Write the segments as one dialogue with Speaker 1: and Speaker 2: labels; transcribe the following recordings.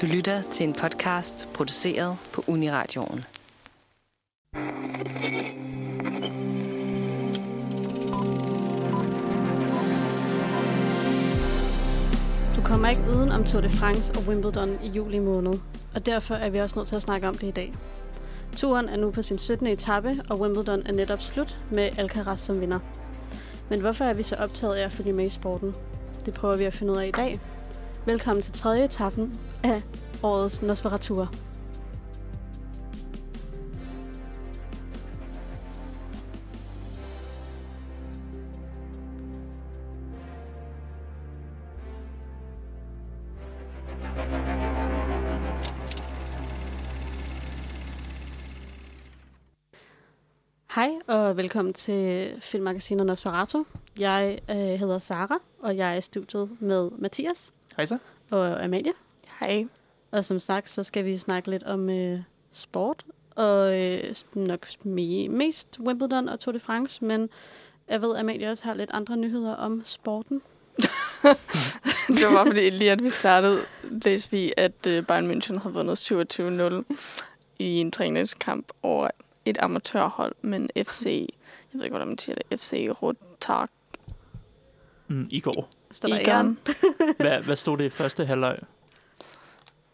Speaker 1: Du lytter til en podcast produceret på Uniradioen.
Speaker 2: Du kommer ikke uden om Tour de France og Wimbledon i juli måned, og derfor er vi også nødt til at snakke om det i dag. Turen er nu på sin 17. etape, og Wimbledon er netop slut med Alcaraz som vinder. Men hvorfor er vi så optaget af at følge med i sporten? Det prøver vi at finde ud af i dag. Velkommen til tredje etappen af årets Nosferatur. Hej og velkommen til Filmmagasinet Nosferatu. Jeg øh, hedder Sara, og jeg er i studiet med Mathias
Speaker 3: Hej så.
Speaker 2: og Amalie.
Speaker 4: Hej.
Speaker 2: Og som sagt, så skal vi snakke lidt om øh, sport, og øh, nok me- mest Wimbledon og Tour de France, men jeg ved, at Amalie også har lidt andre nyheder om sporten.
Speaker 4: Det var bare fordi, lige at vi startede, læste vi, at øh, Bayern München havde vundet 27-0 i en træningskamp over et amatørhold, men FC, jeg ved ikke, hvordan man siger det, FC Rotak
Speaker 3: Mm, I går.
Speaker 2: Står
Speaker 4: i
Speaker 2: der ikke
Speaker 4: gang.
Speaker 2: an?
Speaker 3: Hvad, hvad stod det i første halvleg?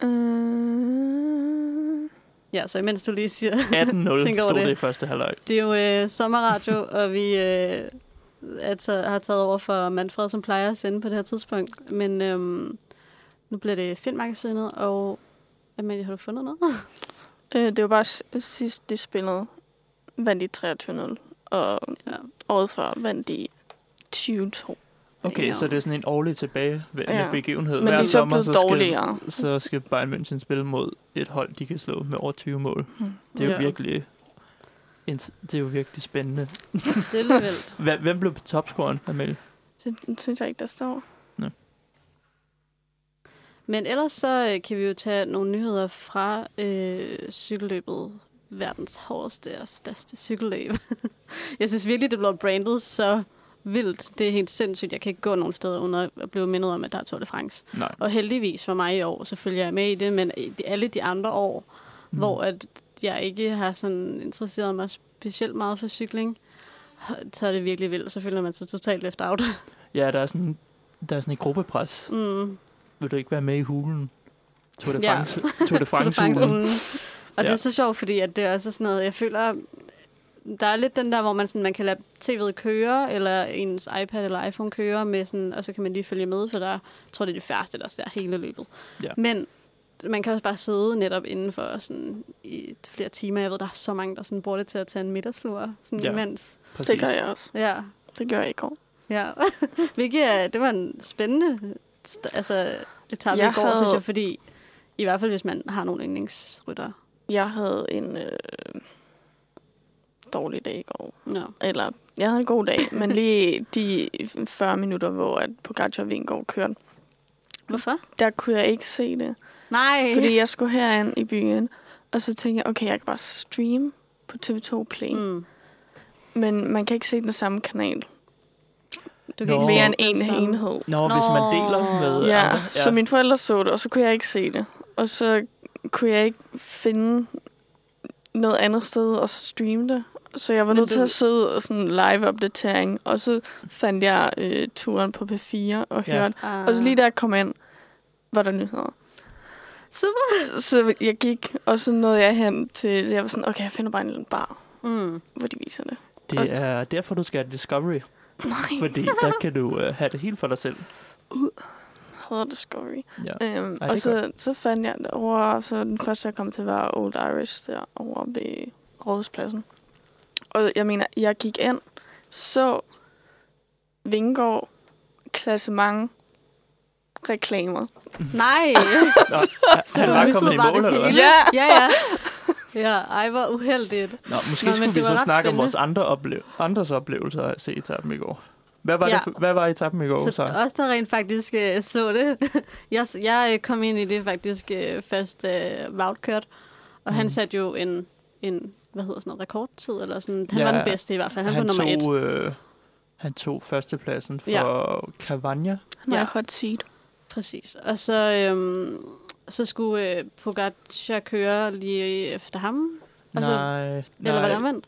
Speaker 4: Øh,
Speaker 2: Ja, så imens du lige siger, Tænk
Speaker 3: 18-0
Speaker 2: over
Speaker 3: stod det.
Speaker 2: det.
Speaker 3: i første halvleg.
Speaker 2: det er jo øh, sommerradio, og vi øh, er ta- har taget over for Manfred, som plejer at sende på det her tidspunkt. Men øhm, nu bliver det filmmagasinet, og Amalie, har du fundet noget?
Speaker 4: øh, det var bare s- sidst, de spillede, vandt de 23-0, og
Speaker 2: Ja.
Speaker 4: året før vandt de 20-2.
Speaker 3: Okay,
Speaker 2: Ja.
Speaker 3: så det er sådan en årlig tilbagevendende
Speaker 4: Ja.
Speaker 3: ja. begivenhed.
Speaker 4: Men de
Speaker 3: Hver
Speaker 4: er så
Speaker 3: sommer,
Speaker 4: blevet
Speaker 3: skal,
Speaker 4: dårligere.
Speaker 3: Så skal Bayern München spille mod et hold, de kan slå med over 20 mål.
Speaker 4: Hmm.
Speaker 3: Det er jo
Speaker 2: Ja.
Speaker 3: virkelig... int- Det er jo virkelig spændende.
Speaker 2: Det er lidt vildt.
Speaker 3: Hvem hvem blev topscoren, Amelie?
Speaker 4: Det synes jeg ikke, der står.
Speaker 2: Men ellers så øh, kan vi jo tage nogle nyheder fra øh, cykelløbet. Verdens hårdeste og største cykelløb. jeg synes virkelig, det bliver brandet så vildt. Det er helt sindssygt. Jeg kan ikke gå nogen steder under at blive mindet om, at der er Tour de France.
Speaker 3: Nej.
Speaker 2: Og heldigvis for mig i år, så følger jeg med i det, men i de- alle de andre år, mm. hvor at jeg ikke har sådan interesseret mig specielt meget for cykling, så er det virkelig vildt. Så føler man sig totalt left out.
Speaker 3: Ja, der er sådan, der er sådan et gruppepres.
Speaker 2: mm.
Speaker 3: Vil du ikke være med i hulen? Tour de
Speaker 2: Ja.
Speaker 3: France. Tour de
Speaker 2: Tour de
Speaker 3: France-hulen.
Speaker 2: France-ugen. Og det
Speaker 3: Ja.
Speaker 2: er så sjovt, fordi at det er også sådan noget, jeg føler, der er lidt den der, hvor man, sådan, man kan lade tv'et køre, eller ens iPad eller iPhone køre, med sådan, og så kan man lige følge med, for der jeg tror det er det færreste, der ser hele løbet.
Speaker 3: Ja.
Speaker 2: Men man kan også bare sidde netop inden for sådan, i flere timer. Jeg ved, der er så mange, der sådan, bruger det til at tage en middagslur, sådan ja.
Speaker 3: Ja.
Speaker 2: imens.
Speaker 3: Præcis.
Speaker 4: Det gør jeg også.
Speaker 2: Ja,
Speaker 4: Det gør jeg i går.
Speaker 2: ja. Hvilket er, det var en spændende st- altså, etape
Speaker 4: Jeg
Speaker 2: i går,
Speaker 4: havde-
Speaker 2: synes jeg, fordi i hvert fald, hvis man har nogle yndlingsryttere.
Speaker 4: Jeg havde en øh, dårlig dag i går.
Speaker 2: Ja.
Speaker 4: Eller, jeg havde en god dag, men lige de 40 minutter, hvor at Pogacar og Vingård kørte,
Speaker 2: Hvorfor?
Speaker 4: der kunne jeg ikke se det.
Speaker 2: Nej. Fordi,
Speaker 4: Fordi jeg skulle herind i byen, og så tænkte jeg, okay, jeg kan bare streame på TV2 Play. Mm.
Speaker 2: mm.
Speaker 4: Men man kan ikke se den samme kanal.
Speaker 2: Du
Speaker 3: Nå.
Speaker 2: se
Speaker 4: Mere end
Speaker 2: den
Speaker 4: en
Speaker 2: samme.
Speaker 4: enhed.
Speaker 3: Nå, hvis man
Speaker 2: Nå.
Speaker 3: deler med
Speaker 4: Ja,
Speaker 3: andre.
Speaker 4: så mine forældre så det, og så kunne jeg ikke se det. Og så kunne jeg ikke finde noget andet sted og så streame det. Så jeg var
Speaker 2: Men
Speaker 4: nødt til
Speaker 2: du-
Speaker 4: at sidde og sådan live-opdatering, og så fandt jeg øh, turen på P4 og
Speaker 3: Ja.
Speaker 4: hørte.
Speaker 2: Ah.
Speaker 4: Og så lige da jeg kom ind, var der nyheder. Super! Så jeg gik, og så nåede jeg hen til, jeg var sådan, okay, jeg finder bare en lille bar,
Speaker 2: Mm.
Speaker 4: hvor de viser det.
Speaker 3: Det er derfor, du skal have Discovery.
Speaker 4: Nej,
Speaker 3: Fordi der kan du øh, have det helt for dig selv.
Speaker 4: hader Discovery.
Speaker 3: Ja.
Speaker 2: Øh,
Speaker 4: Øhm,
Speaker 3: er
Speaker 4: og så, så fandt jeg det over, og så den første, jeg kom til, var Old Irish der over ved Rådhuspladsen. Og jeg mener, jeg gik ind, så Vingård, klassement, reklamer.
Speaker 2: Nej.
Speaker 3: Nå,
Speaker 2: Så
Speaker 3: han
Speaker 2: du
Speaker 3: var
Speaker 2: missede
Speaker 3: kommet i
Speaker 2: bare det
Speaker 3: mål, eller hvad?
Speaker 2: hele. ja, ja. Ja, ej, hvor uheldigt.
Speaker 3: Nå, måske
Speaker 2: Nå,
Speaker 3: Nå,
Speaker 2: men
Speaker 3: skulle vi
Speaker 2: det var
Speaker 3: så
Speaker 2: ret
Speaker 3: snakke om
Speaker 2: spændende.
Speaker 3: vores andre ople- andres oplevelser af at se etappen i går. Hvad var,
Speaker 2: Ja.
Speaker 3: ja. det, for- hvad var etappen i går, så?
Speaker 2: Så øh, os, der rent faktisk øh, så det. jeg, jeg øh, kom ind i det faktisk øh, først øh, voutkørt, og mm. han
Speaker 3: Mm.
Speaker 2: satte jo en, en, hvad hedder sådan noget, rekordtid, eller sådan. Han
Speaker 3: Ja,
Speaker 2: var den bedste i hvert fald. Han,
Speaker 3: han,
Speaker 2: var nummer et.
Speaker 3: tog, øh, han tog førstepladsen for
Speaker 2: Ja.
Speaker 3: ja. Cavagna.
Speaker 4: Han har
Speaker 3: øh-
Speaker 2: Ja.
Speaker 4: hot seat.
Speaker 2: Præcis. Og så øhm, Så skulle øh, Pogacar køre lige efter ham? Og så-
Speaker 3: nej, nej.
Speaker 2: Altså, Eller var det omvendt?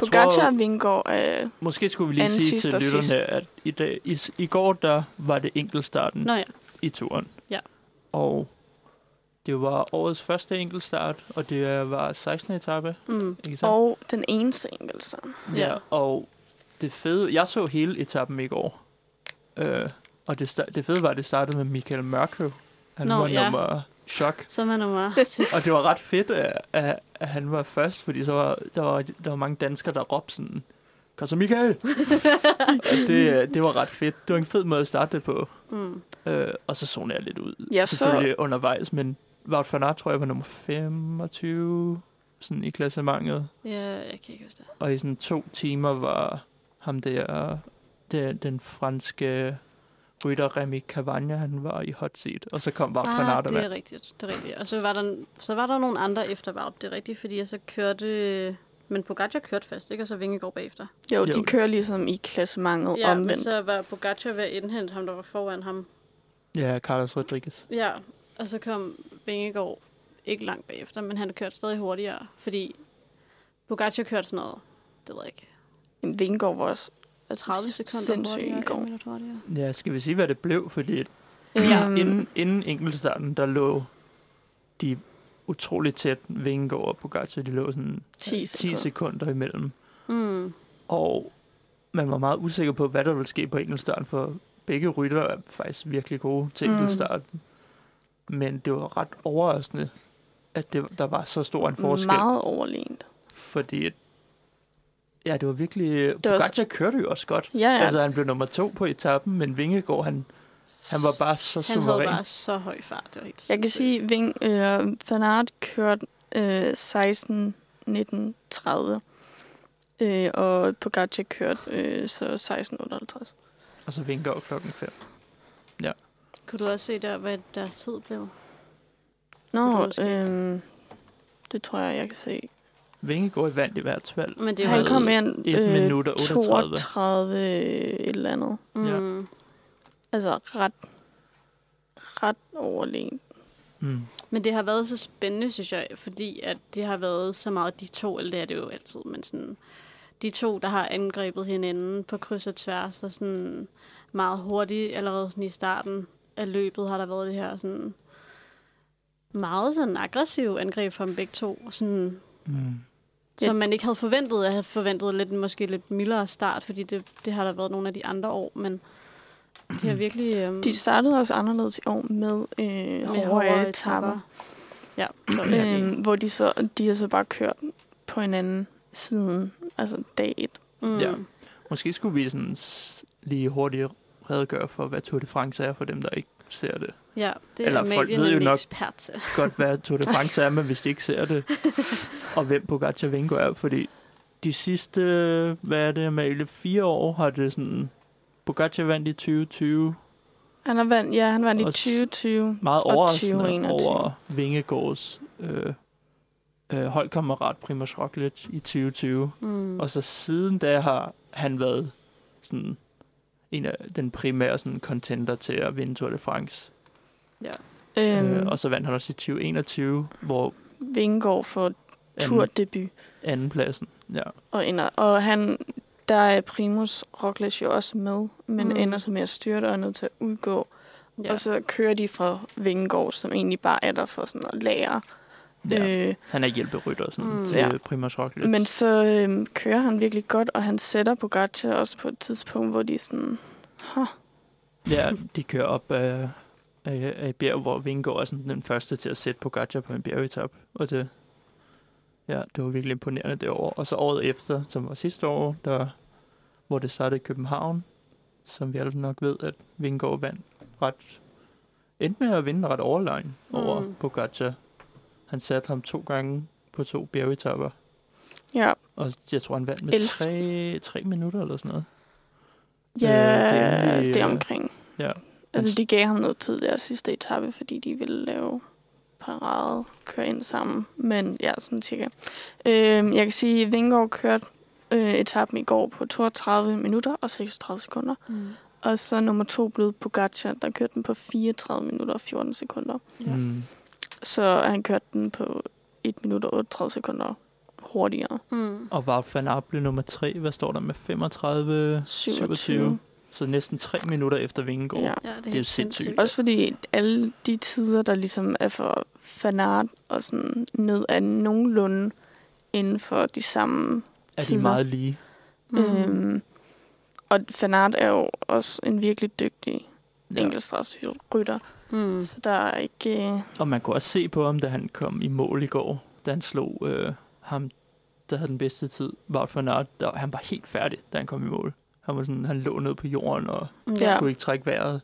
Speaker 3: Jeg
Speaker 4: Pogacar
Speaker 3: tror,
Speaker 4: og Vingård øh,
Speaker 3: Måske skulle vi lige
Speaker 4: anden
Speaker 3: sige
Speaker 4: sidst
Speaker 3: til
Speaker 4: og
Speaker 3: lytterne,
Speaker 4: sidst.
Speaker 3: at i, dag, i, i går der var det enkeltstarten
Speaker 2: Nå ja,
Speaker 3: i turen.
Speaker 2: Ja.
Speaker 3: Og det var årets første enkeltstart, og det var 16. etape,
Speaker 2: mm.
Speaker 3: ikke sandt?
Speaker 4: og den eneste enkelt sammen.
Speaker 3: Ja, og det fede, jeg så hele etappen i går, øh, og det, sta- det fede var, at det startede med Michael Mørkøv. Han
Speaker 2: Nå,
Speaker 3: var
Speaker 2: ja.
Speaker 3: nummer chok.
Speaker 2: så er man nummer.
Speaker 3: Og det var ret fedt, at, at, at han var først, fordi så var, der, var, der var mange danskere, der råbte sådan, kom så Michael! og det, det var ret fedt. Det var en fed måde at starte det på.
Speaker 2: Mm.
Speaker 3: Øh, og så zonede jeg lidt ud,
Speaker 4: Jeg så-
Speaker 3: selvfølgelig undervejs, men Wout van Aert, tror jeg, var nummer 25 sådan i klassementet.
Speaker 2: Ja, jeg kan ikke huske det.
Speaker 3: Og i sådan to timer var ham der, der den franske rytter Remy Cavagna, han var i hot seat. Og så kom
Speaker 4: Ah,
Speaker 3: Wout van Aert og
Speaker 2: det er
Speaker 3: vandt.
Speaker 2: rigtigt, det er rigtigt. Og så var der, så var der nogle andre efter Wout, det er rigtigt, fordi jeg så kørte... Men Pogacar kørte først, ikke? Og så Vingegaard bagefter.
Speaker 4: Jo, jo,
Speaker 3: Jo.
Speaker 4: de kører ligesom i klassemanget ja,
Speaker 2: Ja, men
Speaker 4: omvendt.
Speaker 2: så var Pogacar ved at indhente ham, der var foran ham.
Speaker 3: Ja, Carlos Rodriguez.
Speaker 2: Ja, og så kom Vingegaard ikke langt bagefter, men han kørte stadig hurtigere, fordi Pogacar kørte sådan noget, det ved jeg ikke,
Speaker 4: En Vingård var også
Speaker 2: 30 sekunder
Speaker 4: sindssygt
Speaker 2: hurtigere,
Speaker 4: i går.
Speaker 2: en minut hurtigere.
Speaker 3: Ja, skal vi sige, hvad det blev? Fordi
Speaker 2: Ja.
Speaker 4: Øhm,
Speaker 3: Inden, inden enkeltstarten, der lå de utroligt tæt Vingegaard og Pogacar. De lå sådan
Speaker 4: 10
Speaker 3: 10
Speaker 4: sekunder.
Speaker 3: sekunder imellem.
Speaker 2: Mm.
Speaker 3: Og man var meget usikker på, hvad der ville ske på enkeltstarten, for begge rytter er faktisk virkelig gode til
Speaker 4: Mm.
Speaker 3: enkeltstarten. Men det var ret overraskende, at det, der var så stor en forskel.
Speaker 4: Meget overlegent.
Speaker 3: Fordi at- ja, det var virkelig...
Speaker 4: var også-
Speaker 3: Pogacar kørte jo også godt.
Speaker 4: Ja, ja.
Speaker 3: Altså, han blev nummer to på etappen, men Vingegaard, han, han var bare så
Speaker 2: Han havde
Speaker 3: suveræn.
Speaker 2: bare så høj fart, det var helt
Speaker 4: Jeg kan
Speaker 2: sindssygt.
Speaker 4: sige, Ving, øh, Van Aert kørte øh, 16, 19, 30. Øh, og Pogacar kørte øh, så 16, 58.
Speaker 3: Og så Vingegaard klokken 5.
Speaker 2: Kunne du også se der, hvad deres tid blev? Kunne du
Speaker 4: Nå,
Speaker 2: huske?
Speaker 4: øh, det tror jeg, jeg kan se.
Speaker 3: Vingegaard vandt i hvert fald.
Speaker 2: Men det var
Speaker 4: Han
Speaker 3: også
Speaker 4: kom ind
Speaker 3: et minut og 38.
Speaker 4: 32 et eller andet.
Speaker 2: Mm, ja.
Speaker 4: Altså ret, ret overlegen.
Speaker 3: Mm.
Speaker 2: Men det har været så spændende, synes jeg, fordi at det har været så meget de to, eller det er det jo altid, men sådan, de to, der har angrebet hinanden på kryds og tværs, og sådan meget hurtigt, allerede sådan i starten af løbet, har der været det her sådan meget sådan aggressiv angreb fra dem begge to, sådan,
Speaker 3: Mm.
Speaker 2: ja. som man ikke havde forventet. Jeg havde forventet lidt, måske lidt mildere start, fordi det, det har der været nogle af de andre år, men det har virkelig... Øhm,
Speaker 4: Mm. De startede også anderledes i år med, øh, med hårde etapper.
Speaker 2: Ja, så er det
Speaker 4: Øhm, hvor de så, de har så bare kørt på hinanden siden, altså dag et.
Speaker 2: Mm.
Speaker 3: Ja. Måske skulle vi sådan s- lige hurtigt redegøre for, hvad Tour de France er, for dem, der ikke ser det.
Speaker 2: Ja, det
Speaker 3: Eller
Speaker 2: er
Speaker 3: folk
Speaker 2: Amalie
Speaker 3: ved jo
Speaker 2: nemlig
Speaker 3: nok-
Speaker 2: ekspert til.
Speaker 3: Godt, hvad Tour de France er, men hvis de ikke ser det, og hvem Pogacar Vingo er, fordi de sidste, hvad er det, Amalie, fire år har det sådan... Pogacar vandt i 2020,
Speaker 4: Han har vandt, ja, han vandt i
Speaker 3: Og s-
Speaker 4: 2020.
Speaker 3: meget
Speaker 4: Og
Speaker 3: overraskende
Speaker 4: 2021.
Speaker 3: over Vingegaards øh, øh, holdkammerat Primoz Roglic i 2020.
Speaker 2: Mm.
Speaker 3: Og så siden da har han været sådan en af den primære sådan contender til at vinde Tour de France.
Speaker 4: Øhm,
Speaker 3: Øhm. Øh, og så vandt han også i 2021, hvor
Speaker 4: Vingegaard for
Speaker 3: anden,
Speaker 4: turdebut.
Speaker 3: andenpladsen. Ja.
Speaker 4: Og, ender, og han, der er Primus Roglic jo også med, men
Speaker 2: Mm.
Speaker 4: mm. ender så med at styrte og er nødt til at udgå. Ja.
Speaker 2: Ja.
Speaker 4: Og så kører de fra Vingegaard, som egentlig bare er der for sådan at lære.
Speaker 3: ja.
Speaker 4: Ja. Øh,
Speaker 3: Han er hjælperytter sådan,
Speaker 2: Mm.
Speaker 3: mm, til
Speaker 4: Ja.
Speaker 3: ja. Primoz Roglic.
Speaker 4: men så øhm, kører han virkelig godt, og han sætter Pogacar også på et tidspunkt, hvor de er sådan,
Speaker 3: Ja, de kører op af, af, af et bjerg, hvor Vingegaard er sådan den første til at sætte Pogacar på en bjergetap. Og det, ja, det var virkelig imponerende det år. Og så året efter, som var sidste år, der, hvor det startede i København, som vi alle nok ved, at Vingegaard vandt ret, endte med at vinde ret overlegn over
Speaker 2: Mm.
Speaker 3: mm. Pogacar. Han satte ham to gange på to bjergetapper.
Speaker 4: ja,
Speaker 3: Og jeg tror, han vandt med
Speaker 4: Elf.
Speaker 3: tre, tre minutter eller sådan noget.
Speaker 4: ja,
Speaker 3: det er
Speaker 4: øh,
Speaker 3: egentlig,
Speaker 4: det er
Speaker 3: øh,
Speaker 4: omkring.
Speaker 3: ja.
Speaker 4: Altså, de gav ham noget tid der sidste etape, fordi de ville lave parade, køre ind sammen. Men ja, sådan cirka. Øh, jeg kan sige, at Vingård kørte øh, etappen i går på 32 minutter og 36 sekunder.
Speaker 2: Mm.
Speaker 4: Og så nummer to blev Pogacar, der kørte den på 34 minutter og 14 sekunder.
Speaker 2: Ja.
Speaker 3: Mm.
Speaker 4: Så han kørte den på 1 minut og 38 sekunder hurtigere.
Speaker 2: Mm.
Speaker 3: Og var Van Aert blev nummer 3. Hvad står der med 35?
Speaker 4: 27.
Speaker 3: 27. Så næsten 3 minutter efter Vingegaard.
Speaker 4: Ja.
Speaker 3: Ja.
Speaker 2: Ja, det er,
Speaker 3: jo
Speaker 2: helt
Speaker 3: sindssygt.
Speaker 4: Også fordi alle de tider, der ligesom er for fanart og sådan ned af nogenlunde inden for de samme.
Speaker 3: Er de
Speaker 4: Tider.
Speaker 3: meget lige?
Speaker 4: Mm.
Speaker 2: Mhm.
Speaker 4: Øhm, og fanart er jo også en virkelig dygtig ja. enkeltstradsrytter,
Speaker 2: Mm.
Speaker 4: mm. så der er ikke... øh,
Speaker 3: Og man kunne også se på ham, da han kom i mål i går, da han slog øh, ham, der havde den bedste tid, Wout van Aert, der, han var helt færdig, da han kom i mål. Han, var sådan, han lå ned på jorden og
Speaker 2: Mm. Ja.
Speaker 4: Ja.
Speaker 3: ja. kunne ikke trække vejret.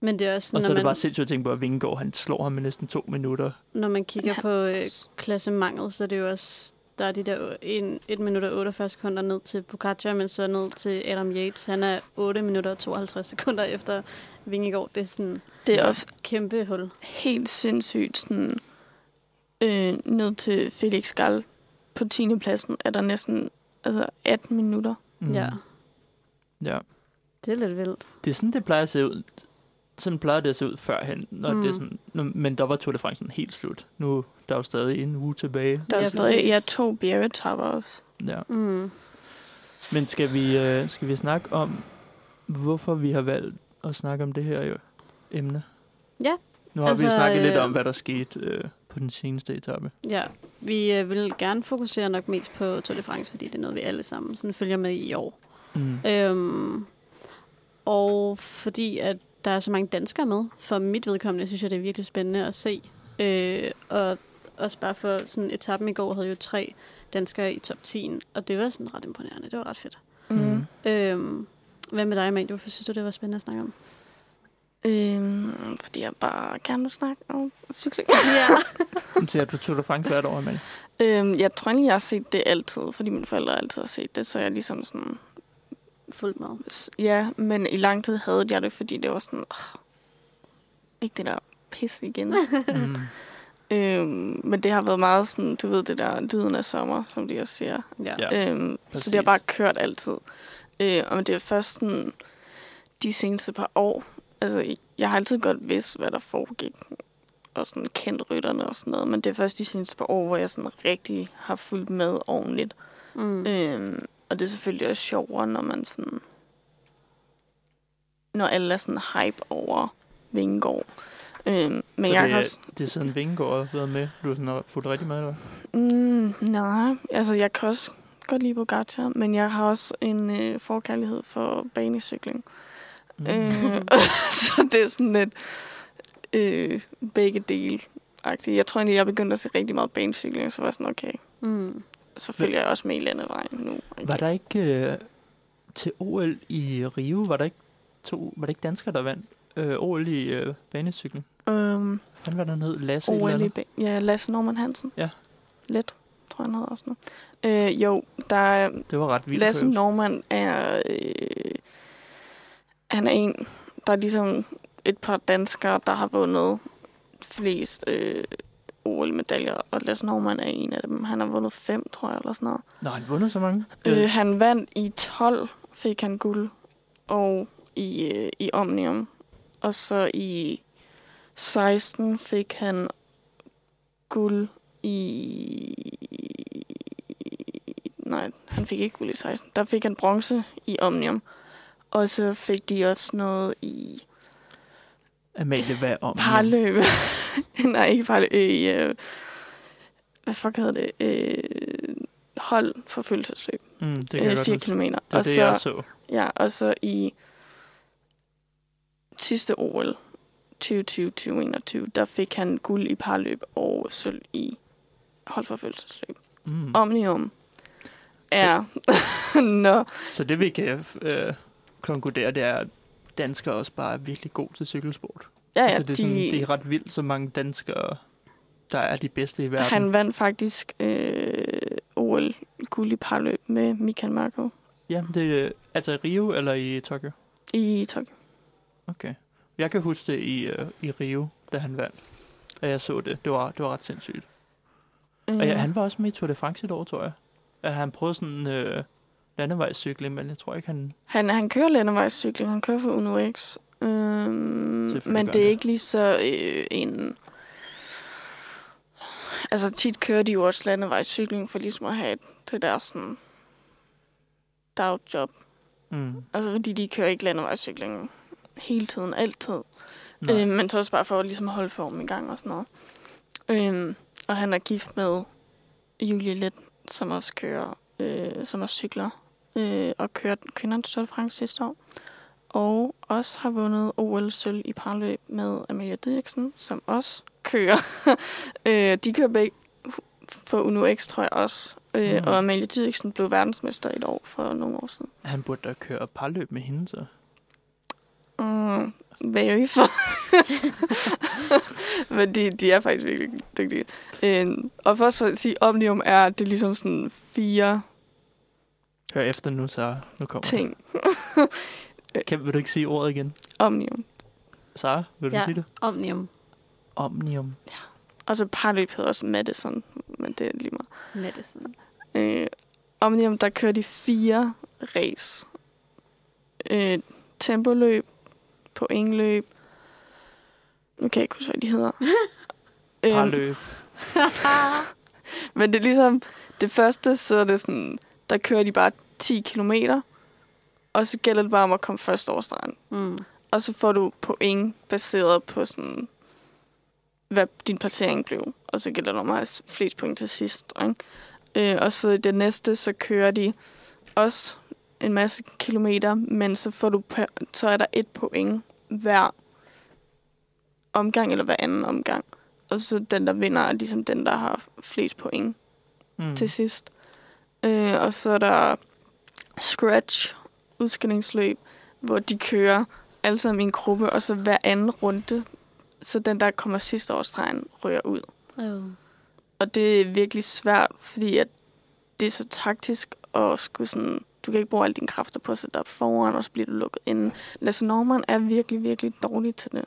Speaker 2: Men det er også,
Speaker 3: Og så
Speaker 2: når
Speaker 3: er det
Speaker 2: man,
Speaker 3: bare sindssygt at tænke på, at Vingegaard, han slår ham med næsten to minutter.
Speaker 2: når man kigger
Speaker 4: Ja.
Speaker 2: på øh, klassemanget, så er det jo også, der er de der 1, 1 minut og 48 sekunder ned til Pogacar, men så ned til Adam Yates. Han er 8 minutter og 52 sekunder efter Vingegaard. Det er sådan
Speaker 4: Det er
Speaker 2: Ja.
Speaker 4: også
Speaker 2: kæmpe hul.
Speaker 4: helt sindssygt sådan, øh, ned til Felix Gall på 10. pladsen er der næsten altså 18 minutter.
Speaker 2: Mm. Ja,
Speaker 3: ja.
Speaker 2: det er lidt vildt.
Speaker 3: Det er sådan, det plejer at se ud. Sådan plejer det at se ud førhen. Når
Speaker 2: Mm.
Speaker 3: mm. det er sådan, når, men der var Tour de France sådan helt slut. Nu der er jo stadig en uge tilbage.
Speaker 4: Der er
Speaker 2: Ja,
Speaker 4: ja, stadig
Speaker 2: præcis.
Speaker 4: ja, to bjergetapper også.
Speaker 3: Ja.
Speaker 2: Mm.
Speaker 3: Men skal vi, øh, skal vi snakke om, hvorfor vi har valgt at snakke om det her øh, emne?
Speaker 2: Ja,
Speaker 3: Nu har altså,
Speaker 2: altså,
Speaker 3: vi snakket øh, lidt
Speaker 2: øh,
Speaker 3: om, hvad der skete øh, på den seneste etape.
Speaker 2: Ja, vi øh, vil gerne fokusere nok mest på Tour de France, fordi det er noget, vi alle sammen sådan følger med i år.
Speaker 3: Mm.
Speaker 2: Øhm, og fordi at der er så mange danskere med, for mit vedkommende synes jeg, det er virkelig spændende at se. Øh, og også bare for sådan etappen i går havde jo tre danskere i top 10, og det var sådan ret imponerende. Det var ret fedt.
Speaker 3: Mm.
Speaker 2: Øhm, hvad med dig, Amalie? Hvorfor synes du, det var spændende at snakke om?
Speaker 4: Øhm, fordi jeg bare gerne vil snakke om cykling.
Speaker 2: Ja.
Speaker 3: Men Ser Mm. du Tour de France hvert år, Amalie?
Speaker 4: øhm, jeg tror egentlig, jeg har set det altid, fordi mine forældre altid har set det, så jeg ligesom sådan...
Speaker 2: Fuldt med.
Speaker 4: s- Ja, men i lang tid havde jeg det, fordi det var sådan... Oh, ikke det der pis igen.
Speaker 3: Mm.
Speaker 4: øhm, men det har været meget sådan, du ved, det der lyden af sommer, som de også siger.
Speaker 2: Ja. ja.
Speaker 3: Ja.
Speaker 4: Øhm, så
Speaker 3: præcis.
Speaker 4: det har bare kørt altid. Øh, og det er først sådan, de seneste par år. Altså, jeg har altid godt vidst, hvad der foregik. Og sådan kendt rytterne og sådan noget. Men det er først de seneste par år, hvor jeg sådan rigtig har fulgt med ordentligt.
Speaker 2: Mm.
Speaker 4: Øhm, og det er selvfølgelig også sjovere, når man sådan... Når alle er sådan hype over Vingård. Øhm, men
Speaker 3: så
Speaker 4: jeg
Speaker 3: det,
Speaker 4: har
Speaker 3: er- det er siden Vingegaard har været med. Du har sådan har fulgt rigtig meget, eller hvad?
Speaker 4: Mm, nej, altså jeg kan også godt lide Pogacar, men jeg har også en øh, forkærlighed for banecykling. Mm. Øh, så det er sådan lidt øh, begge dele. -agtigt. Jeg tror egentlig, jeg begyndte at se rigtig meget banecykling, og så var jeg sådan, okay,
Speaker 2: Mm.
Speaker 4: så følger jeg også med i landevejen nu. Okay.
Speaker 3: Var der ikke øh, til OL i Rio, var der ikke, to, var der ikke danskere, der vandt øh, OL i øh, banecykling?
Speaker 4: Øhm,
Speaker 3: Hvad fanden var der ned? Lasse et eller
Speaker 4: OL i
Speaker 3: andet?
Speaker 4: ba- ja, Lasse Norman Hansen.
Speaker 3: Ja.
Speaker 4: Let, tror jeg, han hedder også nu. Øh, jo, der er
Speaker 3: Det var ret vildt.
Speaker 4: Lasse
Speaker 3: kørt.
Speaker 4: Norman er... Øh, han er en, der er ligesom et par danskere, der har vundet flest øh, OL-medaljer, og Lasse Norman er en af dem. Han har vundet fem, tror jeg, eller sådan noget.
Speaker 3: Nå, han vundet så mange.
Speaker 4: Øh. Øh, han vandt i 12, fik han guld, og i, øh, i Omnium. Og så i 16 fik han guld i... Nej, han fik ikke guld i 16. Der fik han bronze i Omnium. Og så fik de også noget i
Speaker 3: Amalie, hvad om?
Speaker 4: parløb. Nej, ikke parløb. Øh, i, øh, hvad fuck hedder det? Øh, hold for følelsesløb
Speaker 3: Mm, det kan jeg
Speaker 4: øh,
Speaker 3: godt
Speaker 4: 4
Speaker 3: huske.
Speaker 4: km.
Speaker 3: Det var
Speaker 4: Og,
Speaker 3: det, jeg
Speaker 4: så,
Speaker 3: så.
Speaker 4: ja, og så i sidste OL, 2020-2021, der fik han guld i parløb og sølv i holdforfølgelsesløb.
Speaker 3: Mm.
Speaker 4: Omnium er, når
Speaker 3: Så det, vi kan øh, konkludere, det er, at danskere også bare er virkelig gode til cykelsport.
Speaker 4: ja, ja,
Speaker 3: altså, det, er sådan,
Speaker 4: de,
Speaker 3: det er ret vildt, så mange danskere, der er de bedste i verden.
Speaker 4: han vandt faktisk øh, OL guld i parløb med Michael Marco
Speaker 3: Ja, det er altså i Rio eller i Tokyo.
Speaker 4: i Tokyo.
Speaker 3: Jeg kan huske det i, øh, i Rio, da han vandt. Og jeg så det. Det var, det var ret sindssygt.
Speaker 4: Øh, Mm.
Speaker 3: Og ja, han var også med i Tour de France et år, tror jeg. At han prøvede sådan... Øh, landevejscykling, men jeg tror ikke, han...
Speaker 4: Han, han kører landevejscykling, han kører for Uno X. Øhm,
Speaker 3: Selvfølgelig
Speaker 4: men
Speaker 3: gør
Speaker 4: det er
Speaker 3: han.
Speaker 4: ikke lige så øh, en... Altså tit kører de jo også landevejscykling for ligesom at have det der sådan dagjob.
Speaker 3: Mm,
Speaker 4: Altså fordi de kører ikke landevejscykling hele tiden, altid.
Speaker 3: nej.
Speaker 4: Øh, men så også bare for at ligesom holde formen i gang og sådan noget. Øh, og han er gift med Julie Let, som også kører, øh, som også cykler øh, og kørte kvindernes Tour de France sidste år. Og også har vundet OL sølv i parløb med Amelia Didriksen, som også kører. øh, de kører begge for Uno X, tror jeg også. Øh,
Speaker 3: Mhm.
Speaker 4: Og Amelia Didriksen blev verdensmester i et år for nogle år siden.
Speaker 3: Han burde da køre parløb med hende, så.
Speaker 4: Mm, very for. Men de, de er faktisk virkelig dygtige. Øhm, og først at sige, Omnium er, at det er ligesom sådan fire
Speaker 3: Hør efter nu, så nu kommer
Speaker 4: ting.
Speaker 3: han. Kan, vil du ikke sige ordet igen?
Speaker 4: Omnium.
Speaker 3: Sara, vil du
Speaker 2: Ja.
Speaker 3: sige det?
Speaker 2: Omnium.
Speaker 3: Omnium.
Speaker 4: Og så parløb hedder også Madison, men det er lige meget.
Speaker 2: Madison.
Speaker 4: Øh, Omnium, der kører de fire race. Øh, tempoløb, pointløb, nu kan jeg ikke huske, hvad de hedder. Øhm,
Speaker 3: Parløb.
Speaker 4: Ah. Men det er ligesom, det første, så er det sådan, der kører de bare 10 kilometer, og så gælder det bare om at komme først over stregen.
Speaker 2: Mm.
Speaker 4: Og så får du point baseret på sådan, hvad din placering blev. Og så gælder det om at have flest point til sidst. Ikke? Øh, og så i det næste, så kører de også en masse kilometer, men så, får du, po- så er der et point hver omgang, eller hver anden omgang. Og så den, der vinder, er ligesom den, der har flest point
Speaker 3: Mm.
Speaker 4: til sidst. Øh, og så er der scratch, udskillingsløb, hvor de kører alle sammen i en gruppe, og så hver anden runde, så den, der kommer sidst over stregen, rører ud.
Speaker 2: Oh.
Speaker 4: Og det er virkelig svært, fordi at det er så taktisk og skulle sådan... Du kan ikke bruge alle dine kræfter på at sætte dig op foran, og så bliver du lukket inden. Lasse Norman er virkelig, virkelig dårlig til det.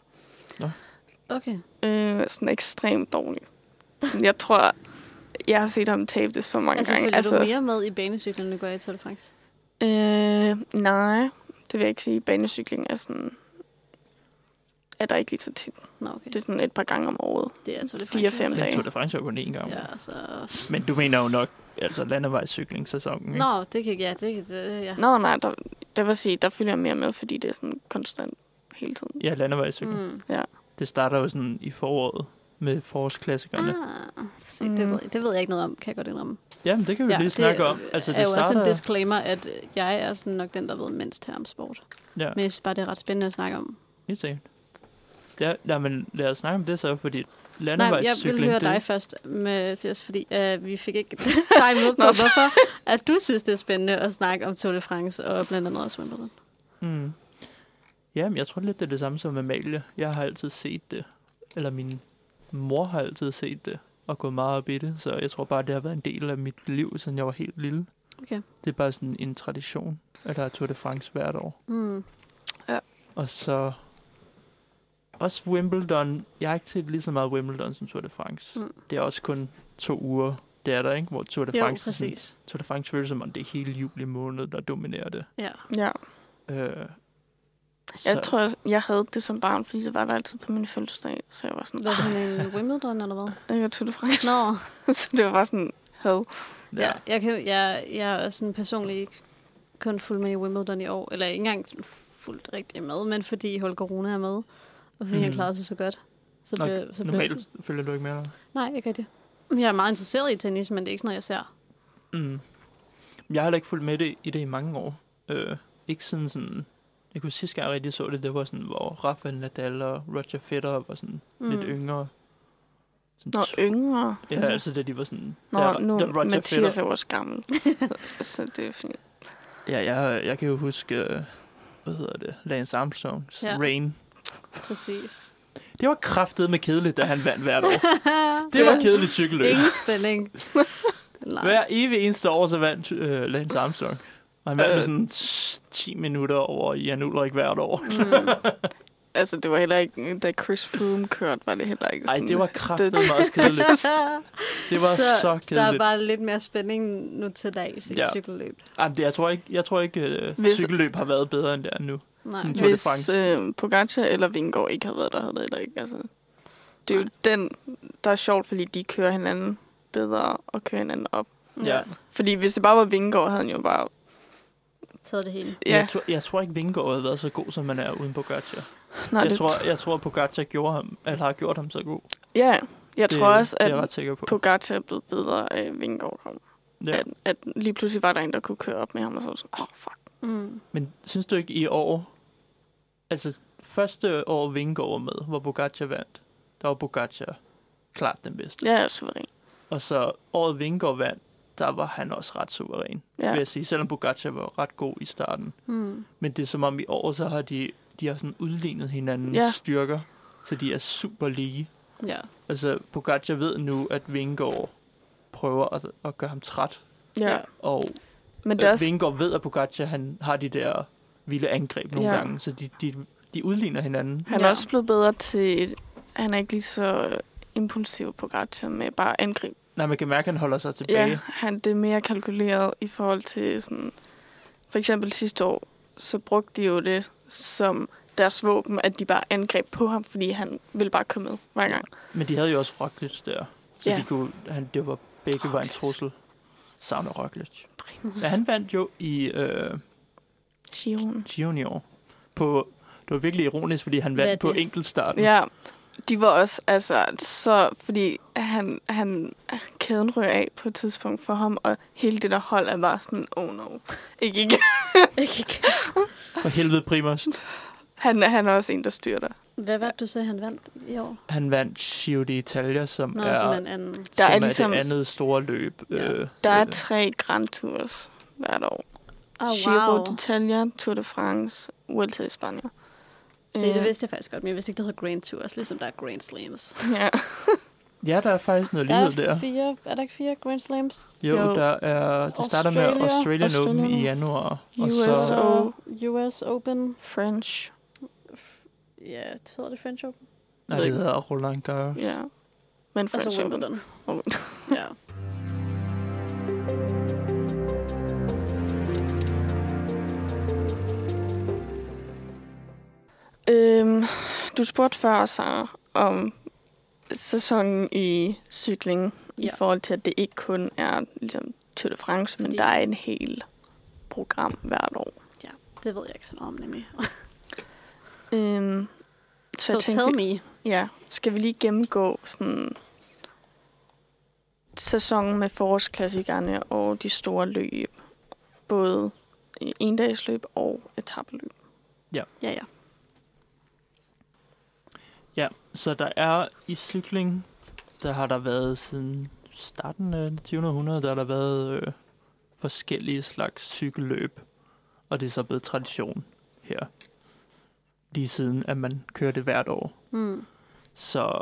Speaker 2: Okay.
Speaker 4: Øh, sådan ekstremt dårlig. Jeg tror, jeg har set ham tabe det så mange
Speaker 2: Altså,
Speaker 4: gange.
Speaker 2: følger du mere med i banecyklen, end du gør i Tour de France?
Speaker 4: Øh, nej, det vil jeg ikke sige. Banecykling er sådan er der ikke lige så tit.
Speaker 2: Nå, okay.
Speaker 4: Det er sådan et par gange om året.
Speaker 2: Det er Tour de France.
Speaker 4: fire, fem
Speaker 2: ja.
Speaker 3: Men
Speaker 4: dage.
Speaker 3: Tour de France er jo kun én gang. Ja.
Speaker 2: Ja, så...
Speaker 3: Men du mener jo nok altså landevejscyklingssæsonen. ikke?
Speaker 2: Nå, det kan ja, det, kan, det ja.
Speaker 4: Nå, nej, der, der vil sige, der følger jeg mere med, fordi det er sådan konstant hele tiden.
Speaker 3: Ja, landevejscykling. Mm.
Speaker 2: Mm.
Speaker 3: Det starter jo sådan i foråret med forårsklassikerne. Ah.
Speaker 2: Ah, se, det, ved, det ved jeg ikke noget om, kan jeg godt indrømme.
Speaker 3: Jamen, det kan vi ja, lige snakke om. Altså, det
Speaker 2: er jo også
Speaker 3: starter...
Speaker 2: en disclaimer, at jeg er sådan nok den, der ved mindst her om sport.
Speaker 3: ja,
Speaker 2: Men jeg synes bare, det er ret spændende at snakke om.
Speaker 3: helt sikkert. Ja, nej, men lad os snakke om det så, fordi
Speaker 2: Nej, jeg
Speaker 3: landevejscykling...
Speaker 2: vil høre
Speaker 3: det,
Speaker 2: dig først, Mathias, fordi øh, vi fik ikke dig med på,
Speaker 4: Nå, så-
Speaker 2: hvorfor at du synes, det er spændende at snakke om Tour de France og blandt andet også Wimbledon.
Speaker 3: Mm. Jamen, jeg tror lidt, det er det samme som Amalie. Jeg har altid set det. Eller min mor har altid set det og gået meget op i det. Så jeg tror bare, det har været en del af mit liv, siden jeg var helt lille.
Speaker 2: Okay.
Speaker 3: Det er bare sådan en tradition, at der er Tour de France hvert år.
Speaker 2: Mm.
Speaker 3: Og så også Wimbledon. Jeg har ikke set lige så meget Wimbledon som Tour de France.
Speaker 2: Mm.
Speaker 3: Mm. Det er også kun to uger, det er der, ikke? Hvor Tour de
Speaker 2: Jo,
Speaker 3: France, er sådan-
Speaker 2: præcis.
Speaker 3: Tour de France føles som om, det er hele juli måned, der dominerer det.
Speaker 2: Ja.
Speaker 4: Ja.
Speaker 3: Øh, jeg
Speaker 4: Jeg tror, jeg, jeg havde det som barn, fordi det var der altid på min fødselsdag. Så jeg var sådan,
Speaker 2: Hvad er det, en Wimbledon eller hvad?
Speaker 4: "Ah, jeg tog det fransk.
Speaker 2: Nå,
Speaker 4: så det var bare sådan, had.
Speaker 2: Ja. ja jeg, kan, jeg, jeg er også sådan personligt ikke kun fuld med i Wimbledon i år, eller ikke engang sådan fuldt rigtig med, men fordi Holger Rune er med, og fordi mm. han
Speaker 3: Mhm.
Speaker 2: klarede sig så godt. Så
Speaker 3: Nå,
Speaker 2: blev, så blev
Speaker 3: Normalt følger du ikke med, eller?
Speaker 2: Nej, ikke rigtigt. Jeg er meget interesseret i tennis, men det er ikke sådan noget, jeg ser.
Speaker 3: Mm. Jeg har heller ikke fulgt med det, i det i mange år. Øh, ikke sådan sådan... Jeg kunne sidste gang, jeg rigtig så det, det var sådan, hvor Rafael Nadal og Roger Federer var sådan mm. lidt yngre. Sådan
Speaker 4: Når
Speaker 3: tw-
Speaker 4: yngre.
Speaker 3: Ja, altså da de var sådan...
Speaker 4: Nå,
Speaker 3: da,
Speaker 4: nu
Speaker 3: da Roger
Speaker 4: Mathias er
Speaker 3: Federer,
Speaker 4: jo også gammel. så, så det er fint.
Speaker 3: Ja, jeg, jeg kan jo huske... øh, Hvad hedder det? Lance Armstrongs
Speaker 2: Ja.
Speaker 3: ja. Rain.
Speaker 2: Præcis.
Speaker 3: Det var kraftet med kedeligt, da han vandt hvert år. Det,
Speaker 2: Det
Speaker 3: var
Speaker 2: var-
Speaker 3: kedeligt cykelløb.
Speaker 2: Ingen spænding. Nej.
Speaker 3: Hver evig eneste år, så vandt øh, Lance Armstrong. Og han vandt
Speaker 4: Øh.
Speaker 3: med sådan 10 minutter over Jan Ulrik hvert år.
Speaker 2: Mm.
Speaker 4: altså, det var heller ikke, da Chris Froome kørte, var det heller ikke
Speaker 3: Ej,
Speaker 4: sådan.
Speaker 3: det var kraftedeme også kedeligt. Det var så, så
Speaker 2: der er
Speaker 3: kedeligt.
Speaker 2: bare lidt mere spænding nu til dags i
Speaker 3: Ja.
Speaker 2: ja. cykelløb.
Speaker 3: Ej, men det, jeg tror ikke, jeg tror ikke øh,
Speaker 4: Hvis-
Speaker 3: cykelløb har været bedre end det er nu.
Speaker 2: Nej.
Speaker 3: Mm. Tour de
Speaker 4: Hvis
Speaker 3: France.
Speaker 4: øh, Pogacar eller Vingård ikke havde været der, havde det heller ikke. Altså, det er jo den, der er sjovt, fordi de kører hinanden bedre og kører hinanden op.
Speaker 3: Ja.
Speaker 4: Fordi hvis det bare var Vingård, havde han jo bare...
Speaker 2: Taget det hele.
Speaker 3: Ja.
Speaker 4: Ja,
Speaker 3: Jeg, tror, jeg tror ikke, Vingegaard havde været så god, som man er uden Pogacar.
Speaker 4: nej,
Speaker 3: Jeg
Speaker 4: det,
Speaker 3: tror, jeg tror, Pogacar gjorde ham, eller har gjort ham så god.
Speaker 4: ja, jeg
Speaker 3: det,
Speaker 4: tror også,
Speaker 3: det er jeg
Speaker 4: at
Speaker 3: ret sikker på.
Speaker 4: Pogacar er blevet bedre af Vingård kom. Ja.
Speaker 3: Ja.
Speaker 4: At, at, lige pludselig var der en, der kunne køre op med ham, og så var det sådan, åh, oh, fuck.
Speaker 2: Mm.
Speaker 3: Men synes du ikke i år, altså første år Vingegaard var med, hvor Pogacar vandt, der var Pogacar klart den bedste.
Speaker 4: Jeg er suveræn.
Speaker 3: Og så året Vingegaard vandt, der var han også ret suveræn, ja. vil
Speaker 4: Ja.
Speaker 3: jeg sige. Selvom Pogacar var ret god i starten.
Speaker 2: Mm.
Speaker 3: Men det er som om i år, så har de, de har sådan udlignet hinandens ja.
Speaker 4: Ja.
Speaker 3: styrker, så de er super lige.
Speaker 2: Ja.
Speaker 3: Altså, Pogacar ved nu, at Vingegaard prøver at, at gøre ham træt.
Speaker 4: ja.
Speaker 2: Ja.
Speaker 3: Og
Speaker 4: Men det er
Speaker 3: øh,
Speaker 4: også,
Speaker 3: Vingegaard ved, at Pogacar han har de der vilde angreb nogle ja.
Speaker 4: Ja.
Speaker 3: gange, så de, de, de udligner hinanden.
Speaker 4: han er
Speaker 2: Ja.
Speaker 4: også blevet bedre til... Et, han er ikke lige så øh, impulsiv på Pogacar med bare angreb.
Speaker 3: Nej, man kan mærke, at han holder sig tilbage.
Speaker 4: Ja, han, det er mere kalkuleret i forhold til sådan... For eksempel sidste år, så brugte de jo det som deres våben, at de bare angreb på ham, fordi han ville bare komme med hver gang.
Speaker 3: Men de havde jo også Roglic der, så
Speaker 4: Ja.
Speaker 3: de kunne, han, det var begge var en
Speaker 4: Roglic.
Speaker 3: trussel. Savner Roglic.
Speaker 4: Primus.
Speaker 3: Men han vandt jo i øh,
Speaker 4: Giroen.
Speaker 3: Giron i år. På, det var virkelig ironisk, fordi han
Speaker 2: Hvad er
Speaker 3: vandt på
Speaker 2: det?
Speaker 3: enkeltstarten.
Speaker 4: Ja, de var også, altså, så, fordi han, han, kæden røg af på et tidspunkt for ham, og hele det der hold er bare sådan, oh no, ikke igen.
Speaker 3: For helvede Primus.
Speaker 4: Han, er- han er også en, der styrter.
Speaker 2: Hvad var det, du sagde, han vandt i år?
Speaker 3: Han vandt Giro d'Italia, som
Speaker 2: Nå,
Speaker 3: er,
Speaker 2: ja. som en anden.
Speaker 3: der som er,
Speaker 4: er
Speaker 3: ligesom...
Speaker 4: ligesom-
Speaker 3: det andet store løb.
Speaker 2: Ja.
Speaker 3: Øh,
Speaker 4: Der er
Speaker 3: øh,
Speaker 4: tre Grand Tours hvert år.
Speaker 2: Oh,
Speaker 4: Giro
Speaker 2: wow.
Speaker 4: d'Italia, Tour de France, Vuelta i Spanien.
Speaker 2: Se, det
Speaker 4: Øh,
Speaker 2: vidste jeg faktisk godt, men jeg vidste ikke, det hedder Grand Tours, ligesom der er Grand Slams.
Speaker 4: Ja.
Speaker 3: Ja, der er faktisk noget lighed der.
Speaker 2: fire, er der ikke fire Grand Slams?
Speaker 3: Jo,
Speaker 4: Jo.
Speaker 3: der er, det starter med
Speaker 2: Australia-
Speaker 3: Australian, Australian Open
Speaker 4: Australian
Speaker 3: i januar. Og
Speaker 4: US
Speaker 3: så,
Speaker 4: Så-
Speaker 2: US Open.
Speaker 4: French.
Speaker 2: Ja, det hedder det French Open.
Speaker 3: nej, det hedder Roland Garros.
Speaker 4: Ja. Men
Speaker 2: Og
Speaker 4: French
Speaker 2: så
Speaker 4: Open.
Speaker 2: Altså Wimbledon.
Speaker 4: Wimbledon.
Speaker 2: ja.
Speaker 4: Øhm, du spurgte før, Sara, om sæsonen i cykling. Ja. I
Speaker 2: Ja.
Speaker 4: forhold til, at det ikke kun er ligesom, Tour de France, men
Speaker 2: Fordi-
Speaker 4: der er en hel program hvert år.
Speaker 2: Det ved jeg ikke så meget om, nemlig.
Speaker 4: Øhm,
Speaker 2: Så
Speaker 4: jeg
Speaker 2: so
Speaker 4: tænkte,
Speaker 2: tell
Speaker 4: vi-
Speaker 2: me.
Speaker 4: Ja, skal vi lige gennemgå sådan sæsonen med forårsklassikerne og de store løb. Både i endagsløb og etappeløb.
Speaker 2: Ja, ja.
Speaker 3: Ja, så der er i cykling, der har der været siden starten af det 20. århundrede, der har der været øh, forskellige slags cykelløb. Og det er så blevet tradition her. Lige siden, at man kører det hvert år.
Speaker 2: Mm.
Speaker 3: Så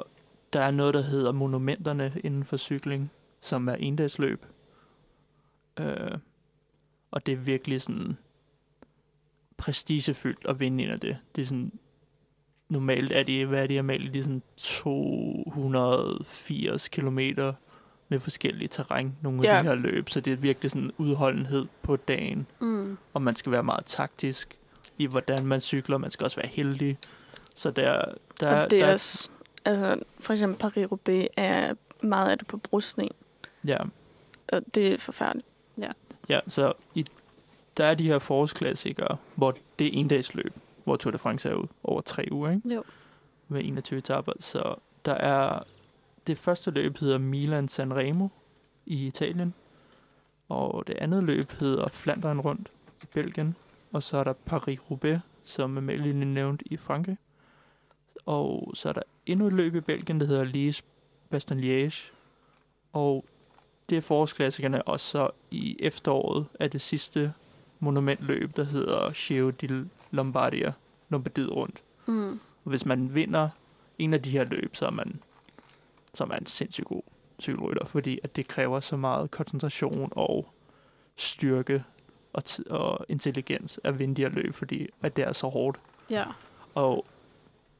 Speaker 3: der er noget, der hedder monumenterne inden for cykling, som er endagsløb. Øh, og det er virkelig sådan prestigefyldt at vinde en af det. Det er sådan, normalt er de, hvad er de normalt? De er sådan 280 kilometer med forskellige terræn, nogle af
Speaker 4: Ja.
Speaker 3: de her løb. Så det er virkelig sådan udholdenhed på dagen,
Speaker 2: Mm.
Speaker 3: og man skal være meget taktisk i, hvordan man cykler. Man skal også være heldig. Så der, der,
Speaker 4: og det
Speaker 3: der
Speaker 4: er også, altså for eksempel Paris-Roubaix er meget af det på brusning,
Speaker 3: ja,
Speaker 4: og det er forfærdeligt.
Speaker 3: Ja, så i, der er de her forårsklassikere, hvor det er en dags løb, hvor Tour de France er ud over tre uger, ikke?
Speaker 2: Jo.
Speaker 3: Med 21 etaper. Så der er... Det første løb hedder Milan Sanremo i Italien. Og det andet løb hedder Flandern rundt i Belgien. Og så er der Paris-Roubaix, som Amalie lige nævnte i Frankrig. Og så er der endnu et løb i Belgien, der hedder Liège Baston Liège. Og det er forårsklassikerne, og så i efteråret er det sidste monumentløb, der hedder Giro di Lombardia, Lombardiet rundt.
Speaker 2: Mm.
Speaker 3: Og hvis man vinder en af de her løb, så er man, så er man sindssygt god cykelrytter, fordi at det kræver så meget koncentration og styrke og, t- og intelligens at vinde de her løb, fordi at det er så hårdt.
Speaker 2: Ja.
Speaker 3: Og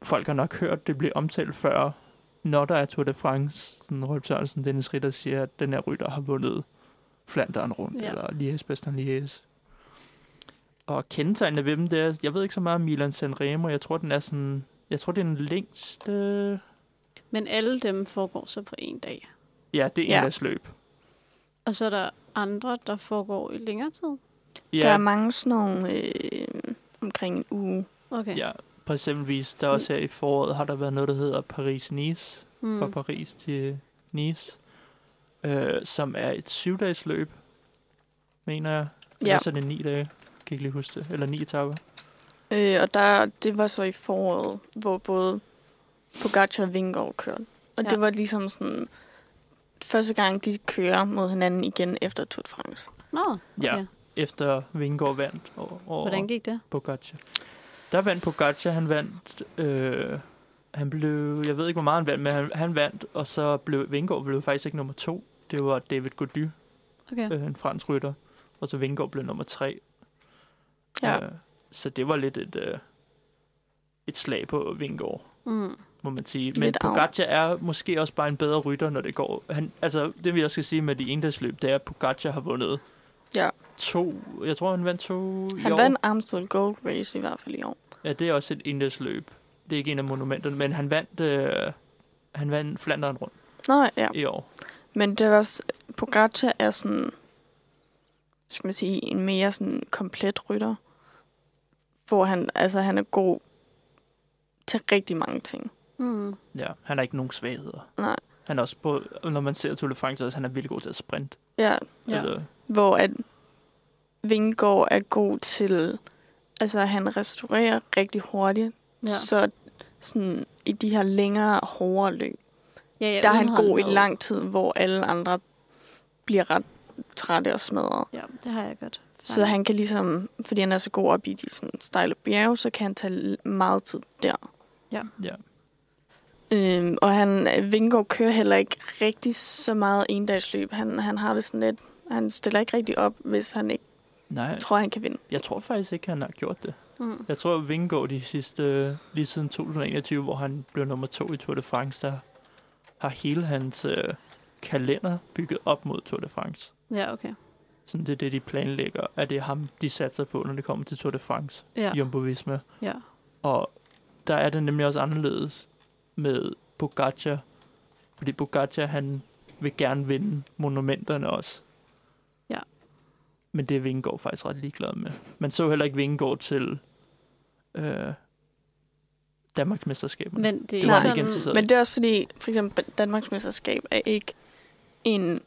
Speaker 3: folk har nok hørt det blive omtalt før, når der er Tour de France, sådan Rolf Sørensen, Dennis Ritter siger, at den her rytter har vundet Flanderen rundt,
Speaker 2: Ja.
Speaker 3: ja. eller Liège, Bastogne Liège. Og kendetegnene ved dem, det er, jeg ved ikke så meget om Milan Sanremo, jeg tror, den er sådan, jeg tror, det er den længste,
Speaker 2: Men alle dem foregår så på en dag.
Speaker 3: ja, det er
Speaker 4: Ja.
Speaker 3: ja. en af løb.
Speaker 2: Og så er der andre, der foregår i længere tid.
Speaker 4: Ja. Der er
Speaker 3: Ja,
Speaker 4: mange sådan nogle øh, omkring en uge.
Speaker 2: Okay.
Speaker 3: ja, på eksempelvis, der er også her i foråret har der været noget, der hedder Paris-Nice,
Speaker 2: Mm.
Speaker 3: fra Paris til Nice, øh, som er et syvdages løb, mener jeg. Eller
Speaker 4: Ja.
Speaker 3: så er det ni dage, kan ikke lige huske det. Eller ni etapper.
Speaker 4: Øh, og der, det var så i foråret, hvor både Pogacar og Vingegaard kørte. Og
Speaker 2: Ja.
Speaker 4: ja. det var ligesom sådan første gang, de kører mod hinanden igen efter Tour de France.
Speaker 2: Nå, okay.
Speaker 3: Ja. Efter Vingegaard vandt over, over
Speaker 2: Hvordan gik det?
Speaker 3: Pogacar. Der vandt Pogacar, han vandt... Øh, han blev, jeg ved ikke, hvor meget han vandt, men han, han vandt, og så blev Vingegaard blev faktisk ikke nummer to. Det var David Gody,
Speaker 2: Okay.
Speaker 3: øh, en fransk rytter, og så Vingegaard blev nummer tre.
Speaker 4: Ja.
Speaker 3: Øh, så det var lidt et, øh, et slag på Vingård,
Speaker 2: Mm.
Speaker 3: må man sige. Men
Speaker 4: Lidt
Speaker 3: lidt
Speaker 4: arv.
Speaker 3: Pogacar er måske også bare en bedre rytter, når det går. Han, altså, det vi også skal sige med de endagsløb, det er, at Pogacar har vundet
Speaker 4: Ja.
Speaker 3: to. Jeg tror, han vandt to i
Speaker 4: Han
Speaker 3: år.
Speaker 4: vandt Amstel Gold Race i hvert fald i år.
Speaker 3: Ja, det er også et endagsløb. Det er ikke en af monumenterne, men han vandt, øh, han vandt Flanderen rundt
Speaker 4: Nå ja,
Speaker 3: i år.
Speaker 4: men det var også, Pogacar er sådan, skal man sige, en mere sådan komplet rytter. Hvor han, altså han er god til rigtig mange ting.
Speaker 2: Mm.
Speaker 3: Ja, han har ikke nogen svagheder.
Speaker 4: Nej.
Speaker 3: Han er også på, når man ser Tour de France, også, han er vildt god til at sprinte.
Speaker 4: Ja,
Speaker 2: Ja.
Speaker 3: Altså,
Speaker 4: hvor at Vingård er god til, altså han restaurerer rigtig hurtigt, ja.
Speaker 2: Ja.
Speaker 4: så sådan i de her længere, hårdere løb,
Speaker 2: Ja, ja,
Speaker 4: ja, der er
Speaker 2: uden
Speaker 4: han god i
Speaker 2: håndled.
Speaker 4: lang tid, hvor alle andre bliver ret trætte og smadret.
Speaker 2: Ja, det har jeg godt.
Speaker 4: Så han kan ligesom, fordi han er så god op i de sådan, stejle bjerge, så kan han tage l- meget tid der.
Speaker 2: Ja.
Speaker 3: Ja.
Speaker 4: Øhm, og han, Vingård kører heller ikke rigtig så meget endagsløb. Han, han har det sådan lidt, han stiller ikke rigtig op, hvis han ikke
Speaker 3: nej,
Speaker 4: tror, han kan vinde.
Speaker 3: jeg tror faktisk ikke, han har gjort det.
Speaker 2: Mm.
Speaker 3: Jeg tror, at Vingegaard de sidste, lige siden 2021, hvor han blev nummer to i Tour de France, der har hele hans øh, kalender bygget op mod Tour de France.
Speaker 2: Ja, okay.
Speaker 3: Sådan det er det, de planlægger, at det er ham, de satser på, når det kommer til Tour de France,
Speaker 2: Ja,
Speaker 3: ja. Jumbo Visma.
Speaker 2: ja.
Speaker 3: Og der er det nemlig også anderledes med Pogacar, fordi Pogacar, han vil gerne vinde monumenterne også.
Speaker 2: Ja.
Speaker 3: Men det er Vingegaard faktisk ret ligeglad med. Man så heller ikke Vingegaard til øh, Danmarks mesterskaberne.
Speaker 2: Men det er
Speaker 3: det
Speaker 2: ikke
Speaker 3: var
Speaker 4: Nej.
Speaker 3: han ikke
Speaker 2: sådan...
Speaker 3: interesseret. i.
Speaker 4: Men det er også fordi, for eksempel Danmarks mesterskab er ikke en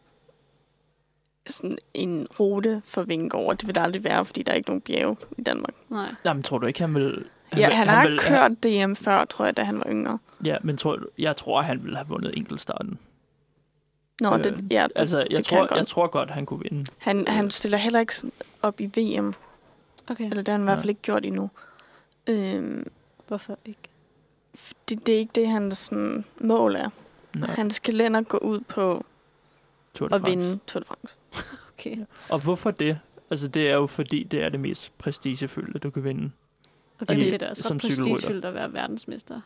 Speaker 4: sådan en rute for Vingård. Det vil der aldrig være, fordi der er ikke nogen bjerge i Danmark.
Speaker 2: Nej.
Speaker 3: Jamen, tror du ikke, han vil...
Speaker 4: Han, ja,
Speaker 3: vil-
Speaker 4: han, han har
Speaker 3: vil-
Speaker 4: kørt DM før, tror jeg, da han var yngre.
Speaker 3: Ja, men tror, du- jeg tror, han ville have vundet enkeltstarten.
Speaker 4: Nå,
Speaker 3: Øh,
Speaker 4: øh, det, ja, det,
Speaker 3: Altså, jeg,
Speaker 4: det kan han
Speaker 3: tror,
Speaker 4: godt.
Speaker 3: jeg tror godt, han kunne vinde.
Speaker 4: han, han stiller heller ikke sådan op i VM.
Speaker 2: Okay,
Speaker 4: Eller det har han i hvert
Speaker 3: Nej.
Speaker 4: fald ikke gjort endnu. Øhm,
Speaker 2: hvorfor ikke?
Speaker 4: fordi det er ikke det, hans sådan, mål er.
Speaker 3: Nå,
Speaker 4: Hans kalender går ud på
Speaker 3: Tour de
Speaker 4: at
Speaker 3: France.
Speaker 4: vinde Tour de France.
Speaker 2: Okay.
Speaker 3: Og hvorfor det? Altså, det er jo fordi, det er det mest prestigefyldte, du kan vinde.
Speaker 2: Okay,
Speaker 3: Fordi
Speaker 2: men det er da også
Speaker 3: som
Speaker 2: ret
Speaker 3: cykelrytter-
Speaker 2: prestigefyldt at være verdensmester.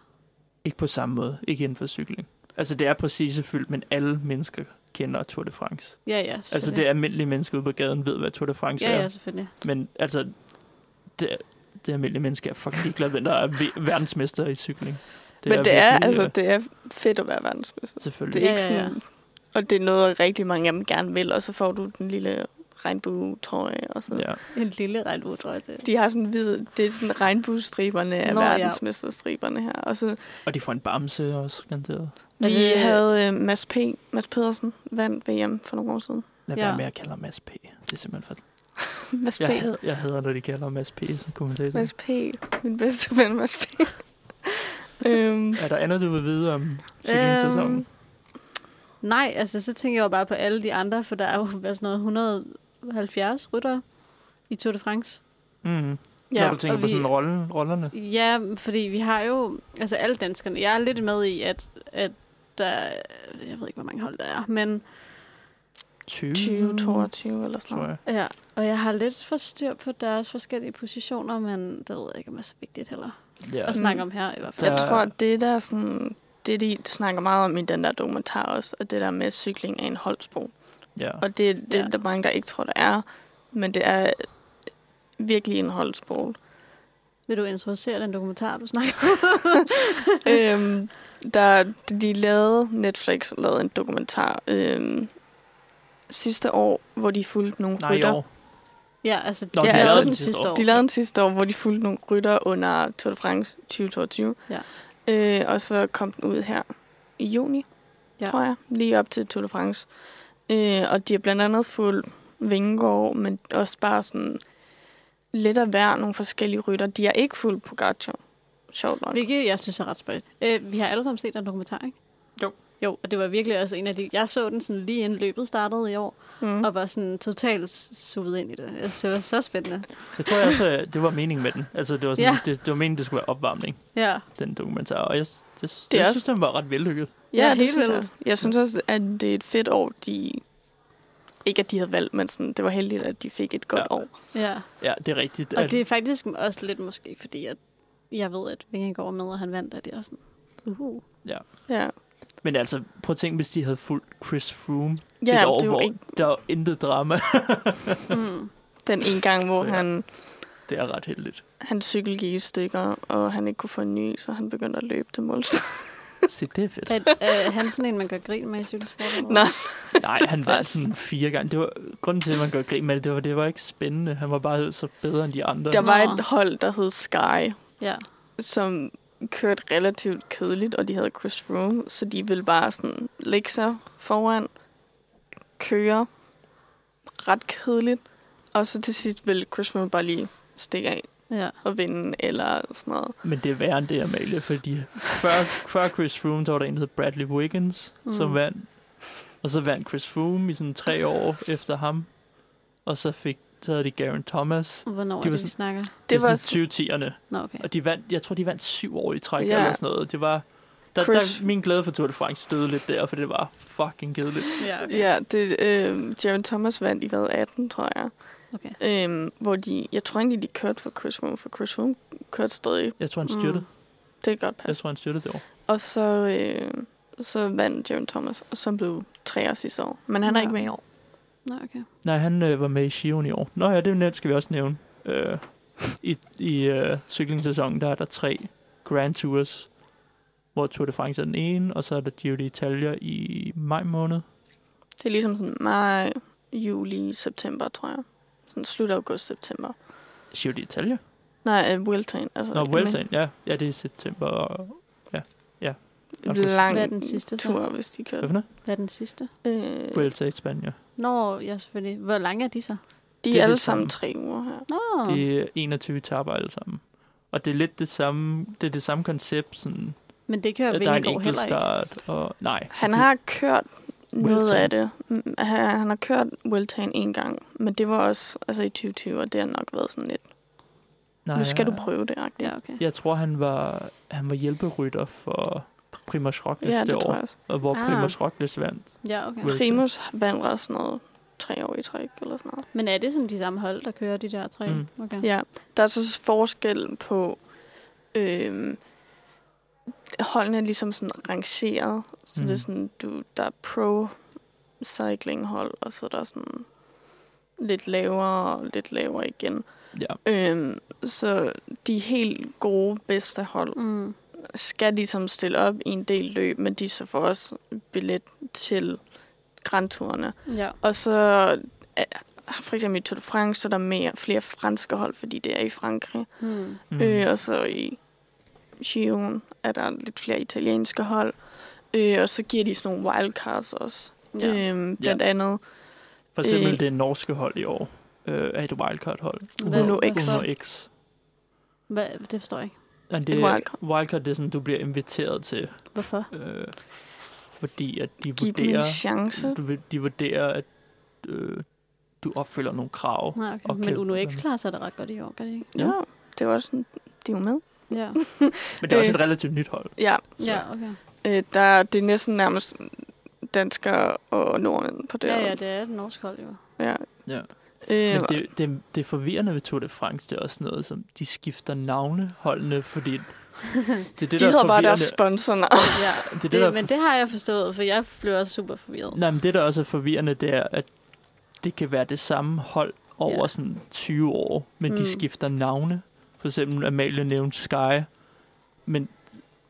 Speaker 3: Ikke på samme måde. Ikke inden for cykling. Altså, det er prestigefyldt, men alle mennesker kender Tour de France.
Speaker 2: Ja, ja,
Speaker 3: Altså,
Speaker 2: selvfølgelig.
Speaker 3: det almindelige mennesker ude på gaden ved, hvad Tour de France
Speaker 2: Ja,
Speaker 3: er.
Speaker 2: ja, selvfølgelig.
Speaker 3: Men altså, det, er- det almindelige menneske er fucking ligeglad, hvem der er ve- verdensmester i cykling.
Speaker 4: Det Men det er,
Speaker 3: virkelig,
Speaker 4: altså,
Speaker 3: øh,
Speaker 4: det er fedt at være verdensmester. Det
Speaker 3: Selvfølgelig.
Speaker 4: er
Speaker 2: Ja, ja,
Speaker 4: ikke
Speaker 2: ja.
Speaker 4: sådan... Og det er noget, rigtig mange af dem gerne vil, og så får du den lille regnbue-trøje og sådan. Ja.
Speaker 3: Ja.
Speaker 2: En lille regnbue, tror jeg, det er.
Speaker 4: De har sådan hvid, det er sådan regnbuestriberne af
Speaker 2: Nå,
Speaker 4: Nå,
Speaker 2: ja.
Speaker 4: verdensmesterstriberne her. Og så
Speaker 3: Og de får en bamse også, garanteret.
Speaker 2: Er
Speaker 4: vi
Speaker 2: det-
Speaker 4: havde øh, Mads, P. Mads Pedersen vandt VM for nogle år siden.
Speaker 3: Lad
Speaker 2: Ja.
Speaker 3: ja. være med at kalde ham Mads P. Det er simpelthen for...
Speaker 4: Mads P.
Speaker 3: Jeg hader, jeg hader, når de kalder ham Mads P. som kommentator.
Speaker 4: Mads P. Min bedste ven, Mads P. øhm,
Speaker 3: Er der andet, du vil vide om cykelingssæsonen?
Speaker 2: Øhm, nej, altså så tænker jeg jo bare på alle de andre, for der er jo været sådan noget 170 rytter i Tour de France.
Speaker 3: Mm. Ja,
Speaker 4: ja,
Speaker 3: Når du tænker
Speaker 2: og
Speaker 3: på
Speaker 2: vi-
Speaker 3: sådan rollen, rollerne.
Speaker 2: Ja, fordi vi har jo, altså alle danskerne, jeg er lidt med i, at, at der, jeg ved ikke, hvor mange hold der er, men
Speaker 3: 20,
Speaker 4: 20, 22 eller
Speaker 3: tror
Speaker 4: sådan noget.
Speaker 3: jeg.
Speaker 2: ja, og jeg har lidt for styr på deres forskellige positioner, men det ved jeg ikke, om er så vigtigt heller.
Speaker 3: Ja.
Speaker 2: at snakke om her i hvert fald.
Speaker 4: Jeg
Speaker 3: Der-
Speaker 4: tror, det der er sådan, det de snakker meget om i den der dokumentar også, og det der med at cykling er en holdsport.
Speaker 3: ja.
Speaker 4: Og det er det,
Speaker 2: Ja.
Speaker 4: ja. der er mange, der ikke tror, det er. Men det er virkelig en holdsport.
Speaker 2: Vil du introducere den dokumentar, du snakker om?
Speaker 4: øhm, der, de lavede, Netflix lavede en dokumentar øhm, sidste år, hvor de fulgte nogle
Speaker 3: Nej, i
Speaker 4: rytter.
Speaker 3: år.
Speaker 2: Ja, altså,
Speaker 3: Nå,
Speaker 4: de lavede
Speaker 2: altså
Speaker 4: den
Speaker 3: sidste år.
Speaker 4: De lavede den sidste år, hvor de fulgte nogle rytter under Tour de France 2022.
Speaker 2: Ja.
Speaker 4: Øh, og så kom den ud her i juni,
Speaker 2: Ja.
Speaker 4: ja. tror jeg, lige op til Tour de France. Øh, og de har blandt andet fulgt Vingegaard, men også bare sådan lidt af hver nogle forskellige rytter. De har ikke fulgt Pogacar, sjovt nok.
Speaker 2: Hvilket jeg synes er ret spøjst. Øh, vi har alle sammen set den dokumentar, ikke?
Speaker 3: Jo.
Speaker 2: Jo, og det var virkelig også en af de... Jeg så den sådan lige inden løbet startede i år,
Speaker 4: Mm.
Speaker 2: og var sådan totalt suget ind i det. Jeg synes, det var så spændende.
Speaker 3: Jeg tror jeg også, at det var meningen med den. Altså, det var, sådan,
Speaker 2: Ja.
Speaker 3: ja. det, det var meningen, det skulle være opvarmning,
Speaker 2: Ja,
Speaker 3: den dokumentar. Og jeg, det, det,
Speaker 4: er
Speaker 3: jeg
Speaker 4: også-
Speaker 3: synes, den var ret vellykket.
Speaker 2: Ja,
Speaker 4: Ja, det
Speaker 2: helt
Speaker 4: synes jeg.
Speaker 2: vildt.
Speaker 4: også. Jeg synes også, at det er et fedt år, de... Ikke at de havde valgt, men sådan, det var heldigt, at de fik et godt
Speaker 3: Ja.
Speaker 4: år.
Speaker 2: ja.
Speaker 3: Ja, det er rigtigt. Altså,
Speaker 2: Og
Speaker 3: at-
Speaker 2: det er faktisk også lidt måske, fordi at jeg ved, at Vingegaard er med, og han vandt, at jeg er sådan... Uhu.
Speaker 4: Ja,
Speaker 3: Men altså, prøv at tænke, hvis de havde fulgt Chris Froome
Speaker 4: ja
Speaker 3: et år,
Speaker 4: det var
Speaker 3: hvor
Speaker 4: ikke
Speaker 3: der var intet drama.
Speaker 2: Mm.
Speaker 4: den ene gang, hvor
Speaker 3: Så ja.
Speaker 4: han...
Speaker 3: det er ret heldigt.
Speaker 4: Hans cykel gik i stykker, og han ikke kunne få en ny, så han begyndte at løbe til målstregen.
Speaker 3: Se, det er fedt.
Speaker 2: Er, er han sådan en, man gør grin med i cykelsport?
Speaker 4: Nej.
Speaker 3: Nej, han vandt sådan fire gange. Det var, grunden til, at man gør grin med det, det var, det var ikke spændende. Han var bare så bedre end de andre.
Speaker 4: Der var
Speaker 2: Nå.
Speaker 4: et hold, der hed Sky,
Speaker 2: Ja.
Speaker 4: som kørte relativt kedeligt, og de havde Chris Froome, så de ville bare sådan lægge sig foran, køre ret kedeligt, og så til sidst ville Chris Froome bare lige stikke af
Speaker 2: ja.
Speaker 4: og vinde, eller sådan noget.
Speaker 3: Men det er værre end det, Amalie, fordi før, før Chris Froome, der var der en, der hed Bradley Wiggins, mm.
Speaker 2: Mm.
Speaker 3: som vandt. Og så vandt Chris Froome i sådan tre år efter ham. Og så fik så havde de Garen Thomas. Det,
Speaker 2: Hvornår
Speaker 3: Det
Speaker 2: er
Speaker 3: var
Speaker 2: det, vi
Speaker 3: sådan-
Speaker 2: snakker?
Speaker 4: Det var
Speaker 3: var sådan 20'erne.
Speaker 2: Nå, okay.
Speaker 3: Og de vandt, jeg tror, de vandt syv år i træk
Speaker 4: Ja.
Speaker 3: eller sådan noget. Det var... Der,
Speaker 4: Chris-
Speaker 3: der, min glæde for Tour de France døde lidt der, for det var fucking kedeligt.
Speaker 2: Ja,
Speaker 4: Ja, det, øh, Jaron Thomas vandt i hvad, 18, tror jeg.
Speaker 2: Okay.
Speaker 4: Øhm, hvor de, jeg tror egentlig, de kørte for Chris Froome, for Chris Froome kørte stadig.
Speaker 3: Jeg tror, han styrtede. Mm.
Speaker 4: Det kan godt
Speaker 3: Jeg
Speaker 4: passe.
Speaker 3: tror, han styrtede det år.
Speaker 4: Og så, øh, så vandt Jaron Thomas, og så blev tre år sidste år. Men han er
Speaker 2: Ja.
Speaker 4: ikke med i år.
Speaker 2: Nå, okay.
Speaker 3: Nej, han øh, var med i Shion i år. Nå ja, det er nemt, skal vi også nævne. Øh, I i øh, cyklingssæsonen, der er der tre Grand Tours, hvor Tour de France er den ene, og så er der Giro d'Italia i maj måned.
Speaker 4: Det er ligesom sådan maj, juli, september, tror jeg. Sådan slut august, september.
Speaker 3: Giro d'Italia?
Speaker 4: Nej, øh, Wilton. Altså,
Speaker 3: Nå,
Speaker 4: ikke
Speaker 3: Vueltaen, ja. Ja, det er september. og-
Speaker 4: med.
Speaker 3: August.
Speaker 4: Lang
Speaker 2: Hvad er den sidste så?
Speaker 4: tur, hvis de
Speaker 3: Hvad
Speaker 4: kørte.
Speaker 3: for noget?
Speaker 2: Hvad er den sidste?
Speaker 4: Øh,
Speaker 3: Vuelta i Spanien.
Speaker 2: Nå, ja, selvfølgelig. Hvor lange er de så?
Speaker 4: de
Speaker 3: det
Speaker 4: er
Speaker 3: er
Speaker 4: alle
Speaker 3: det
Speaker 4: sammen
Speaker 3: samme.
Speaker 4: tre uger her.
Speaker 2: Nå,
Speaker 3: Det er 21 etaper alle sammen. Og det er lidt det samme, det er det samme koncept, sådan,
Speaker 2: men det kører
Speaker 3: at der er en
Speaker 2: Vingegaard
Speaker 3: enkelt
Speaker 2: heller ikke.
Speaker 3: start, og nej.
Speaker 4: Han
Speaker 3: det-
Speaker 4: har kørt noget
Speaker 3: Vueltaen.
Speaker 4: af det. Mm, Han, han har kørt Wilton en gang, men det var også altså i 2020, og det har nok været sådan lidt,
Speaker 3: nej,
Speaker 4: nu skal
Speaker 3: ja.
Speaker 4: du prøve det, agtigt.
Speaker 2: Ja, okay.
Speaker 3: Jeg tror, han var, han var hjælperytter for Primoz Roglic
Speaker 4: Ja,
Speaker 3: det,
Speaker 4: det
Speaker 3: år.
Speaker 4: tror jeg også.
Speaker 3: Og hvor
Speaker 2: Ah.
Speaker 3: ah. Primus Roglic vandt.
Speaker 2: Ja, okay.
Speaker 3: Vueltaen.
Speaker 4: Primus vandt også sådan noget tre år i træk, eller sådan noget.
Speaker 2: Men er det sådan de samme hold, der kører de der tre?
Speaker 3: Mm.
Speaker 2: Okay.
Speaker 4: Ja, der er så forskel på øhm, holdene er ligesom sådan rangeret, så mm. det er
Speaker 3: Mhm.
Speaker 4: sådan, du, der er pro cycling hold, og så er der sådan lidt lavere og lidt lavere igen.
Speaker 3: Ja.
Speaker 4: Øhm, så de helt gode, bedste hold
Speaker 2: Mm.
Speaker 4: skal ligesom stille op i en del løb, men de så får også billet til grandturene.
Speaker 2: ja.
Speaker 4: Og så er- for eksempel i Tour de France, så er der mere, flere franske hold, fordi det er i Frankrig.
Speaker 2: Mm.
Speaker 3: Mm.
Speaker 4: Mm. Øh, og så i Gion er der lidt flere italienske hold. Øh, og så giver de sådan nogle wildcards også.
Speaker 2: ja.
Speaker 4: Ja. Øhm, blandt ja. andet
Speaker 3: For eksempel
Speaker 4: øh.
Speaker 3: øh. det norske hold i år. Øh, er et wildcard-hold.
Speaker 2: Hvad-
Speaker 4: Uno
Speaker 2: hvad
Speaker 4: X.
Speaker 2: så?
Speaker 3: Uno X.
Speaker 2: Hvad, det forstår jeg ikke.
Speaker 3: Ja, det,
Speaker 4: Et wildcard.
Speaker 3: wildcard. wildcard, det er sådan, du bliver inviteret til.
Speaker 2: Hvorfor?
Speaker 3: Øh, fordi at de
Speaker 4: give dem en
Speaker 3: vurderer, Mhm.
Speaker 4: chance.
Speaker 3: du, vil- de vurderer, at øh, du opfylder nogle krav.
Speaker 2: Nej, okay.
Speaker 3: Okay.
Speaker 2: Men Uno X klarer sig da ret godt i år, gør det ikke?
Speaker 4: Ja.
Speaker 3: Ja.
Speaker 4: ja, det var sådan, de var med.
Speaker 2: Ja,
Speaker 3: Men det er også
Speaker 4: Øh.
Speaker 3: et relativt nyt hold.
Speaker 4: Ja,
Speaker 2: ja okay.
Speaker 4: øh, der, det er næsten nærmest danskere og nordmænd på det
Speaker 2: Ja,
Speaker 4: hold.
Speaker 2: ja, det er et norsk hold jo.
Speaker 4: Ja.
Speaker 3: Ja.
Speaker 4: Øh,
Speaker 3: Men det, det, det forvirrende ved Tour de France, det er også noget, som de skifter navne holdene, fordi det er det,
Speaker 4: de
Speaker 3: der er
Speaker 4: hedder bare deres
Speaker 3: forvirrende.
Speaker 4: sponsornavn.
Speaker 2: Ja,
Speaker 3: Det, er
Speaker 2: det,
Speaker 3: det, der,
Speaker 2: men det har jeg forstået, for jeg blev også super forvirret.
Speaker 3: Nej, men det, der også er forvirrende, det er, at det kan være det samme hold over
Speaker 2: Ja.
Speaker 3: sådan 20 år, men mm.
Speaker 2: Mm.
Speaker 3: de skifter navne. For eksempel Amalie nævnte Sky, men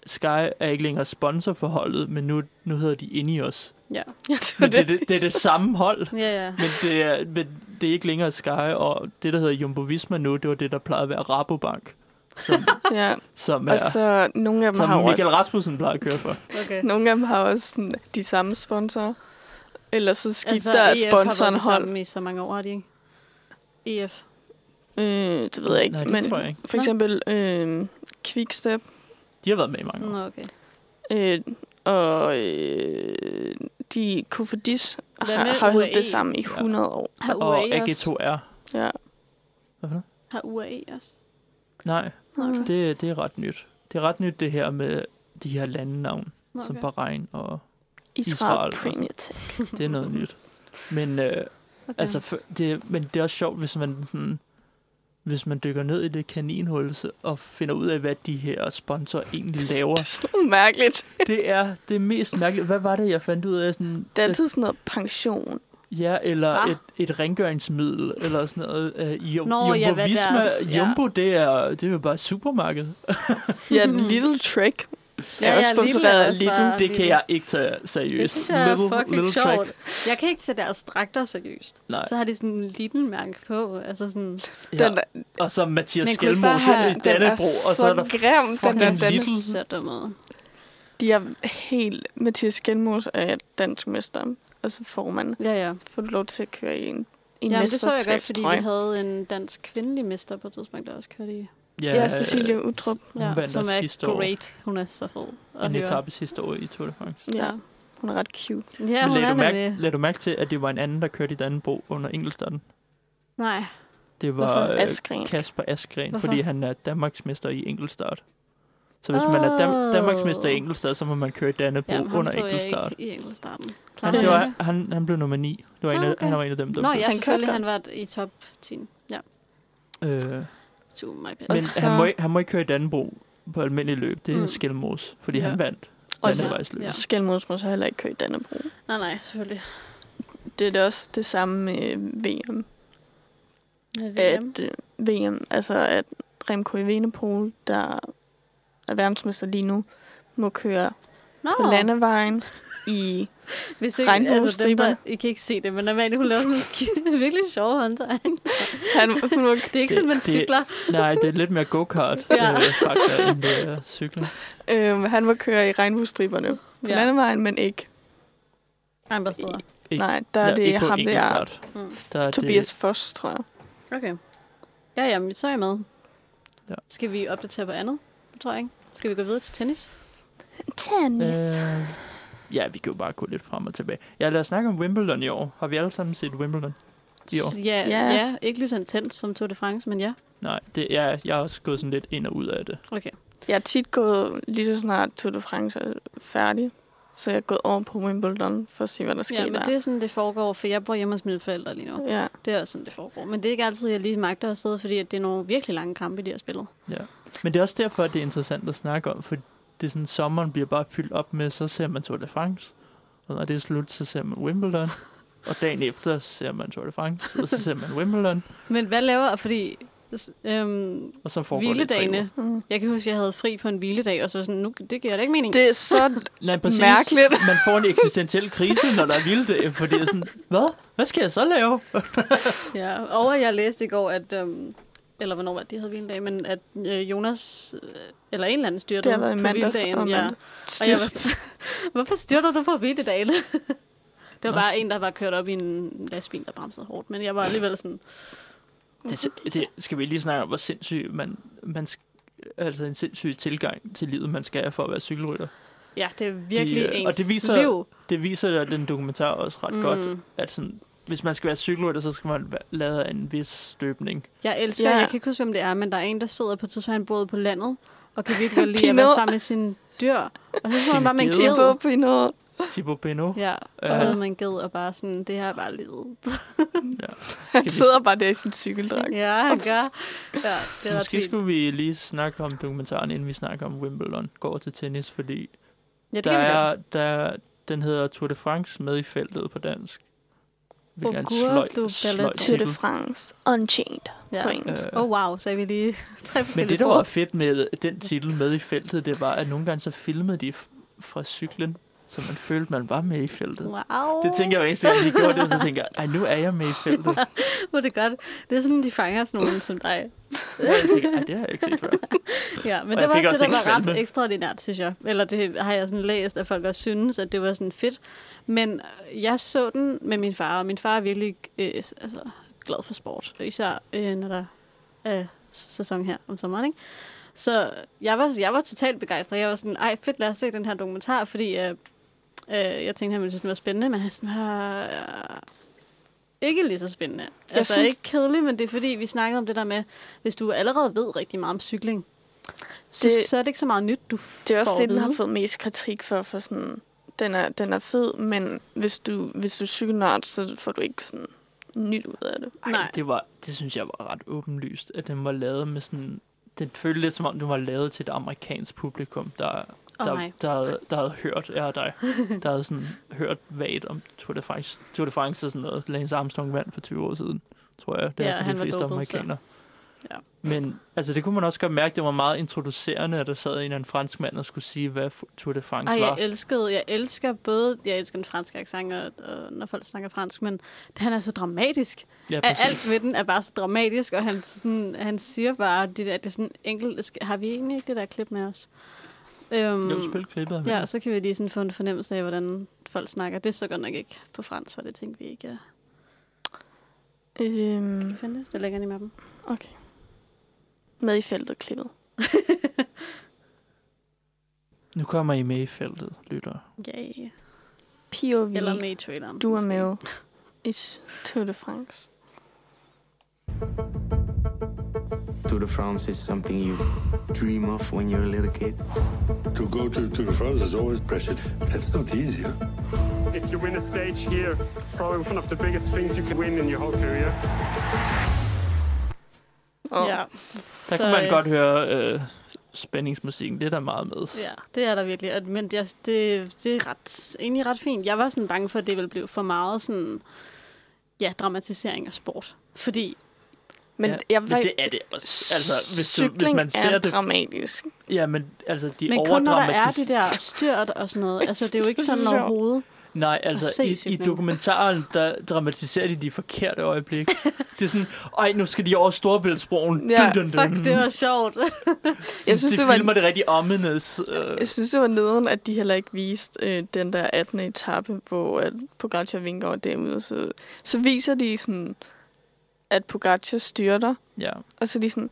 Speaker 3: Sky er ikke længere sponsor for holdet, men nu, nu hedder de Ineos.
Speaker 2: Ja,
Speaker 4: Ja, det var
Speaker 3: Men det, det, det er det samme hold,
Speaker 2: ja, ja.
Speaker 3: men det, er, men det er ikke længere Sky, og det, der hedder Jumbo Visma nu, det var det, der plejede at være Rabobank, som,
Speaker 4: Ja,
Speaker 3: som,
Speaker 4: og
Speaker 3: er,
Speaker 4: så nogle af dem har
Speaker 3: som
Speaker 4: jo
Speaker 3: Michael
Speaker 4: også,
Speaker 3: Rasmussen plejer at køre for.
Speaker 2: Okay.
Speaker 4: nogle af dem har også sådan, de samme sponsorer. Eller så
Speaker 2: Altså,
Speaker 4: skifter altså,
Speaker 2: EF
Speaker 4: sponsoren
Speaker 2: har været
Speaker 4: hold.
Speaker 2: sammen i så mange år, har de ikke? E EF.
Speaker 4: Øh, det ved jeg ikke.
Speaker 3: Nej, det
Speaker 4: men
Speaker 3: tror jeg ikke.
Speaker 4: For eksempel øh, Quickstep
Speaker 3: De har været med i mange år.
Speaker 2: Nå, okay.
Speaker 4: øh, og øh, de Kofodis
Speaker 2: Hvad
Speaker 4: har,
Speaker 2: med E?
Speaker 4: har
Speaker 2: UAE?
Speaker 4: heddet det samme i 100 år.
Speaker 2: Har
Speaker 3: Og
Speaker 2: UAE også?
Speaker 3: AG2R.
Speaker 4: Ja.
Speaker 3: Hvad for noget?
Speaker 2: Har UAE også?
Speaker 3: Nej,
Speaker 2: Okay.
Speaker 3: det, det er ret nyt. Det er ret nyt, det her med de her landenavn,
Speaker 2: Nå,
Speaker 3: okay. som
Speaker 2: okay.
Speaker 3: Bahrain, og Israel altså. og sådan.
Speaker 4: Israel, Israel Premier Tech.
Speaker 3: det er noget nyt. Men, øh, okay.
Speaker 2: okay.
Speaker 3: altså, for- det, men det er også sjovt, hvis man sådan, hvis man dykker ned i det kaninhul så- og finder ud af, hvad de her sponsorer egentlig laver.
Speaker 4: Det er sådan mærkeligt.
Speaker 3: det er det mest mærkelige. Hvad var det, jeg fandt ud af? Sådan,
Speaker 4: Det er altid sådan noget pension.
Speaker 3: Ja, eller
Speaker 2: Hva?
Speaker 3: et, et rengøringsmiddel, eller sådan noget. Uh, Jum-
Speaker 2: Nå,
Speaker 3: Jumbo
Speaker 2: ja, hvad
Speaker 3: Visma,
Speaker 2: deres- ja.
Speaker 3: Jumbo, det er, det er jo bare supermarkedet.
Speaker 4: Ja, Little Trek. Jeg er også
Speaker 2: Lidl
Speaker 4: sponsoreret af
Speaker 2: også
Speaker 4: Lidl.
Speaker 2: fra
Speaker 3: Det kan jeg ikke tage
Speaker 2: Det
Speaker 3: seriøst.
Speaker 2: synes jeg er
Speaker 3: Little-
Speaker 2: fucking
Speaker 3: Little Track.
Speaker 2: sjovt. Jeg kan ikke tage deres dragter seriøst.
Speaker 3: Nej.
Speaker 2: Så har de sådan en liten mærke på. Altså sådan,
Speaker 3: Ja.
Speaker 4: Den,
Speaker 3: Og så Mathias
Speaker 2: Men kunne I ikke
Speaker 3: Skelmose
Speaker 2: bare
Speaker 3: have... i
Speaker 2: have-
Speaker 4: den er
Speaker 3: Dannebro, og så er der...
Speaker 4: grim, den
Speaker 3: fucking
Speaker 4: der
Speaker 2: den
Speaker 3: Lidl.
Speaker 4: dans.
Speaker 3: Lidl.
Speaker 2: ser dum ud.
Speaker 4: De er helt... Mathias Gjenmos er dansk mester, og så får man
Speaker 2: Ja, ja.
Speaker 4: får du lov til at køre i en, i en
Speaker 2: Jamen, det så jeg godt, fordi vi
Speaker 4: havde...
Speaker 2: havde en dansk kvindelig mester på et tidspunkt, der også kørte i.
Speaker 4: Ja, Cecilie Utrup.
Speaker 3: Hun vandt
Speaker 2: som
Speaker 3: også
Speaker 2: er
Speaker 3: sidste år.
Speaker 2: great. Hun er så fed at
Speaker 3: øh, en
Speaker 2: høre.
Speaker 3: etape sidste år i Tour de France.
Speaker 4: Ja, hun er ret cute.
Speaker 2: Ja,
Speaker 3: Men
Speaker 2: hun
Speaker 3: lagde
Speaker 2: er
Speaker 3: du, mærke,
Speaker 2: nemlig.
Speaker 3: lagde du mærke til, at det var en anden, der kørte i Dannebro under enkeltstarten?
Speaker 2: Nej,
Speaker 3: Det var
Speaker 2: Hvorfor? Altså,
Speaker 3: øh,
Speaker 4: Askren.
Speaker 3: Kasper Askren,
Speaker 2: Hvorfor?
Speaker 3: fordi han er Danmarksmester i enkeltstart. Så hvis man er
Speaker 2: Åh.
Speaker 3: Dan- Danmarksmester i enkeltstart, så må man køre i Dannebro
Speaker 2: Jamen, ham
Speaker 3: under
Speaker 2: så jeg
Speaker 3: enkeltstart.
Speaker 2: ikke i enkeltstarten.
Speaker 3: Han,
Speaker 2: Klarede
Speaker 3: det
Speaker 2: han
Speaker 3: var, han, han blev nummer 9. Det var en
Speaker 2: Ah,
Speaker 3: af,
Speaker 2: okay.
Speaker 3: Han var en af dem, der
Speaker 2: Nå
Speaker 3: blev.
Speaker 2: ja,
Speaker 4: Han
Speaker 2: selvfølgelig,
Speaker 4: kørte
Speaker 2: han var i top 10. Ja,
Speaker 3: Øh,
Speaker 2: to my bad.
Speaker 3: men
Speaker 4: så-
Speaker 3: han, må, ikke- han må ikke køre i Dannebro på almindelig løb. Det er
Speaker 2: Mm.
Speaker 3: mm. Skelmos, fordi
Speaker 2: Ja.
Speaker 3: han vandt
Speaker 4: Og
Speaker 2: så-
Speaker 3: landevejsløb.
Speaker 2: Ja.
Speaker 4: Ja. Skelmos må så heller ikke køre i Dannebro.
Speaker 3: øh,
Speaker 2: Nej, nej, selvfølgelig.
Speaker 4: Det er da også det samme med VM.
Speaker 2: Med VM.
Speaker 4: At øh, VM, altså at Remco Evenepoel, der er verdensmester lige nu, må køre
Speaker 2: Nå,
Speaker 4: på landevejen i...
Speaker 2: hvis ikke, altså dem, der,
Speaker 4: regnbuestriberne.
Speaker 2: I kan ikke se det, men normalt hun laver sådan en virkelig sjov håndtegn.
Speaker 4: Han, hun må
Speaker 2: Det er ikke
Speaker 3: Det-
Speaker 2: sådan, man
Speaker 3: det-
Speaker 2: cykler.
Speaker 3: Nej, det er lidt mere go-kart,
Speaker 2: Ja.
Speaker 3: ja. øh, faktisk, end det er cykling.
Speaker 4: Øhm, han må køre i regnbuestriberne på ja.
Speaker 2: Ja,
Speaker 4: landevejen, men ikke.
Speaker 2: andre steder.
Speaker 3: Ikke-
Speaker 4: Nej, der er det
Speaker 3: ikke på
Speaker 4: ham der,
Speaker 3: enkeltstart.
Speaker 2: Mm.
Speaker 3: Der er
Speaker 4: Tobias Foss, tror jeg.
Speaker 2: Okay. Ja, jamen, så er jeg med.
Speaker 3: Ja.
Speaker 2: Skal vi opdatere på andet? Det tror jeg ikke. Skal vi gå videre til tennis?
Speaker 3: Det,
Speaker 4: Tennis.
Speaker 3: øh, ja, vi kan jo bare gå lidt frem og tilbage. Ja, lad os snakke om Wimbledon i år. Har vi alle sammen set Wimbledon? I år?
Speaker 2: Ja, ja.
Speaker 4: Ja.
Speaker 2: ja, ikke lige så intens som Tour de France, men ja.
Speaker 3: Nej, det, jeg, jeg er også gået sådan lidt ind og ud af det.
Speaker 2: Okay.
Speaker 4: Jeg er tit gået, lige så snart Tour de France er færdig, så jeg er gået over på Wimbledon for at se, hvad der sker
Speaker 2: Ja, men
Speaker 4: der.
Speaker 2: det er sådan, det foregår, for jeg bor hjemme hos mine forældre lige nu.
Speaker 4: Ja.
Speaker 2: Det er også sådan, det foregår. Men det er ikke altid, jeg lige magter at sidde, fordi at det er nogle virkelig lange kampe, de har spillet.
Speaker 3: Men det er også derfor, at det er interessant at snakke om, for det er sådan, sommeren bliver bare fyldt op med, så ser man Tour de France, og når det er slut, så ser man Wimbledon, og dagen efter ser man Tour de France, og så ser man Wimbledon,
Speaker 2: Men hvad laver, fordi s- øhm,
Speaker 3: og så foregår det i
Speaker 2: hviledagene,
Speaker 3: tre
Speaker 4: Mm.
Speaker 2: jeg kan huske, jeg havde fri på en hviledag, og så var jeg sådan, nu, det giver da ikke mening.
Speaker 4: Det er så
Speaker 3: uger. Nej, præcis.
Speaker 4: mærkeligt.
Speaker 3: Man får en eksistentiel krise, når der er hviledag, for det er sådan, hvad? Hvad skal jeg så lave?
Speaker 2: Ja, og jeg læste i går, at, øhm, eller hvornår var det, de havde hviledag, men at øh, Jonas, øh, eller en eller anden styrtede
Speaker 4: Det har været i
Speaker 2: på
Speaker 4: mandags
Speaker 2: hviledagen.
Speaker 4: og
Speaker 2: ja.
Speaker 4: mandag.
Speaker 2: og jeg var så, hvorfor styrter du på hviledagen? det var
Speaker 3: Nå.
Speaker 2: bare en, der var kørt op i en lastbil, der bremsede hårdt, men jeg var alligevel sådan,
Speaker 3: Det, er sind- det skal vi lige snakke om, hvor sindssyg man, man sk- altså en sindssyg tilgang til livet, man skal have for at være cykelrytter.
Speaker 2: ja, det er virkelig
Speaker 3: De, øh, og
Speaker 2: ens
Speaker 3: det viser-
Speaker 2: liv.
Speaker 3: Det viser den dokumentar også ret mm. godt,
Speaker 2: Mm.
Speaker 3: at sådan, hvis man skal være cykelrytter, så skal man væ- lade af en vis støbning.
Speaker 2: Jeg elsker,
Speaker 4: Ja.
Speaker 2: jeg kan ikke huske, hvem det er, men der er en, der sidder på et tidspunkt, han boede på landet, og kan virkelig godt lide at være
Speaker 4: Pinot.
Speaker 2: sammen med sine dyr. Og så tror han bare med en
Speaker 3: Sine
Speaker 4: De
Speaker 2: ged.
Speaker 4: på i noget.
Speaker 3: Thibaut Pinot.
Speaker 2: Ja,
Speaker 3: Ja.
Speaker 2: så ved man ged og bare sådan, det her er bare livet.
Speaker 4: Han
Speaker 3: vi-
Speaker 4: sidder bare der i sin cykeldragt.
Speaker 2: ja, han gør. Ja, det er ret
Speaker 3: Måske
Speaker 2: vildt.
Speaker 3: skulle vi lige snakke om dokumentaren, inden vi snakker om Wimbledon. Går over til tennis, fordi
Speaker 2: Ja, det
Speaker 3: der
Speaker 2: kan vi godt.
Speaker 3: er, der, er- den hedder Tour de France med i feltet på dansk. Hvilket er en
Speaker 2: Au cours du
Speaker 3: sløj, sløj
Speaker 2: ballet.
Speaker 4: Tour de
Speaker 3: titel.
Speaker 4: France Unchained
Speaker 2: Ja.
Speaker 4: på engelsk.
Speaker 3: Øh,
Speaker 2: Oh wow, sagde vi lige tre
Speaker 3: Men
Speaker 2: forskellige
Speaker 3: det, der var
Speaker 2: sprog.
Speaker 3: fedt med den titel med i feltet, det var, at nogle gange så filmede de f- fra cyklen, så man følte, man var med i feltet.
Speaker 2: Wow.
Speaker 3: Det tænker jeg hver eneste gang, de gjorde det, så tænker jeg, ej, nu er jeg med i feltet.
Speaker 2: Hvor er det godt. Det er sådan, de fanger sådan nogen som dig.
Speaker 3: Og jeg tænker, ej, det har jeg ikke set før.
Speaker 2: Ja, men
Speaker 3: Og
Speaker 2: det
Speaker 3: jeg
Speaker 2: var
Speaker 3: fik
Speaker 2: også
Speaker 3: også
Speaker 2: det, der
Speaker 3: ikke
Speaker 2: var ret
Speaker 3: kvalme.
Speaker 2: ekstraordinært, synes jeg. Eller det har jeg sådan læst, at folk også synes, at det var sådan fedt. Men jeg så den med min far, og min far er virkelig øh, altså, glad for sport. Især øh, når der er sæson her om sommeren, ikke? Så jeg var, jeg var totalt begejstret. Jeg var sådan, ej fedt, lad os se den her dokumentar, fordi øh, øh, jeg tænkte, han ville synes, den var spændende, men han synes, den var øh, ikke lige så spændende. Jeg altså synes...
Speaker 4: synes-
Speaker 2: ikke kedelig, men det er fordi, vi snakkede om det der med, hvis du allerede ved rigtig meget om cykling, så,
Speaker 4: Det-
Speaker 2: så er det ikke så meget nyt, du
Speaker 4: Det er også
Speaker 2: får
Speaker 4: det, den
Speaker 2: at
Speaker 4: har
Speaker 2: vide.
Speaker 4: fået mest kritik for, for sådan, den er, den er fed, men hvis du, hvis du er cykelnørd, så får du ikke sådan nyt ud af det.
Speaker 3: Ej,
Speaker 2: Nej.
Speaker 3: Nej. Det, var, det synes jeg var ret åbenlyst, at den var lavet med sådan... Det føltes lidt som om, den var lavet til et amerikansk publikum, der,
Speaker 2: Åh,
Speaker 3: der,
Speaker 2: nej.
Speaker 3: der, havde, der havde hørt, ja, dig, der havde sådan hørt vagt om Tour de France, Tour de France og sådan noget. Lance Armstrong vandt for 20 år siden, tror jeg. Det
Speaker 2: Ja,
Speaker 3: er for
Speaker 2: han
Speaker 3: de
Speaker 2: var
Speaker 3: fleste
Speaker 2: dopet, så-
Speaker 3: amerikanere.
Speaker 2: Ja.
Speaker 3: Men altså, det kunne man også godt mærke, det var meget introducerende, at der sad en eller anden fransk mand og skulle sige, hvad fu- Tour de France
Speaker 2: Ej, øh,
Speaker 3: var.
Speaker 2: jeg elskede, jeg elsker både, jeg elsker den franske accent, og, og når folk snakker fransk, men han er så dramatisk.
Speaker 3: ja,
Speaker 2: At alt ved den er bare så dramatisk, og han, sådan, han siger bare, det der, det er sådan enkelt, skal- har vi egentlig ikke det der klip med os? Øhm,
Speaker 3: Jo, spil klippet.
Speaker 2: Ja, så kan vi lige sådan få en fornemmelse af, hvordan folk snakker. Det er så godt nok ikke på fransk, for det tænkte vi ikke. Ja.
Speaker 4: Øhm,
Speaker 2: Finde det? Det lægger den i mappen.
Speaker 4: okay. Med i feltet klippet.
Speaker 3: Nu kommer I med i feltet, lytter.
Speaker 2: Yay.
Speaker 4: POV.
Speaker 2: Eller med i traileren.
Speaker 4: Du er
Speaker 2: måske.
Speaker 4: med i Tour de France.
Speaker 5: Tour de France is something you dream of when you're a little kid.
Speaker 6: To go to Tour de France is always pressured. That's not easy. huh?
Speaker 7: If you win a stage here, it's probably one of the biggest things you can win in your whole career.
Speaker 4: Og
Speaker 2: Ja.
Speaker 3: Der så, kunne man godt høre øh, spændingsmusikken. Det er der meget med.
Speaker 2: Ja, det er der virkelig. Og- Men det er, det, det er ret, egentlig ret fint. Jeg var sådan bange for, at det ville blive for meget sådan, ja, dramatisering af sport. Fordi,
Speaker 4: Men,
Speaker 3: ja.
Speaker 4: ja, jeg,
Speaker 3: men
Speaker 4: var-
Speaker 3: det er det også. Altså, hvis, du, hvis
Speaker 4: cykling
Speaker 3: man ser
Speaker 4: er
Speaker 3: det...
Speaker 4: dramatisk.
Speaker 3: Ja, men altså, de
Speaker 2: men kun når der er det der styrt og sådan noget. Altså, det er jo ikke
Speaker 4: Det er så
Speaker 2: sådan
Speaker 4: sjovt.
Speaker 2: overhovedet.
Speaker 3: Nej,
Speaker 2: at
Speaker 3: altså
Speaker 2: se
Speaker 3: i, i
Speaker 2: cykling.
Speaker 3: dokumentaren, der dramatiserer de de forkerte øjeblik. det er sådan, ej, nu skal de over Storebæltsbroen.
Speaker 4: Ja,
Speaker 3: dun, dun, dun.
Speaker 2: Fuck, det var sjovt.
Speaker 4: Jeg synes,
Speaker 3: de
Speaker 4: det var,
Speaker 3: filmer det rigtig ominous. Øh,
Speaker 4: jeg synes, det var nederen, at de heller ikke viste øh, den der 18. etape, hvor at Pogacar vinker over derude. Så, så viser de sådan, at Pogacar styrter,
Speaker 3: ja.
Speaker 4: og så er de sådan,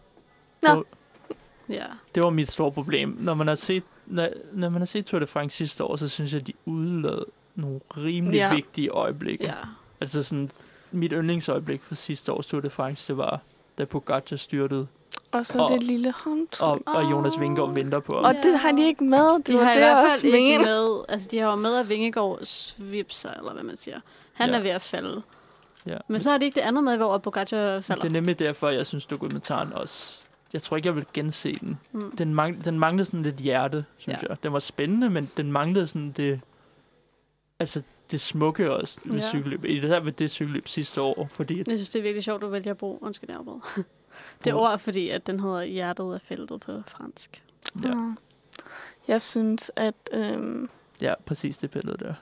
Speaker 2: ja.
Speaker 3: Det var mit store problem. Når man har set, når, når man har set Tour de France sidste år, så synes jeg, at de udelod nogle rimelig
Speaker 4: Ja.
Speaker 3: ja. vigtige øjeblikke.
Speaker 2: ja.
Speaker 3: Altså sådan, mit yndlingsøjeblik fra sidste års Tour de France, det var, da Pogacar styrtede,
Speaker 4: og så
Speaker 3: Og-
Speaker 4: det lille håndtryk.
Speaker 3: og,
Speaker 4: Og,
Speaker 3: og
Speaker 2: Åh.
Speaker 3: Jonas Vingegaard venter på ham.
Speaker 4: og det har de ikke med. Det
Speaker 2: De
Speaker 4: var
Speaker 2: har i
Speaker 4: det, jeg
Speaker 2: hvert
Speaker 4: også
Speaker 2: fald ikke
Speaker 4: mente.
Speaker 2: med, altså de har jo med, at Vingegaard svipser, eller hvad man siger. Han
Speaker 3: Ja.
Speaker 2: er ved at falde.
Speaker 3: Ja.
Speaker 2: Men så er det ikke det andet med, hvor Pogacar falder.
Speaker 3: Det er nemlig derfor, jeg synes dokumentaren også... Jeg tror ikke, jeg vil gense den.
Speaker 2: Mm.
Speaker 3: Den, mang, den manglede sådan lidt hjerte, synes
Speaker 2: Ja.
Speaker 3: ja. jeg. Den var spændende, men den manglede sådan det... Altså, det smukke også ved
Speaker 2: Ja.
Speaker 3: ja. cykelløb. I det her ved det cykelløb sidste år, fordi... at-
Speaker 2: Jeg synes, det er virkelig sjovt, du vælger at bruge, undskyld, jeg afbrød. Det ord, fordi at den hedder hjertet af feltet på fransk.
Speaker 3: Ja,
Speaker 4: Ja. Jeg synes, at, øhm,
Speaker 3: ja, præcis det billede der.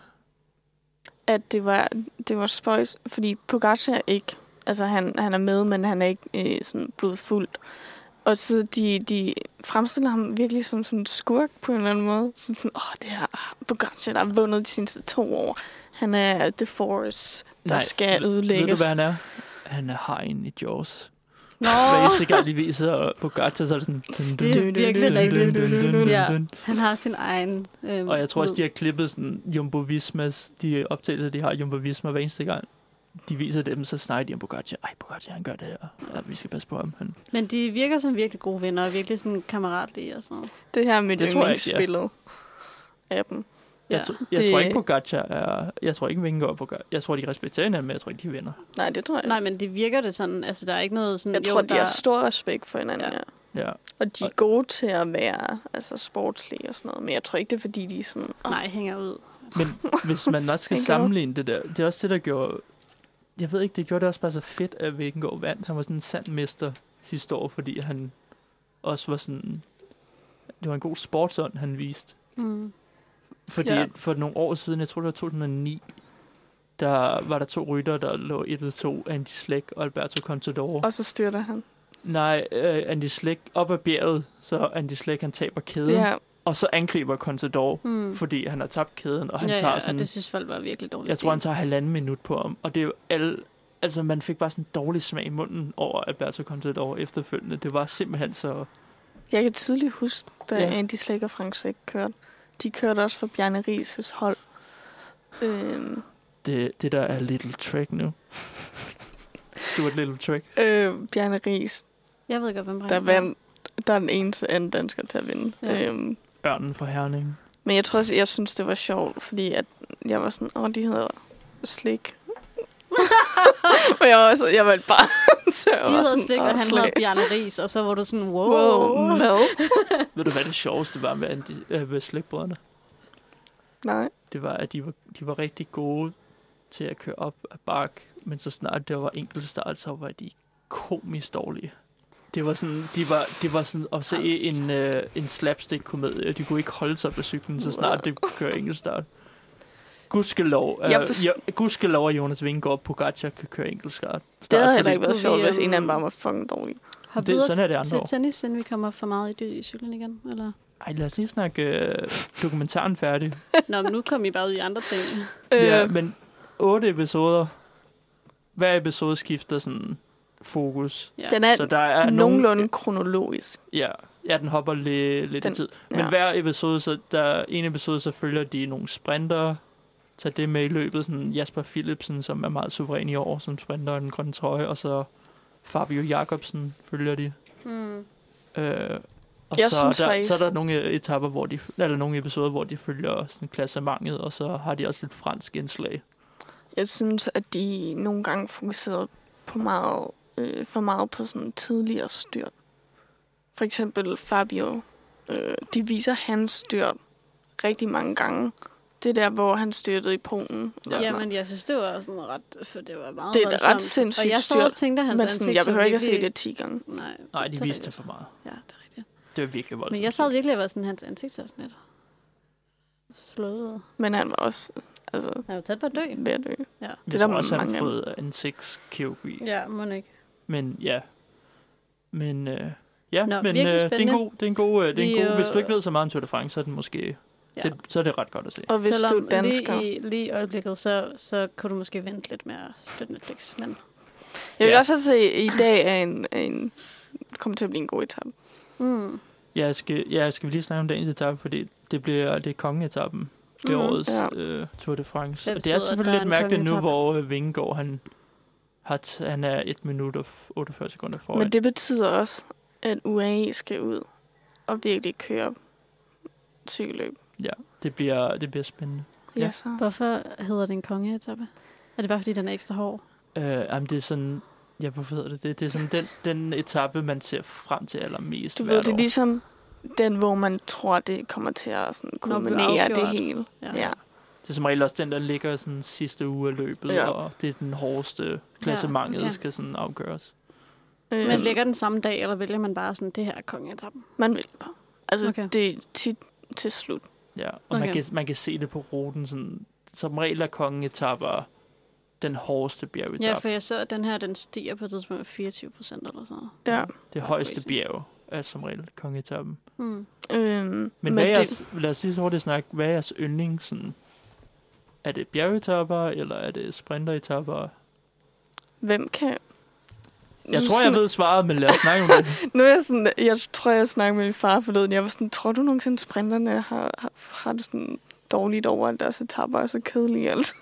Speaker 4: at det var, det var spøjs, fordi Pogacar er ikke, altså han, han er med, men han er ikke øh, sådan blodfuldt. Og så de, de fremstiller ham virkelig som sådan en skurk på en eller anden måde. Sådan, sådan åh, det her Pogacar, der har vundet de seneste to år. Han er The Forest, der Nej, skal
Speaker 3: ved- Ved du,
Speaker 4: ødelægges.
Speaker 3: hvad han er? Han er hegn i Jaws.
Speaker 2: Nå,
Speaker 3: Hver eneste gang, de viser på Gata, så er det sådan... Dun, dun,
Speaker 2: Det er
Speaker 3: dun,
Speaker 2: virkelig
Speaker 3: dun, dun,
Speaker 2: rigtigt.
Speaker 3: dun, dun, dun,
Speaker 2: Ja.
Speaker 3: dun.
Speaker 2: han har sin egen... Øh,
Speaker 3: Og jeg tror også, de har klippet sådan Jumbo Vismas, de optagelser, de har Jumbo Visma hver eneste gang. De viser dem, så snakker de om Pogacar. Ej, Pogacar, han gør det her. Ja, vi skal passe på ham. Han...
Speaker 2: Men de virker som virkelig gode venner, og virkelig sådan kammeratlige og sådan noget.
Speaker 4: Det her er mit
Speaker 3: Det tror jeg ikke, ja.
Speaker 4: yndlingsbillede af dem.
Speaker 3: Jeg,
Speaker 2: Ja.
Speaker 3: ja, jeg
Speaker 4: Det-
Speaker 3: tror ikke, Pogacar er... Jeg tror ikke, Vingegaard og Pogacar... Jeg tror, de respekterer hinanden, men jeg tror ikke, de vinder.
Speaker 4: Nej, det tror jeg
Speaker 2: Nej,
Speaker 4: ikke.
Speaker 2: men det virker det sådan. Altså, der er ikke noget sådan...
Speaker 4: Jeg
Speaker 2: jo,
Speaker 4: tror, de
Speaker 2: der...
Speaker 4: har stor respekt for hinanden,
Speaker 2: Ja.
Speaker 4: ja.
Speaker 3: Ja.
Speaker 4: Og de er
Speaker 3: Og-
Speaker 4: gode til at være altså, sportslige og sådan noget. Men jeg tror ikke, det er fordi, de er sådan... "Åh,
Speaker 2: Nej, hænger ud.
Speaker 3: Men hvis man også skal
Speaker 4: Vingegaard.
Speaker 3: sammenligne det der... Det er også det, der gjorde... Jeg ved ikke, det gjorde det også bare så fedt, at Vingegaard vandt. Han var sådan en sand mester sidste år, fordi han også var sådan... Det var en god sportsånd, han viste.
Speaker 2: Mm.
Speaker 3: Fordi
Speaker 4: Ja.
Speaker 3: ja. for nogle år siden, jeg tror det var 2009, der var der to rytter, der lå 1-2, Andy Slæk og Alberto Contador.
Speaker 4: Og så styrter han.
Speaker 3: Nej, øh, Andy Slæk op ad bjerget, så Andy Slæk han taber kæden,
Speaker 4: Ja,
Speaker 3: og så angriber Contador,
Speaker 2: Mm.
Speaker 3: fordi han har tabt kæden, og han
Speaker 2: ja,
Speaker 3: tager
Speaker 2: ja,
Speaker 3: sådan,
Speaker 2: og det synes folk var virkelig dårligt.
Speaker 3: jeg tror han tager halvanden minut på ham, og det er jo alle, altså man fik bare sådan en dårlig smag i munden over Alberto Contador efterfølgende. Det var simpelthen så,
Speaker 4: jeg kan tydeligt huske, da
Speaker 3: Ja.
Speaker 4: ja. Andy Slæk og Frank Sæk kørte. De kørte også for Bjarne Rises hold. Øhm,
Speaker 3: det, det der er little trick nu. Stort little trick.
Speaker 4: øh, Bjarne Ries,
Speaker 2: Jeg ved godt, hvem
Speaker 4: der
Speaker 2: Brian er.
Speaker 4: vandt. Der er den eneste anden dansker til at vinde.
Speaker 2: Ja.
Speaker 4: Ja. Øhm,
Speaker 3: Ørnen fra Herning.
Speaker 4: men jeg tror også, jeg synes, det var sjovt, fordi at jeg var sådan, åh, de hedder Slik. og jeg var, også, jeg var et barn, så jeg
Speaker 2: De
Speaker 4: var
Speaker 2: hedder
Speaker 4: sådan,
Speaker 2: slik,
Speaker 4: "Åh,
Speaker 2: og han
Speaker 4: Slik."
Speaker 2: hedder Bjarne Ries, og så var du sådan, wow.
Speaker 4: Wow, hvad?
Speaker 3: Ved du hvad det sjoveste var med, Andy, øh, med slægtbrødrene?
Speaker 4: Nej.
Speaker 3: det var, at de var, de var rigtig gode til at køre op ad bak, men så snart det var enkeltstart, så var de komisk dårlige. Det var sådan, de var, det var sådan at se
Speaker 2: Træls.
Speaker 3: en, øh, en slapstick-komedie. De kunne ikke holde sig på cyklen, så snart det kører enkeltstart. Gudskelov, øh,
Speaker 4: Jeg forst-
Speaker 3: ja, gudskelov, at Jonas Vingegaard og Pogacar kan køre enkeltstart.
Speaker 4: Det havde heller
Speaker 3: fordi-
Speaker 4: ikke været
Speaker 2: Skulle vi,
Speaker 4: sjovt, hvis en
Speaker 2: øhm,
Speaker 4: af dem bare var fucking dårlig.
Speaker 2: Hop
Speaker 3: Det-
Speaker 2: videre
Speaker 3: sådan er det andre
Speaker 2: til
Speaker 3: år.
Speaker 2: tennis, inden vi kommer for meget i, dy- i cyklen igen. Eller?
Speaker 3: Ej, lad os lige snakke øh, dokumentaren færdig.
Speaker 2: Nå, men nu kom I bare ud i andre ting.
Speaker 4: Øh.
Speaker 3: Ja, men otte episoder. Hver episode skifter sådan fokus.
Speaker 2: Ja.
Speaker 4: Den er
Speaker 3: Så der er
Speaker 4: nogenlunde
Speaker 3: Nogen,
Speaker 4: kronologisk.
Speaker 3: ja, ja, den hopper lidt, lidt
Speaker 4: Den-
Speaker 3: i tid. Men
Speaker 4: Ja.
Speaker 3: hver episode, så der er en episode, så følger de nogle sprinter. Tag det med i løbet. Sådan Jasper Philipsen, som er meget suveræn i år, som sprinter i den grønne trøje. Og så Fabio Jacobsen følger de.
Speaker 2: Mm.
Speaker 3: Øh, og
Speaker 4: Jeg
Speaker 3: så,
Speaker 4: synes
Speaker 3: der,
Speaker 4: faktisk-
Speaker 3: så er der nogle øh, etapper, hvor de, eller nogle episoder, hvor de følger sådan klassementet, og så har de også lidt fransk indslag.
Speaker 4: Jeg synes, at de nogle gange fokuserede på meget, øh, for meget på sådan tidligere styrt. For eksempel Fabio, øh, de viser hans styrt rigtig mange gange. Det der, hvor han styrtede i Polen.
Speaker 2: Ja,
Speaker 4: og sådan noget.
Speaker 2: men jeg synes, det var sådan ret... For det var meget
Speaker 4: Det er da
Speaker 2: voldsomt.
Speaker 4: ret sindssygt
Speaker 2: Og jeg sad
Speaker 4: styrt,
Speaker 2: og tænkte, at hans
Speaker 4: men sådan,
Speaker 2: ansigt
Speaker 4: jeg
Speaker 2: så
Speaker 4: behøver ikke at se
Speaker 2: virkelig-
Speaker 4: det 10 gange.
Speaker 2: Nej,
Speaker 3: Nej,
Speaker 2: det
Speaker 3: de
Speaker 2: er
Speaker 3: viste det
Speaker 2: rigtigt.
Speaker 3: for meget.
Speaker 2: Ja, det er rigtigt.
Speaker 3: Det var virkelig voldsomt.
Speaker 2: Men jeg sad virkelig og var sådan, hans ansigt så sådan lidt slået ud.
Speaker 4: Men han var også altså,
Speaker 2: Han var tæt på at dø.
Speaker 4: ved at dø.
Speaker 3: det
Speaker 4: det er
Speaker 3: der
Speaker 4: der
Speaker 3: også, han
Speaker 4: mange
Speaker 3: har
Speaker 4: af dem.
Speaker 3: fået ansigtskirurgi.
Speaker 2: Ja, må ikke.
Speaker 3: Men ja. Men øh,
Speaker 2: Nå,
Speaker 3: ja, Nå, men øh,
Speaker 2: virkelig
Speaker 3: det er en
Speaker 2: spændende.
Speaker 3: god, det er en god, øh, det er
Speaker 2: Vi,
Speaker 3: en god hvis du
Speaker 2: øh,
Speaker 3: ikke ved så meget om Tour de France, så er den måske
Speaker 2: Ja.
Speaker 3: ja. det, så er det ret godt at se.
Speaker 4: Og hvis
Speaker 2: Selvom
Speaker 4: du er dansker...
Speaker 2: lige i lige i øjeblikket, så, så kunne du måske vente lidt med at støtte Netflix. Men
Speaker 4: Jeg vil
Speaker 3: Ja.
Speaker 4: også se, at i dag er en, er en kommer til at blive en god etape.
Speaker 2: mm,
Speaker 3: Jeg skal ja, skal vi lige snakke om dagens etape, fordi det bliver det er kongeetappen ved
Speaker 2: Mhm.
Speaker 3: årets
Speaker 4: Ja.
Speaker 3: øh, Tour de France.
Speaker 2: Hvad
Speaker 3: og det
Speaker 2: betyder,
Speaker 3: er
Speaker 2: at der
Speaker 3: selvfølgelig
Speaker 2: er
Speaker 3: lidt
Speaker 2: en
Speaker 3: mærkeligt nu,
Speaker 2: kongeetape?
Speaker 3: hvor øh, Vingegaard han har t- han er 1 minut og f- 48 sekunder foran.
Speaker 4: Men det betyder også, at UAE skal ud og virkelig køre cykelløb.
Speaker 3: det bliver det bliver spændende. Ja.
Speaker 4: Ja. så.
Speaker 2: hvorfor hedder det en kongeetappe? Er det bare, fordi den er ekstra hård?
Speaker 3: Øh, jamen, det er sådan ja, hvorfor hedder det det? Det er sådan den den etape man ser frem til allermest
Speaker 4: Du ved,
Speaker 3: hvert
Speaker 4: det er
Speaker 3: år.
Speaker 4: ligesom den, hvor man tror, det kommer til at sådan
Speaker 2: Når det bliver
Speaker 4: kulminere det
Speaker 2: afgjort.
Speaker 4: hele. Ja. ja.
Speaker 3: Det er som regel også den, der ligger sådan sidste uge af løbet,
Speaker 4: Ja.
Speaker 3: ja. og det er den hårdeste klassementet,
Speaker 2: Ja,
Speaker 3: ja,
Speaker 2: okay.
Speaker 3: okay. skal sådan afgøres.
Speaker 4: Øh,
Speaker 2: Men ligger den samme dag, eller vælger man bare sådan, det her er kongeetappen?
Speaker 4: man vil bare. Altså,
Speaker 2: Okay.
Speaker 4: okay. det er tit til slut.
Speaker 3: Ja, og okay. man,
Speaker 2: Okay.
Speaker 3: kan, man kan se det på ruten. Sådan, som regel er kongeetapper den hårdeste bjergetap.
Speaker 2: Ja, for jeg så, at den her, den stiger på et tidspunkt med 24 procent eller sådan noget.
Speaker 4: Ja.
Speaker 3: Det højeste bjerg er som regel kongetappen.
Speaker 2: Mm.
Speaker 4: Øhm, men
Speaker 3: Men, hvad er
Speaker 4: det,
Speaker 3: jeres, lad os lige så hurtigt snakke, hvad er jeres yndling? Sådan, er det bjergetapper, eller er det sprinteretapper?
Speaker 4: hvem kan...
Speaker 3: Jeg tror, jeg ved svaret, men lad os snakke om det.
Speaker 4: Nu er jeg sådan, jeg tror, jeg snakkede med min far forleden. Jeg var sådan, tror du nogensinde, sprinterne har, har, har det sådan dårligt over, at deres etaper er så kedelige? Altså.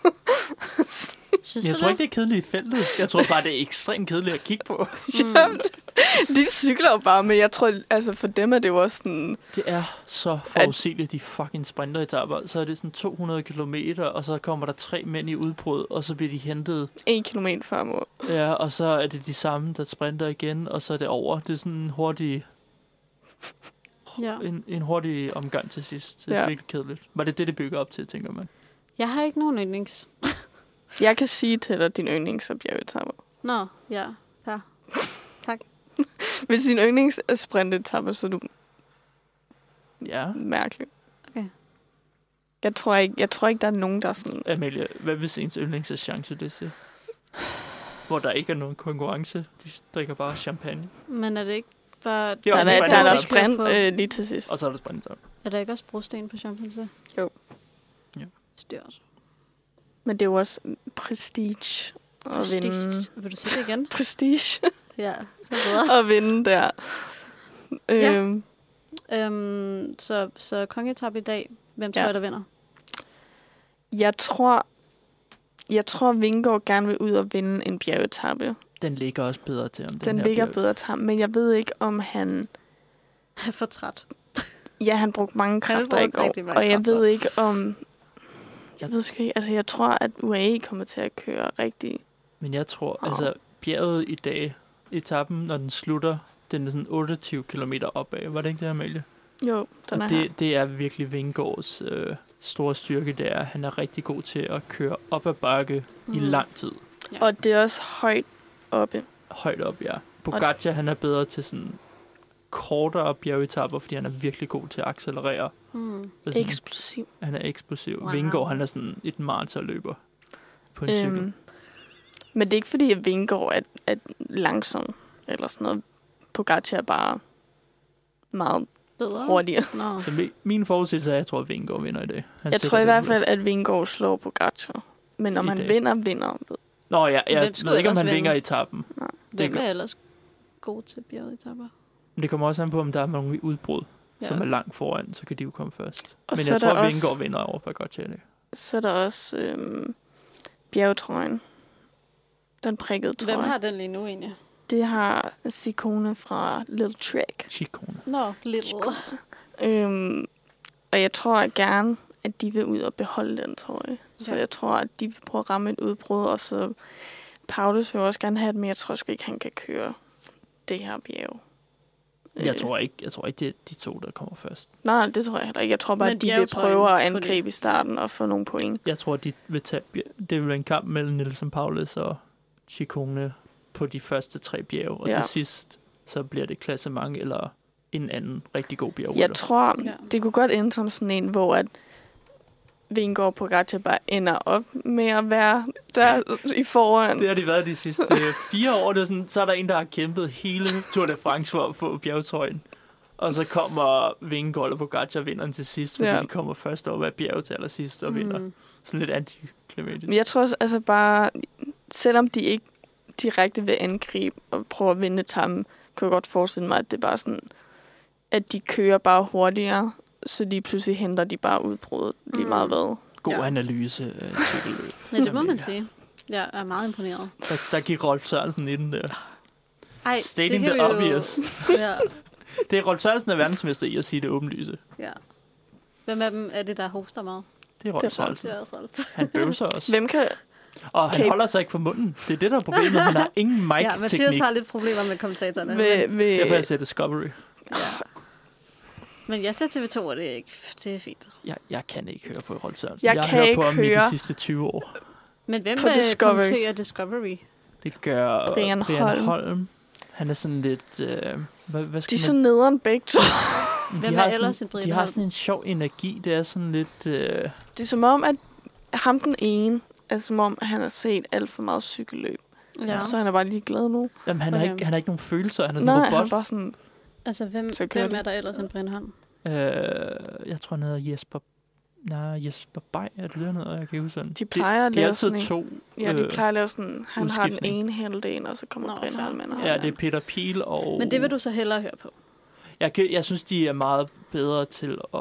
Speaker 2: Synes
Speaker 3: Jeg
Speaker 2: du
Speaker 3: tror ikke, det er kedeligt i feltet. Jeg tror bare, det er ekstremt kedeligt at kigge på.
Speaker 2: Hmm.
Speaker 4: Jamen, de cykler jo bare, men jeg tror, altså for dem er det jo også sådan...
Speaker 3: Det er så forudsigeligt, de fucking sprinteretapper. Så er det sådan 200 km, og så kommer der tre mænd i udbrud, og så bliver de hentet.
Speaker 4: En kilometer før mål.
Speaker 3: Ja, og så er det de samme, der sprinter igen, og så er det over. Det er sådan en hurtig,
Speaker 2: Ja.
Speaker 3: en, en hurtig omgang til sidst. Det er
Speaker 4: Ja.
Speaker 3: ja. virkelig kedeligt. Var det det, det bygger op til, tænker man?
Speaker 2: Jeg har ikke nogen yndlings.
Speaker 4: Jeg kan sige til dig, at din yndlings er bjergetapper.
Speaker 2: Nå, ja. Fair. Tak.
Speaker 4: Hvis din yndlings er sprintetapper, så er du
Speaker 3: Ja.
Speaker 4: mærkelig.
Speaker 2: Okay.
Speaker 4: Jeg tror ikke, jeg tror ikke der er nogen, der er sådan...
Speaker 3: Amalie, hvad hvis ens yndlings er chanceliste? Hvor der ikke er nogen konkurrence. De drikker bare champagne.
Speaker 2: Men er det ikke bare...
Speaker 3: Jo,
Speaker 4: Der
Speaker 3: det
Speaker 4: er,
Speaker 3: var
Speaker 4: der er
Speaker 3: det.
Speaker 4: der
Speaker 3: også
Speaker 4: sprint
Speaker 2: på,
Speaker 4: øh, lige til sidst.
Speaker 3: Og så er der sprinter.
Speaker 2: Er der ikke også brosten på champagne?
Speaker 4: Jo.
Speaker 3: Ja.
Speaker 2: Styrt.
Speaker 4: Men det er jo også prestige at vinde.
Speaker 2: Prestige. Vil du sige det igen?
Speaker 4: Prestige
Speaker 2: ja, det er bedre.
Speaker 4: at vinde der.
Speaker 2: Ja.
Speaker 4: Øhm,
Speaker 2: Øhm, så, så kongetap i dag. Hvem tror
Speaker 4: Ja.
Speaker 2: jeg, der vinder?
Speaker 4: Jeg tror, jeg tror, Vingård gerne vil ud og vinde en bjergetappe. Den,
Speaker 3: Den ligger også bedre til om den,
Speaker 4: den
Speaker 3: her
Speaker 4: ligger
Speaker 3: bliver-
Speaker 4: bedre til ham, men jeg ved ikke, om han...
Speaker 2: Jeg er for træt.
Speaker 4: Ja, han brugte mange
Speaker 2: Han
Speaker 4: kræfter i
Speaker 2: brugte
Speaker 4: går,
Speaker 2: rigtig mange
Speaker 4: og jeg
Speaker 2: kræfter.
Speaker 4: ved ikke, om... Jeg ved sgu ikke, altså jeg tror, at UAE kommer til at køre rigtig...
Speaker 3: Men jeg tror,
Speaker 4: Wow.
Speaker 3: wow. altså bjerget i dag, etappen, når den slutter, den er sådan 28 km opad. Var det ikke det, Amalie?
Speaker 4: Jo, den er
Speaker 3: Og
Speaker 4: det... her.
Speaker 3: det, det er virkelig Vingårds øh, store styrke, det er, at han er rigtig god til at køre op ad bakke mm. i lang tid.
Speaker 4: Og det er også højt oppe.
Speaker 3: Højt op, ja. Pogacar, han er bedre til sådan kortere bjergetapper, fordi han er virkelig god til at accelerere.
Speaker 2: Mm.
Speaker 3: Det er sådan-
Speaker 4: Eksplosiv.
Speaker 3: Han er eksplosiv.
Speaker 2: Wow.
Speaker 3: Wow. Vingård, han er sådan et maratonløber på en øhm. cykel.
Speaker 4: Øhm, men det er ikke fordi, at Vingård er, er langsom eller sådan noget. Pogacar er bare meget
Speaker 2: Bedre?
Speaker 4: hurtigere.
Speaker 2: Nå.
Speaker 3: Så mi- min forudsigelse er, at jeg tror, at Vingård vinder i dag. Han
Speaker 4: Jeg
Speaker 3: sætter
Speaker 4: tror i
Speaker 3: det
Speaker 4: hvert
Speaker 3: ud.
Speaker 4: fald, at Vingård slår Pogacar. Men om
Speaker 3: I
Speaker 4: han
Speaker 3: dag.
Speaker 4: vinder, vinder. ved-
Speaker 3: Nå, ja,
Speaker 2: Men
Speaker 3: jeg
Speaker 2: hvem skulle
Speaker 3: ved ikke, om
Speaker 2: ellers
Speaker 3: han
Speaker 2: vinde?
Speaker 3: vinger i tappen.
Speaker 2: Hvem
Speaker 3: gør-
Speaker 2: er ellers god til bjergetapper?
Speaker 3: Men det kommer også an på, om der er nogle udbrud, ja.
Speaker 2: Ja.
Speaker 3: som er langt foran, så kan de jo komme først.
Speaker 4: Og
Speaker 3: Men
Speaker 4: så er
Speaker 3: jeg tror,
Speaker 4: der
Speaker 3: at
Speaker 4: også-
Speaker 3: Vingård vinder over Pogacar i dag.
Speaker 4: Så er der også øhm, bjergetrøjen. Den prikkede trøje.
Speaker 2: Hvem har den lige nu egentlig?
Speaker 4: Det har Sikone fra Little Trek.
Speaker 3: Chikone.
Speaker 2: Nå, little.
Speaker 4: Øhm, og jeg tror gerne, at de vil ud og beholde den trøje. Så
Speaker 2: Ja.
Speaker 4: jeg tror, at de vil prøve at ramme et udbrud, og så Paulus vil også gerne have det, men jeg tror sgu ikke, han kan køre det her bjerg.
Speaker 3: Jeg
Speaker 4: Øh,
Speaker 3: tror ikke, jeg tror ikke det er de to, der kommer først.
Speaker 4: Nej, det tror jeg heller ikke. Jeg tror bare,
Speaker 2: Men
Speaker 4: at de vil
Speaker 2: bjergetrøjen,
Speaker 4: prøve at
Speaker 2: fordi-
Speaker 4: angribe i starten og få nogle point.
Speaker 3: Jeg tror, de vil tage... bjer- Det vil være en kamp mellem Nielsen Paulus og Chikone på de første tre bjerge. Og
Speaker 4: Ja.
Speaker 3: ja. til sidst, så bliver det klassement eller en anden rigtig god bjergrytter.
Speaker 4: Jeg tror,
Speaker 2: Ja.
Speaker 4: det kunne godt ende som sådan en, hvor at Vingård på Gacha bare ender op med at være der i foran.
Speaker 3: Det har de været de sidste fire år. Det er sådan, så er der en, der har kæmpet hele Tour de France for at få bjergetrøjen. Og så kommer Vingegaard og Pogacar vinderen til sidst, fordi
Speaker 4: Ja.
Speaker 3: ja. de kommer først over af bjerget til allersidst og vinder.
Speaker 2: Mm.
Speaker 3: Sådan lidt antiklimatisk.
Speaker 4: Men jeg tror også, altså bare, selvom de ikke direkte vil angribe og prøve at vinde tam, kan jeg godt forestille mig, at det er bare sådan, at de kører bare hurtigere, så lige pludselig henter de bare udbruddet lige
Speaker 2: Mm.
Speaker 4: meget hvad.
Speaker 3: God
Speaker 2: Ja.
Speaker 3: analyse. Øh, cykelløb.
Speaker 2: Men det må man
Speaker 3: Amelia.
Speaker 2: sige. Jeg er meget imponeret.
Speaker 3: Der, der gik Rolf Sørensen i den der.
Speaker 2: Ej,
Speaker 3: Stating the obvious.
Speaker 2: Ja,
Speaker 3: Det er Rolf Sørensen, der er verdensmester i at sige det åbenlyse.
Speaker 2: ja. Hvem af dem er det, der hoster meget?
Speaker 3: Det er Rolf
Speaker 4: Det er Rolf.
Speaker 3: Sørensen.
Speaker 2: Det er også Rolf.
Speaker 3: Han bøvser også.
Speaker 4: Hvem kan...
Speaker 3: Og han
Speaker 4: Kate-
Speaker 3: holder sig ikke for munden. Det er det, der er problemet. Han har ingen
Speaker 2: Ja, Mathias
Speaker 3: mic-teknik.
Speaker 2: har lidt problemer med kommentatorerne.
Speaker 4: Ved,
Speaker 3: Derfor har jeg
Speaker 4: ved,
Speaker 3: set Discovery.
Speaker 2: Men jeg ser TV2, og det er, ikke, det er fint.
Speaker 3: Jeg, jeg kan ikke høre på Rolf Sørensen.
Speaker 4: Jeg
Speaker 3: jeg
Speaker 4: kan
Speaker 3: hører
Speaker 4: ikke
Speaker 3: på ham i
Speaker 4: høre.
Speaker 3: de sidste 20 år.
Speaker 2: Men hvem
Speaker 4: På
Speaker 2: øh,
Speaker 4: Discovery.
Speaker 2: kommenterer Discovery?
Speaker 3: Det gør øh,
Speaker 4: Brian
Speaker 3: Brian,
Speaker 4: Holm.
Speaker 3: Brian Holm. Holm. Han er sådan lidt... Øh, hvad, hvad skal
Speaker 4: de er
Speaker 3: man,
Speaker 4: så nederen begge to.
Speaker 3: de
Speaker 2: Hvem
Speaker 3: har
Speaker 2: er ellers en
Speaker 3: sådan,
Speaker 2: Brian
Speaker 3: De har
Speaker 2: Holm?
Speaker 3: sådan en sjov energi. Det er sådan lidt... Øh,
Speaker 4: Det er som om, at ham den ene, er som om, at han har set alt for meget cykelløb.
Speaker 2: Ja.
Speaker 4: Så han er bare lige glad nu.
Speaker 3: jamen, han, okay.
Speaker 2: Okay.
Speaker 3: har ikke, han har ikke nogen følelser. Han er sådan
Speaker 4: Nej,
Speaker 3: en
Speaker 4: han er
Speaker 3: robot.
Speaker 4: bare sådan...
Speaker 2: Altså, hvem,
Speaker 4: Så kører
Speaker 2: hvem
Speaker 4: det.
Speaker 2: er der ellers en Brindholm?
Speaker 3: Øh, jeg tror, han hedder Jesper... Nej, Jesper Bay, er det det, han hedder? Jeg kan ikke huske sådan.
Speaker 4: De plejer at
Speaker 3: det, det er
Speaker 4: lave
Speaker 3: altid
Speaker 4: sådan en...
Speaker 3: to.
Speaker 4: Ja, de
Speaker 3: øh,
Speaker 4: plejer at lave sådan, han har den
Speaker 3: udskiftning.
Speaker 4: ene halvdel, og så
Speaker 2: Nå,
Speaker 4: kommer
Speaker 2: fair.
Speaker 4: Brindholm med
Speaker 3: Ja, det er Peter Pil og...
Speaker 2: Men det vil du så hellere høre på.
Speaker 3: Jeg, kan, jeg synes, de er meget bedre til at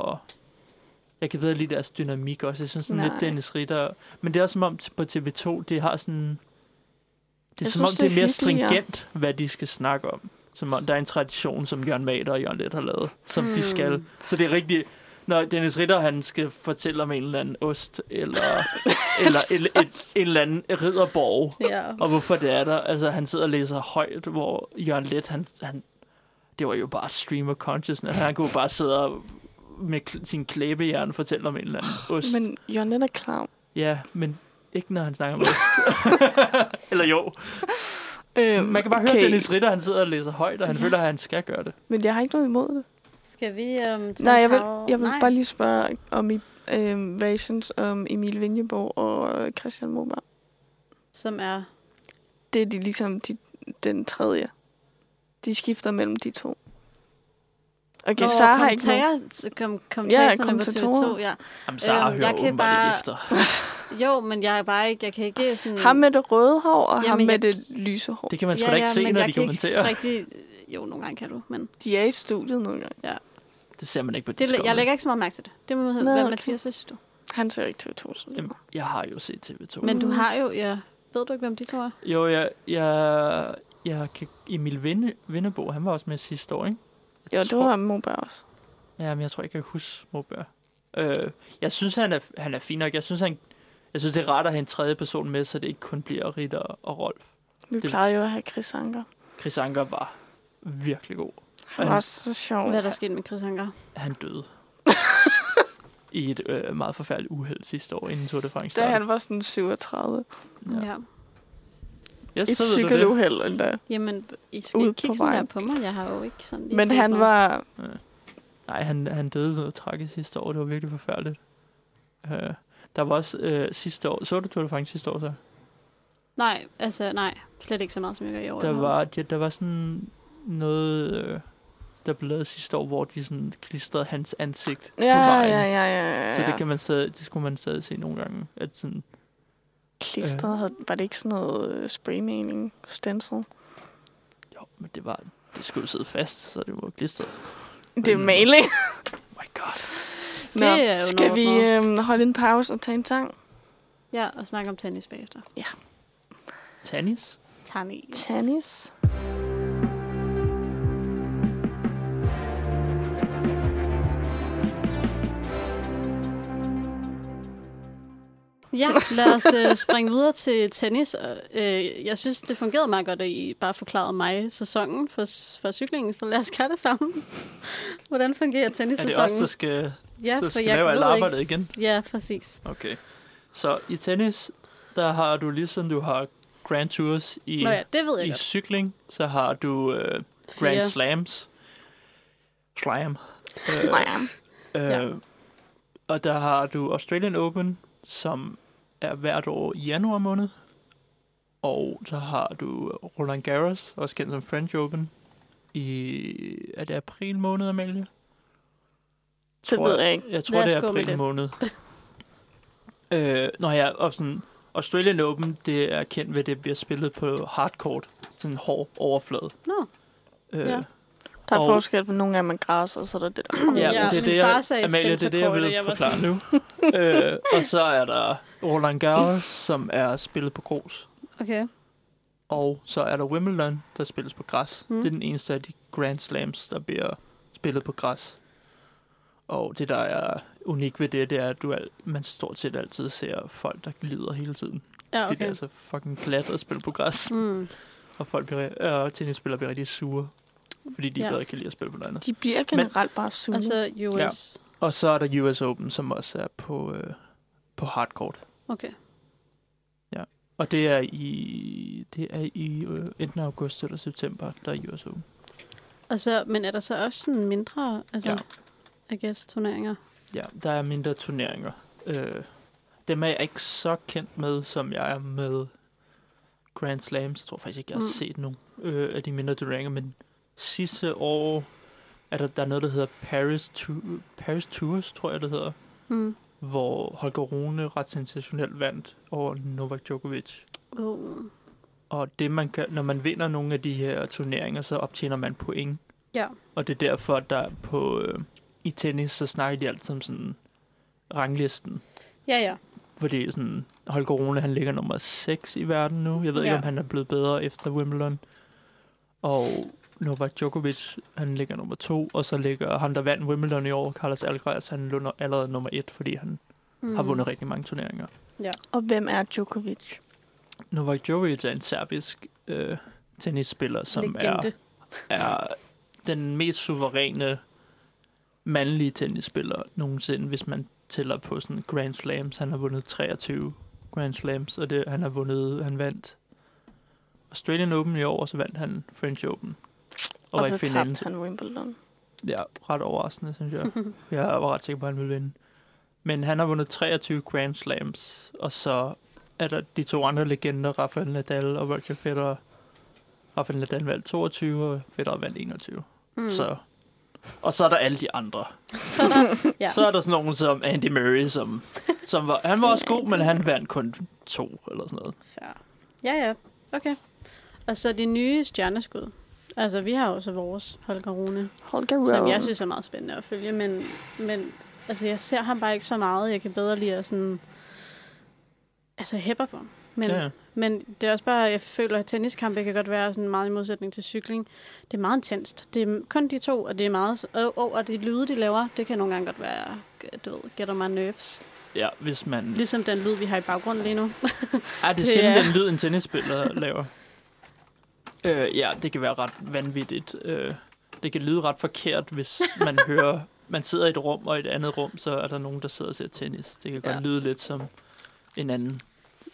Speaker 3: Jeg kan bedre lide deres dynamik også. Jeg synes sådan lidt
Speaker 4: Nej.
Speaker 3: Dennis Ritter. Men det er også som om t- på TV2, det har sådan... Det er
Speaker 4: Jeg
Speaker 3: som om,
Speaker 4: synes, det
Speaker 3: det
Speaker 4: er
Speaker 3: er mere
Speaker 4: hyggeligere.
Speaker 3: stringent, hvad de skal snakke om. Som om der er en tradition, som Jørgen Mader og Jørgen Let har lavet, som hmm. de skal. Så det er rigtig... Når Dennis Ritter, han skal fortælle om en eller anden ost, eller, eller en, en, en eller anden ridderborg,
Speaker 2: Ja.
Speaker 3: og hvorfor det er der. Altså, han sidder og læser højt, hvor Jørgen Let, han, han, det var jo bare streamer consciousness. Han kunne jo bare sidde og med kl- sin klæbehjerne fortælle om en eller anden ost. Men...
Speaker 4: Men Jørgen Let er klam.
Speaker 3: Ja, men ikke når han snakker om ost. eller jo.
Speaker 4: Øh,
Speaker 3: Man kan bare okay. høre Dennis Ritter, han sidder og læser højt, og han ja. føler, at han skal gøre det.
Speaker 4: Men jeg har ikke noget imod det.
Speaker 2: Skal vi øhm, tage
Speaker 4: Nej,
Speaker 2: en
Speaker 4: jeg vil,
Speaker 2: pause?
Speaker 4: jeg vil
Speaker 2: Nej.
Speaker 4: bare lige spørge, om I, øh, hvad I synes om Emil Vinjeborg og øh, Christian Moberg.
Speaker 2: Som er...
Speaker 4: Det er de ligesom de, den tredje. De skifter mellem de to. Okay,
Speaker 2: Nå,
Speaker 4: Nå, Sara har ikke noget.
Speaker 2: kommentarer, kom, kommentatorerne på
Speaker 4: kommentatorer.
Speaker 2: TV2, ja.
Speaker 3: Jamen, Sara
Speaker 2: Øhm,
Speaker 3: hører
Speaker 2: jeg kan
Speaker 3: åbenbart
Speaker 2: bare-
Speaker 3: ikke efter.
Speaker 2: Jo, men jeg er bare ikke, jeg kan
Speaker 3: Ah,
Speaker 2: ikke sådan...
Speaker 4: Ham med det røde hår og ham
Speaker 2: Jamen,
Speaker 4: med
Speaker 2: jeg-
Speaker 4: det lyse hår.
Speaker 3: Det kan man sgu da ikke se,
Speaker 2: men
Speaker 3: når
Speaker 2: jeg
Speaker 3: de
Speaker 2: kan ikke
Speaker 3: kommenterer.
Speaker 2: Rigtig... Jo, nogle gange kan du, men
Speaker 4: De er i studiet nogle gange.
Speaker 3: Det ser man ikke på
Speaker 2: det,
Speaker 3: Discovery.
Speaker 2: jeg lægger ikke så meget mærke til det. Det må hedde,
Speaker 4: Nå,
Speaker 2: hvad
Speaker 4: okay.
Speaker 2: Mathias synes du.
Speaker 4: Han ser ikke TV2 så
Speaker 3: Jamen,
Speaker 4: længe.
Speaker 3: jeg har jo set TV2.
Speaker 2: Men du har jo, ja, ved du ikke, hvem de to er?
Speaker 3: Jo, jeg, jeg, jeg kan, Emil Vinde, Vindebo, han var også med sidste år, ikke?
Speaker 4: Jo,
Speaker 3: Jeg
Speaker 4: det var Moberg også.
Speaker 3: Ja, men jeg tror ikke, jeg kan huske Moberg. Øh, jeg synes, han er, han er fin nok. Jeg synes, han, jeg synes, det er rart at have en tredje person med, så det ikke kun bliver Ritter og Rolf.
Speaker 4: Vi
Speaker 3: Det-
Speaker 4: plejede jo at have Chris Anker.
Speaker 3: Chris Anker var virkelig god.
Speaker 4: Han
Speaker 3: Ja.
Speaker 4: var også så sjov.
Speaker 2: Hvad er der sket med Chris Anker?
Speaker 3: Han døde. I et øh, meget forfærdeligt uheld sidste år, inden Tour de France
Speaker 4: Da
Speaker 3: startede.
Speaker 4: han var sådan 37.
Speaker 3: Ja.
Speaker 2: Ja.
Speaker 3: Yes,
Speaker 4: Et
Speaker 3: så ved du det.
Speaker 4: cykeluheld endda.
Speaker 2: Jamen, I skal
Speaker 4: Ude
Speaker 2: ikke
Speaker 4: på
Speaker 2: kigge sådan
Speaker 4: vejen.
Speaker 2: der på mig. Jeg har jo ikke sådan... lige
Speaker 4: Men
Speaker 2: fået
Speaker 4: han
Speaker 2: noget.
Speaker 4: var...
Speaker 3: Nej, han, han døde noget tragisk sidste år. Det var virkelig forfærdeligt. Øh, der var også øh, sidste år... Så du Tour de France sidste år, så?
Speaker 2: Nej, altså nej. Slet ikke så meget, som jeg gør i år.
Speaker 3: Der var, ja, der var sådan noget, øh, der blev lavet sidste år, hvor de sådan klistrede hans ansigt
Speaker 4: Ja,
Speaker 3: på vejen.
Speaker 4: ja, ja, ja, ja.
Speaker 3: Så det, kan man stadig, det skulle man stadig se nogle gange. At sådan,
Speaker 4: Klistret, havde- var det ikke sådan noget øh, spraymaling, stencil?
Speaker 3: jo, men det var det skulle jo sidde fast, så det var klistret.
Speaker 4: Det er maling.
Speaker 3: Oh my god.
Speaker 2: Det er jo
Speaker 4: skal
Speaker 2: noget
Speaker 4: vi
Speaker 2: noget.
Speaker 4: øhm, holde en pause og tage en sang?
Speaker 2: Ja, og snakke om tennis bagefter.
Speaker 3: Tannis?
Speaker 2: Tennis.
Speaker 4: Tennis.
Speaker 2: Ja, lad os øh, springe videre til tennis. Og, øh, jeg synes, det fungerede meget godt, at I bare forklarede mig sæsonen for, for cyklingen, så lad os gøre det sammen. Hvordan fungerer
Speaker 3: Er det også,
Speaker 2: tennissæsonen?
Speaker 3: der skal...
Speaker 2: ja,
Speaker 3: så
Speaker 2: for
Speaker 3: skal
Speaker 2: jeg
Speaker 3: lave alt
Speaker 2: ved ikke-
Speaker 3: arbejdet igen?
Speaker 2: Ja, præcis.
Speaker 3: Okay. Så i tennis, der har du ligesom du har Grand Tours i,
Speaker 2: Nå ja, det ved jeg
Speaker 3: i
Speaker 2: godt.
Speaker 3: cykling, så har du øh, Grand
Speaker 2: Fire.
Speaker 3: Slams. Slam. Øh,
Speaker 4: Nej, ja.
Speaker 3: Øh,
Speaker 2: Ja.
Speaker 3: Og der har du Australian Open, som er hvert år i januar måned. Og så har du Roland Garros, også kendt som French Open, i er det april måned, Amalie?
Speaker 4: det
Speaker 3: Tror
Speaker 4: ved jeg ikke.
Speaker 3: Jeg tror,
Speaker 2: Lad os
Speaker 3: det er
Speaker 2: gå med
Speaker 3: april
Speaker 2: det.
Speaker 3: måned. øh, når jeg og sådan, Australian Open, det er kendt ved, at det bliver spillet på hardcourt, sådan en hård overflade.
Speaker 2: Nå,
Speaker 3: Øh,
Speaker 2: Ja.
Speaker 4: Der er
Speaker 3: Og-
Speaker 4: forskel på nogle af dem er græs, og så er der det der.
Speaker 3: Ja,
Speaker 2: Ja,
Speaker 3: ja det er
Speaker 2: min
Speaker 3: det,
Speaker 2: far
Speaker 3: jeg,
Speaker 2: sagde
Speaker 3: Amalie, det er det, jeg
Speaker 2: centercourt, og
Speaker 3: vil
Speaker 2: jeg var
Speaker 3: forklare nu. øh, og så er der Roland Garros, som er spillet på grus.
Speaker 2: okay.
Speaker 3: Og så er der Wimbledon, der spilles på græs.
Speaker 2: Mm.
Speaker 3: Mm. Det er den eneste af de Grand Slams, der bliver spillet på græs. Og det, der er unikt ved det, det er, at du al- man stort set altid ser folk, der glider hele tiden.
Speaker 2: Ja,
Speaker 3: Fordi det
Speaker 2: okay.
Speaker 3: er så fucking glat at spille på græs.
Speaker 2: Mm.
Speaker 3: Og folk bliver, øh, tennisspillere bliver rigtig sure, fordi de
Speaker 2: Ja.
Speaker 3: ja. bedre kan lide at spille på noget andet.
Speaker 4: De bliver generelt bare sure.
Speaker 2: Og så US.
Speaker 3: Og så er der US Open, som også er på, øh, på hardcourt.
Speaker 2: Okay.
Speaker 3: Og det er i, det er i øh, enten august eller september, der er US Open.
Speaker 2: Og så, Altså, men er der så også sådan mindre, altså,
Speaker 3: Ja.
Speaker 2: I guess, turneringer?
Speaker 3: Ja, der er mindre turneringer. Øh, dem er jeg ikke så kendt med, som jeg er med Grand Slams. Jeg tror faktisk ikke, jeg har
Speaker 2: Mm.
Speaker 3: mm. set nogen øh, af de mindre turneringer, men sidste år er der, der er noget, der hedder Paris, tu- Paris Tours, tror jeg, det hedder,
Speaker 2: Mm.
Speaker 3: hvor Holger Rune ret sensationelt vandt over Novak Djokovic.
Speaker 2: Uh.
Speaker 3: Og det man kan, når man vinder nogle af de her turneringer, så optjener man point.
Speaker 2: Ja.
Speaker 3: Og det er derfor, at der på, øh, i tennis, så snakker de altid om sådan ranglisten.
Speaker 2: Ja, ja.
Speaker 3: Fordi sådan, Holger Rune, han ligger nummer 6 i verden nu. Jeg ved ja. ikke,
Speaker 2: Ja.
Speaker 3: om han er blevet bedre efter Wimbledon. Og Novak Djokovic, han ligger nummer 2. Og så ligger ham, der vandt Wimbledon i år, Carlos Alcaraz, han lå nu- allerede nummer 1, fordi han mm.
Speaker 2: Mm.
Speaker 3: har vundet rigtig mange turneringer.
Speaker 4: Og hvem er Djokovic?
Speaker 3: Novak Djokovic er en serbisk øh, tennisspiller, som er...
Speaker 2: Legende.
Speaker 3: er den mest suveræne mandlige tennisspiller nogensinde, hvis man tæller på sådan Grand Slams. Han har vundet 23 Grand Slams, og det, han har vundet, han vandt Australian Open i år, og så vandt han French Open. Og,
Speaker 4: Og,
Speaker 3: var
Speaker 4: og
Speaker 3: i
Speaker 4: så
Speaker 3: finalen.
Speaker 4: tabte han Wimbledon.
Speaker 3: Ja, ret overraskende, synes jeg. Jeg var ret sikker på, at han ville vinde. Men han har vundet 23 Grand Slams, og så er der de to andre legender, Rafael Nadal og Roger Federer. Rafael Nadal vandt 22, og Federer vandt 21. Mm. Så. Og så er der alle de andre.
Speaker 2: Så er der,
Speaker 3: Ja.
Speaker 2: ja.
Speaker 3: Så er der sådan nogen som Andy Murray, som, som var, han var også god, men han vandt kun to eller sådan noget.
Speaker 2: Ja. ja, ja. Okay. Og så de nye stjerneskud. Altså, vi har jo så vores Holger Rune,
Speaker 4: Holger Rune.
Speaker 2: som jeg synes er meget spændende at følge, men, men altså, jeg ser ham bare ikke så meget. Jeg kan bedre lide at sådan... Altså, jeg hæpper på ham. Men,
Speaker 3: Ja.
Speaker 2: men det er også bare, jeg føler, at tenniskampe kan godt være sådan meget i modsætning til cykling. Det er meget intenst. Det er kun de to, og det er meget... Og, og, og de lyde, de laver, det kan nogle gange godt være, du ved, get on my nerves.
Speaker 3: ja, hvis man...
Speaker 2: Ligesom den lyd, vi har i baggrunden lige nu.
Speaker 3: Ej, det er
Speaker 2: Det
Speaker 3: sjældent,
Speaker 2: er-
Speaker 3: den lyd, en tennisspiller laver. Øh, ja, det kan være ret vanvittigt. Øh, det kan lyde ret forkert, hvis man hører... Man sidder i et rum, og i et andet rum, så er der nogen, der sidder og ser tennis. Det kan ja.
Speaker 2: Ja.
Speaker 3: godt lyde lidt som en anden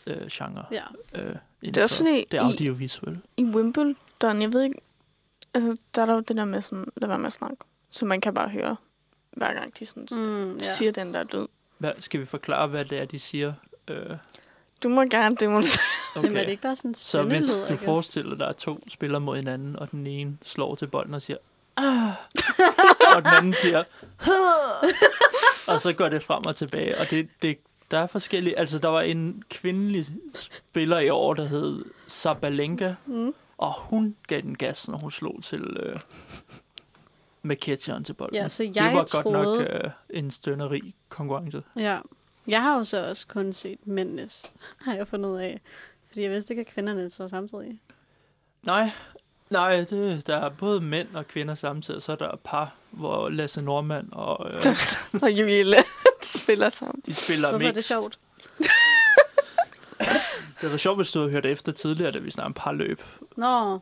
Speaker 3: øh, genre.
Speaker 2: ja.
Speaker 3: Øh,
Speaker 4: Det er også sådan i,
Speaker 3: det er audiovisuelt.
Speaker 4: i Wimbledon, jeg ved ikke, altså der er der jo det der med sådan, lad være med at snakke. Så man kan bare høre, hver gang de sådan mm,
Speaker 2: Mm, ja.
Speaker 4: siger den, der er død.
Speaker 3: Hvad, skal vi forklare, hvad det er, de siger? Øh,
Speaker 4: Du må gerne demonstrere.
Speaker 2: Okay. Jamen, er det
Speaker 3: okay.
Speaker 2: ikke bare sådan en
Speaker 3: Så hvis
Speaker 2: spændeled,
Speaker 3: du forestiller dig, at to spiller mod hinanden, og den ene slår til bolden og siger, "Ah," og den anden siger, "Ah," og så går det frem og tilbage. Og det, det, der er forskellige... Altså, der var en kvindelig spiller i år, der hed Sabalenka,
Speaker 2: Mm.
Speaker 3: og hun gav den gas, når hun slog til øh, Mkhitaryan til bolden.
Speaker 2: Ja, så jeg
Speaker 3: det var
Speaker 2: troede...
Speaker 3: godt nok øh, en stønneri konkurrence.
Speaker 2: Ja. Jeg har jo så også kun set mændenes, har jeg fundet ud af. Fordi jeg vidste ikke, at kvinderne så samtidig.
Speaker 3: Nej, nej det, der er både mænd og kvinder samtidig, så er der par, hvor Lasse Normand og øh,
Speaker 4: og Julie Land spiller sammen.
Speaker 3: de spiller
Speaker 2: Hvorfor er
Speaker 3: mixed.
Speaker 2: det sjovt?
Speaker 3: Det var sjovt, hvis du havde hørt efter tidligere, da vi snakkede om parløb.
Speaker 2: Nå,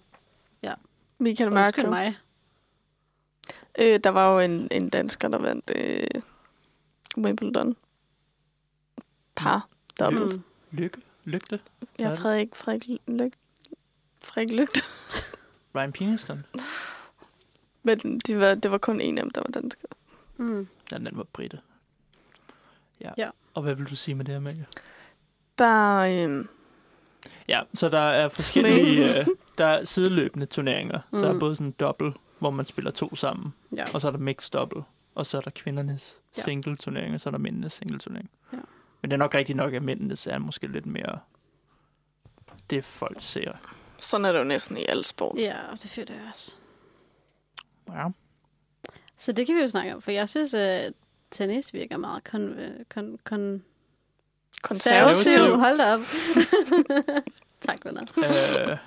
Speaker 4: Michael
Speaker 2: undskyld
Speaker 4: Marko.
Speaker 2: mig.
Speaker 4: Øh, der var jo en, en dansker, der vandt øh, Wimbledon. Par. Dobbelt.
Speaker 2: Mm.
Speaker 3: Lykke? Lygte?
Speaker 4: Ja, Frederik, Frederik Lygt. Frederik Lygt.
Speaker 3: Ryan Peniston?
Speaker 4: Men de var, det var kun en af dem, der var dansker.
Speaker 2: Mm.
Speaker 3: Ja, den var Britte. Ja.
Speaker 2: Ja.
Speaker 3: Og hvad vil du sige med det her, Marie?
Speaker 4: Bare, øh,
Speaker 3: Ja, så der er forskellige... øh, der er sideløbende turneringer. Mm. Så der er
Speaker 2: Mm.
Speaker 3: både sådan en dobbelt, hvor man spiller to sammen,
Speaker 2: Ja.
Speaker 3: og så er der mixed double, og så er der kvindernes
Speaker 2: Ja.
Speaker 3: single turnering, og så er der mændenes single turnering.
Speaker 2: Ja.
Speaker 3: Men det er nok rigtigt nok, at mændenes er måske lidt mere det folk ser.
Speaker 4: sådan er det jo næsten i alle sport.
Speaker 2: ja, det føler jeg også.
Speaker 3: Ja.
Speaker 2: Så det kan vi jo snakke om, for jeg synes, at tennis virker meget kon... øh, kon, kon
Speaker 4: Konservativ.
Speaker 3: Konservativ.
Speaker 2: Hold da op. tak, venner.
Speaker 3: Øh,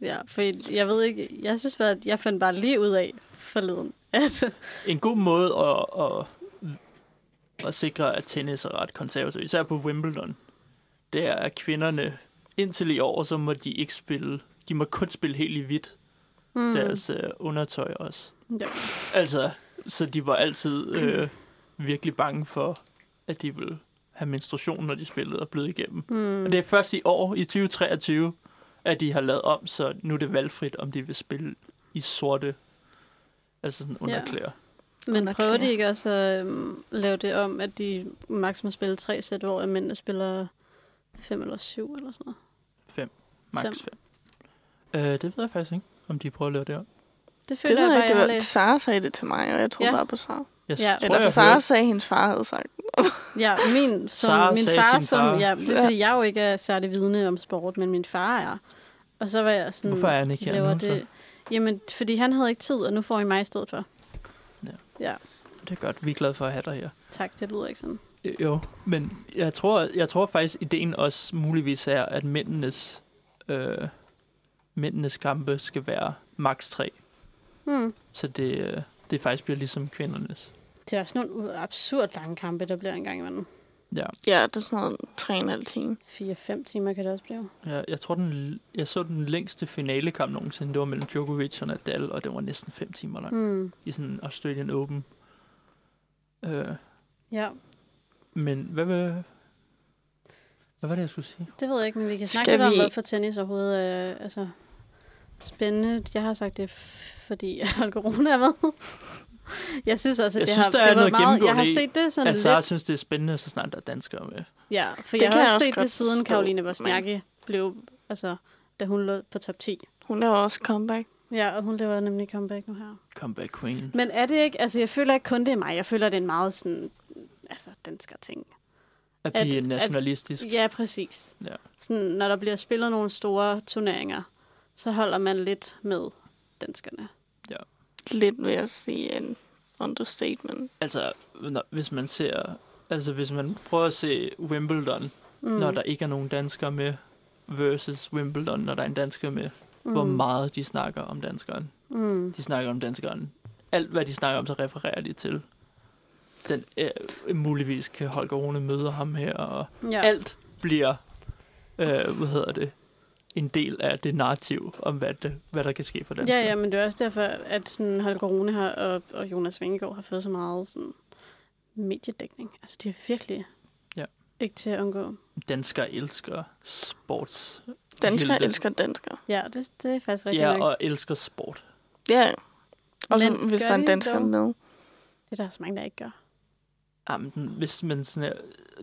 Speaker 2: Ja, for jeg ved ikke, jeg synes bare, at jeg fandt bare lige ud af forleden, at
Speaker 3: en god måde at, at, at sikre, at tennis er ret konservativ, især på Wimbledon, det er, at kvinderne indtil i år, så må de ikke spille, de må kun spille helt i hvidt
Speaker 2: mm,
Speaker 3: deres øh, undertøj også.
Speaker 2: ja.
Speaker 3: Altså, så de var altid øh, virkelig bange for, at de ville have menstruation, når de spillede og blød igennem. Mm. Og det er først i år, i 2023, at de har lavet om, så nu er det valgfrit, om de vil spille i sorte, altså sådan underklæder.
Speaker 2: Men
Speaker 4: Underklæder.
Speaker 2: prøver de ikke også at øhm, lave det om, at de maks må spille tre sæt, hvor at mændene spiller fem eller syv eller sådan noget?
Speaker 3: Fem. Max fem. Øh, det ved jeg faktisk ikke, om de prøver at lave det om.
Speaker 2: Det
Speaker 4: Det
Speaker 2: føler
Speaker 4: ved jeg
Speaker 2: jeg bare, jeg
Speaker 4: ikke, det
Speaker 2: har
Speaker 4: var,
Speaker 2: læst.
Speaker 4: Sara sagde det til mig, og jeg troede
Speaker 2: Ja.
Speaker 4: ja. bare på Sara.
Speaker 3: Jeg
Speaker 2: Ja.
Speaker 3: tror,
Speaker 4: Eller
Speaker 3: jeg
Speaker 4: Sara
Speaker 3: hørte-
Speaker 4: sagde, at hendes far havde sagt.
Speaker 2: Ja, min, som,
Speaker 3: Sara
Speaker 2: min
Speaker 3: sagde
Speaker 2: far,
Speaker 3: sin
Speaker 2: som,
Speaker 3: far.
Speaker 2: Ja, det er, fordi jeg jo ikke er særlig vidne om sport, men min far er. Og så var jeg sådan...
Speaker 3: Hvorfor er han ikke
Speaker 2: de
Speaker 3: her
Speaker 2: laver
Speaker 3: nu, så?
Speaker 2: Jamen, fordi han havde ikke tid, og nu får I mig i stedet for.
Speaker 3: Ja.
Speaker 2: ja.
Speaker 3: Det er godt, vi er glade for at have dig her.
Speaker 2: Tak, det lyder ikke sådan.
Speaker 3: Øh, Jo, men jeg tror, jeg tror faktisk, ideen også muligvis er, at mændenes, øh, mændenes kampe skal være maks 3.
Speaker 2: Hmm.
Speaker 3: Så det, øh, det faktisk bliver ligesom kvindernes.
Speaker 2: Det er også nogle u- absurd lange kampe, der bliver en gang imellem.
Speaker 3: Ja,
Speaker 4: Ja, det er sådan noget 3,5 time.
Speaker 2: 4-5 timer kan det også blive.
Speaker 3: jeg, jeg tror, den, jeg så den længste finalekamp nogensinde. Det var mellem Djokovic og Nadal, og det var næsten 5 timer lang.
Speaker 2: Hmm.
Speaker 3: I sådan en Australian Open. Øh,
Speaker 2: Ja,
Speaker 3: men hvad, hvad, hvad var det, jeg skulle sige?
Speaker 2: det ved jeg ikke, men vi kan snakke
Speaker 4: Skal
Speaker 2: lidt om,
Speaker 4: vi-
Speaker 2: hvorfor tennis overhovedet er altså, spændende. Jeg har sagt det, f- fordi Holger Rune er med. Jeg synes også, at
Speaker 3: Jeg
Speaker 2: det
Speaker 3: synes,
Speaker 2: har,
Speaker 3: der
Speaker 2: det
Speaker 3: er
Speaker 2: har været
Speaker 3: noget
Speaker 2: meget... Jeg
Speaker 3: gennemgående
Speaker 2: har
Speaker 3: i,
Speaker 2: set det sådan
Speaker 3: Altså, jeg
Speaker 2: lidt...
Speaker 3: synes, det er spændende, så snart der er danskere med.
Speaker 2: Ja, for
Speaker 4: Det
Speaker 2: jeg
Speaker 4: kan
Speaker 2: har
Speaker 4: jeg
Speaker 2: også
Speaker 4: også
Speaker 2: set
Speaker 4: godt
Speaker 2: det siden
Speaker 4: forstå,
Speaker 2: Karoline
Speaker 4: men-
Speaker 2: Wozniacki blev... Altså, da hun lå på top 10.
Speaker 4: Hun laver også comeback.
Speaker 2: Ja, og hun laver nemlig comeback nu her.
Speaker 3: Comeback Queen.
Speaker 2: Men er det ikke... Altså, jeg føler ikke kun, det er mig. Jeg føler, det er en meget sådan... Altså, dansker ting.
Speaker 3: At
Speaker 2: at-
Speaker 3: blive
Speaker 2: at-
Speaker 3: nationalistisk.
Speaker 2: Ja, præcis.
Speaker 3: Ja.
Speaker 2: Sådan, når der bliver spillet nogle store turneringer, så holder man lidt med danskerne.
Speaker 4: Lidt ved at sige en understatement.
Speaker 3: Altså, når, hvis man ser... Altså, hvis man prøver at se Wimbledon, mm.
Speaker 2: Mm.
Speaker 3: når der ikke er nogen danskere med, versus Wimbledon, når der er en dansker med, mm.
Speaker 2: mm.
Speaker 3: hvor meget de snakker om danskeren.
Speaker 2: Mm.
Speaker 3: De snakker om danskeren. Alt, hvad de snakker om, så refererer de til. Den, øh, muligvis kan Holger Rune møde ham her, og
Speaker 2: Ja.
Speaker 3: ja. alt bliver, øh, hvad hedder det, en del af det narrativ om, hvad, det, hvad der kan ske for danskere.
Speaker 2: ja, ja, men det er også derfor, at sådan, Holger Rune her og, og Jonas Vingegaard har fået så meget sådan, mediedækning. Altså, de er virkelig
Speaker 3: Ja.
Speaker 2: ikke til at undgå.
Speaker 3: Danskere elsker sports.
Speaker 4: Danskere
Speaker 3: Helt-
Speaker 4: elsker danskere.
Speaker 2: Ja, det, det er faktisk rigtigt
Speaker 3: Ja,
Speaker 2: nok.
Speaker 3: og elsker sport.
Speaker 4: Ja, og
Speaker 2: Men
Speaker 4: hvis
Speaker 2: gør
Speaker 4: der er en
Speaker 2: de
Speaker 4: dansker
Speaker 2: dog?
Speaker 4: med.
Speaker 2: Det er der så mange, der ikke gør.
Speaker 3: Jamen, den- hvis man sådan er,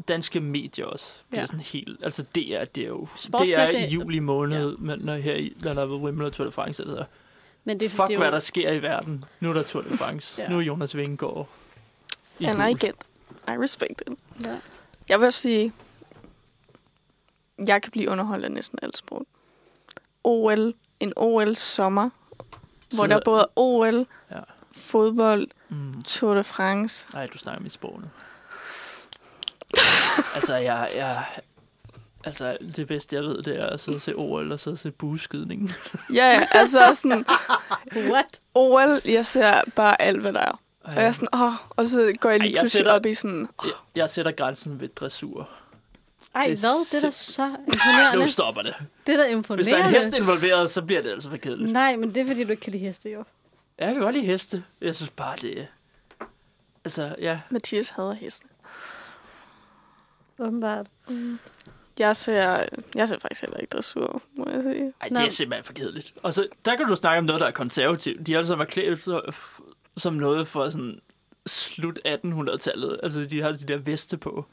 Speaker 3: danske medier også bliver
Speaker 2: Ja.
Speaker 3: ja. sådan helt... Altså, DR, det er jo...
Speaker 2: Sportsnet,
Speaker 3: det er
Speaker 2: det-
Speaker 3: i juli måned, ja. men når her i, når der er Wimbledon og Tour de France, altså...
Speaker 2: Men
Speaker 3: Det,
Speaker 2: det,
Speaker 3: fuck,
Speaker 2: det er
Speaker 3: det
Speaker 2: jo,
Speaker 3: hvad der sker i verden. Nu er der Tour de France.
Speaker 2: Ja.
Speaker 3: ja. Nu er Jonas Vingegaard i
Speaker 4: And I
Speaker 3: gul.
Speaker 4: get, I respect it.
Speaker 2: Ja.
Speaker 4: Jeg vil også sige, jeg kan blive underholdt af næsten alt sport. OL, en OL-sommer, hvor der er både OL,
Speaker 3: Ja.
Speaker 4: fodbold,
Speaker 3: Mm.
Speaker 4: Tour de France.
Speaker 3: Nej, du snakker mit sprog nu. altså, jeg, jeg... Altså, det bedste, jeg ved, det er at sidde og se OL og sidde og se bueskydning.
Speaker 4: Ja, ja, altså sådan,
Speaker 2: What?
Speaker 4: OL, jeg ser bare alt, hvad der er.
Speaker 3: Og
Speaker 4: Og jeg er sådan, åh, og så går jeg lige
Speaker 3: Ej, jeg
Speaker 4: pludselig
Speaker 3: sætter-
Speaker 4: op i sådan,
Speaker 3: jeg, jeg sætter grænsen ved dressur.
Speaker 2: Ej,
Speaker 3: Det er
Speaker 2: hvad? Det er da så imponerende.
Speaker 3: Nu stopper det.
Speaker 2: Det er da
Speaker 3: Hvis der er en
Speaker 2: imponerende.
Speaker 3: hest involveret, så bliver det altså for kedeligt.
Speaker 2: Nej, men det er, fordi du ikke kan lide heste, jo.
Speaker 3: Jeg kan godt lide heste. Jeg synes bare, det er... Altså, ja.
Speaker 4: Mathias hader hesten.
Speaker 2: Åbenbart.
Speaker 4: Jeg ser, jeg ser faktisk heller ikke dressur, må jeg sige.
Speaker 3: Ej,
Speaker 2: Nå.
Speaker 3: det er simpelthen for kedeligt. Og så, der kan du snakke om noget, der er konservativt. De er altså klædt så- f- som noget for sådan slut 1800-tallet. Altså, de har de der veste på.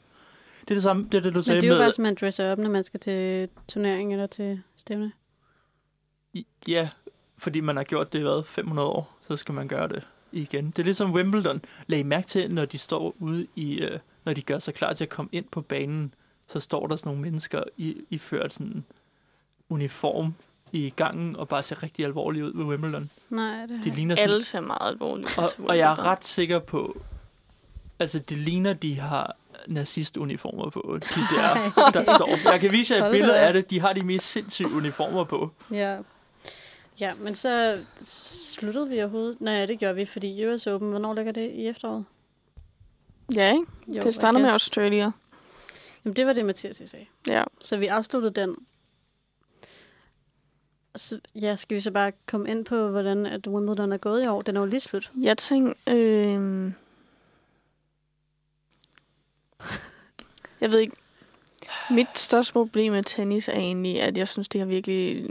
Speaker 3: Det er det samme, det er det, du
Speaker 2: Men
Speaker 3: sagde
Speaker 2: det er jo
Speaker 3: med...
Speaker 2: bare, som man dresser op, når man skal til turnering eller til stævne.
Speaker 3: I- Ja, fordi man har gjort det i hvad, 500 år, så skal man gøre det igen. Det er ligesom Wimbledon. Lag mærke til, når de står ude i, øh, når de gør sig klar til at komme ind på banen, så står der sådan nogle mennesker i, i ført sådan uniform i gangen og bare ser rigtig alvorlige ud ved Wimbledon.
Speaker 2: Nej, det
Speaker 3: De
Speaker 2: er
Speaker 3: ligner sådan,
Speaker 4: Alle ser meget alvorligt.
Speaker 3: og, og jeg er ret sikker på, altså det ligner, de har nazistuniformer på, de der, der står. Jeg kan vise jer et
Speaker 2: Hold da
Speaker 3: billede
Speaker 2: op.
Speaker 3: af det. De har de mest sindssyge uniformer på.
Speaker 2: Ja. Ja, men så sluttede vi overhovedet. Nej, det gjorde vi, fordi US Open, hvornår ligger det i efteråret?
Speaker 4: Ja, ikke?
Speaker 2: Jo,
Speaker 4: det starter
Speaker 2: I
Speaker 4: med
Speaker 2: guess.
Speaker 4: Australia.
Speaker 2: Jamen, det var det, Mathias jeg sagde.
Speaker 4: Ja.
Speaker 2: Så vi afsluttede den. Så, ja, skal vi så bare komme ind på, hvordan at Wimbledon er gået i år? Den er jo lige slut.
Speaker 4: Jeg tænkte, øh... Jeg ved ikke. Mit største problem med tennis er egentlig, at jeg synes, de har virkelig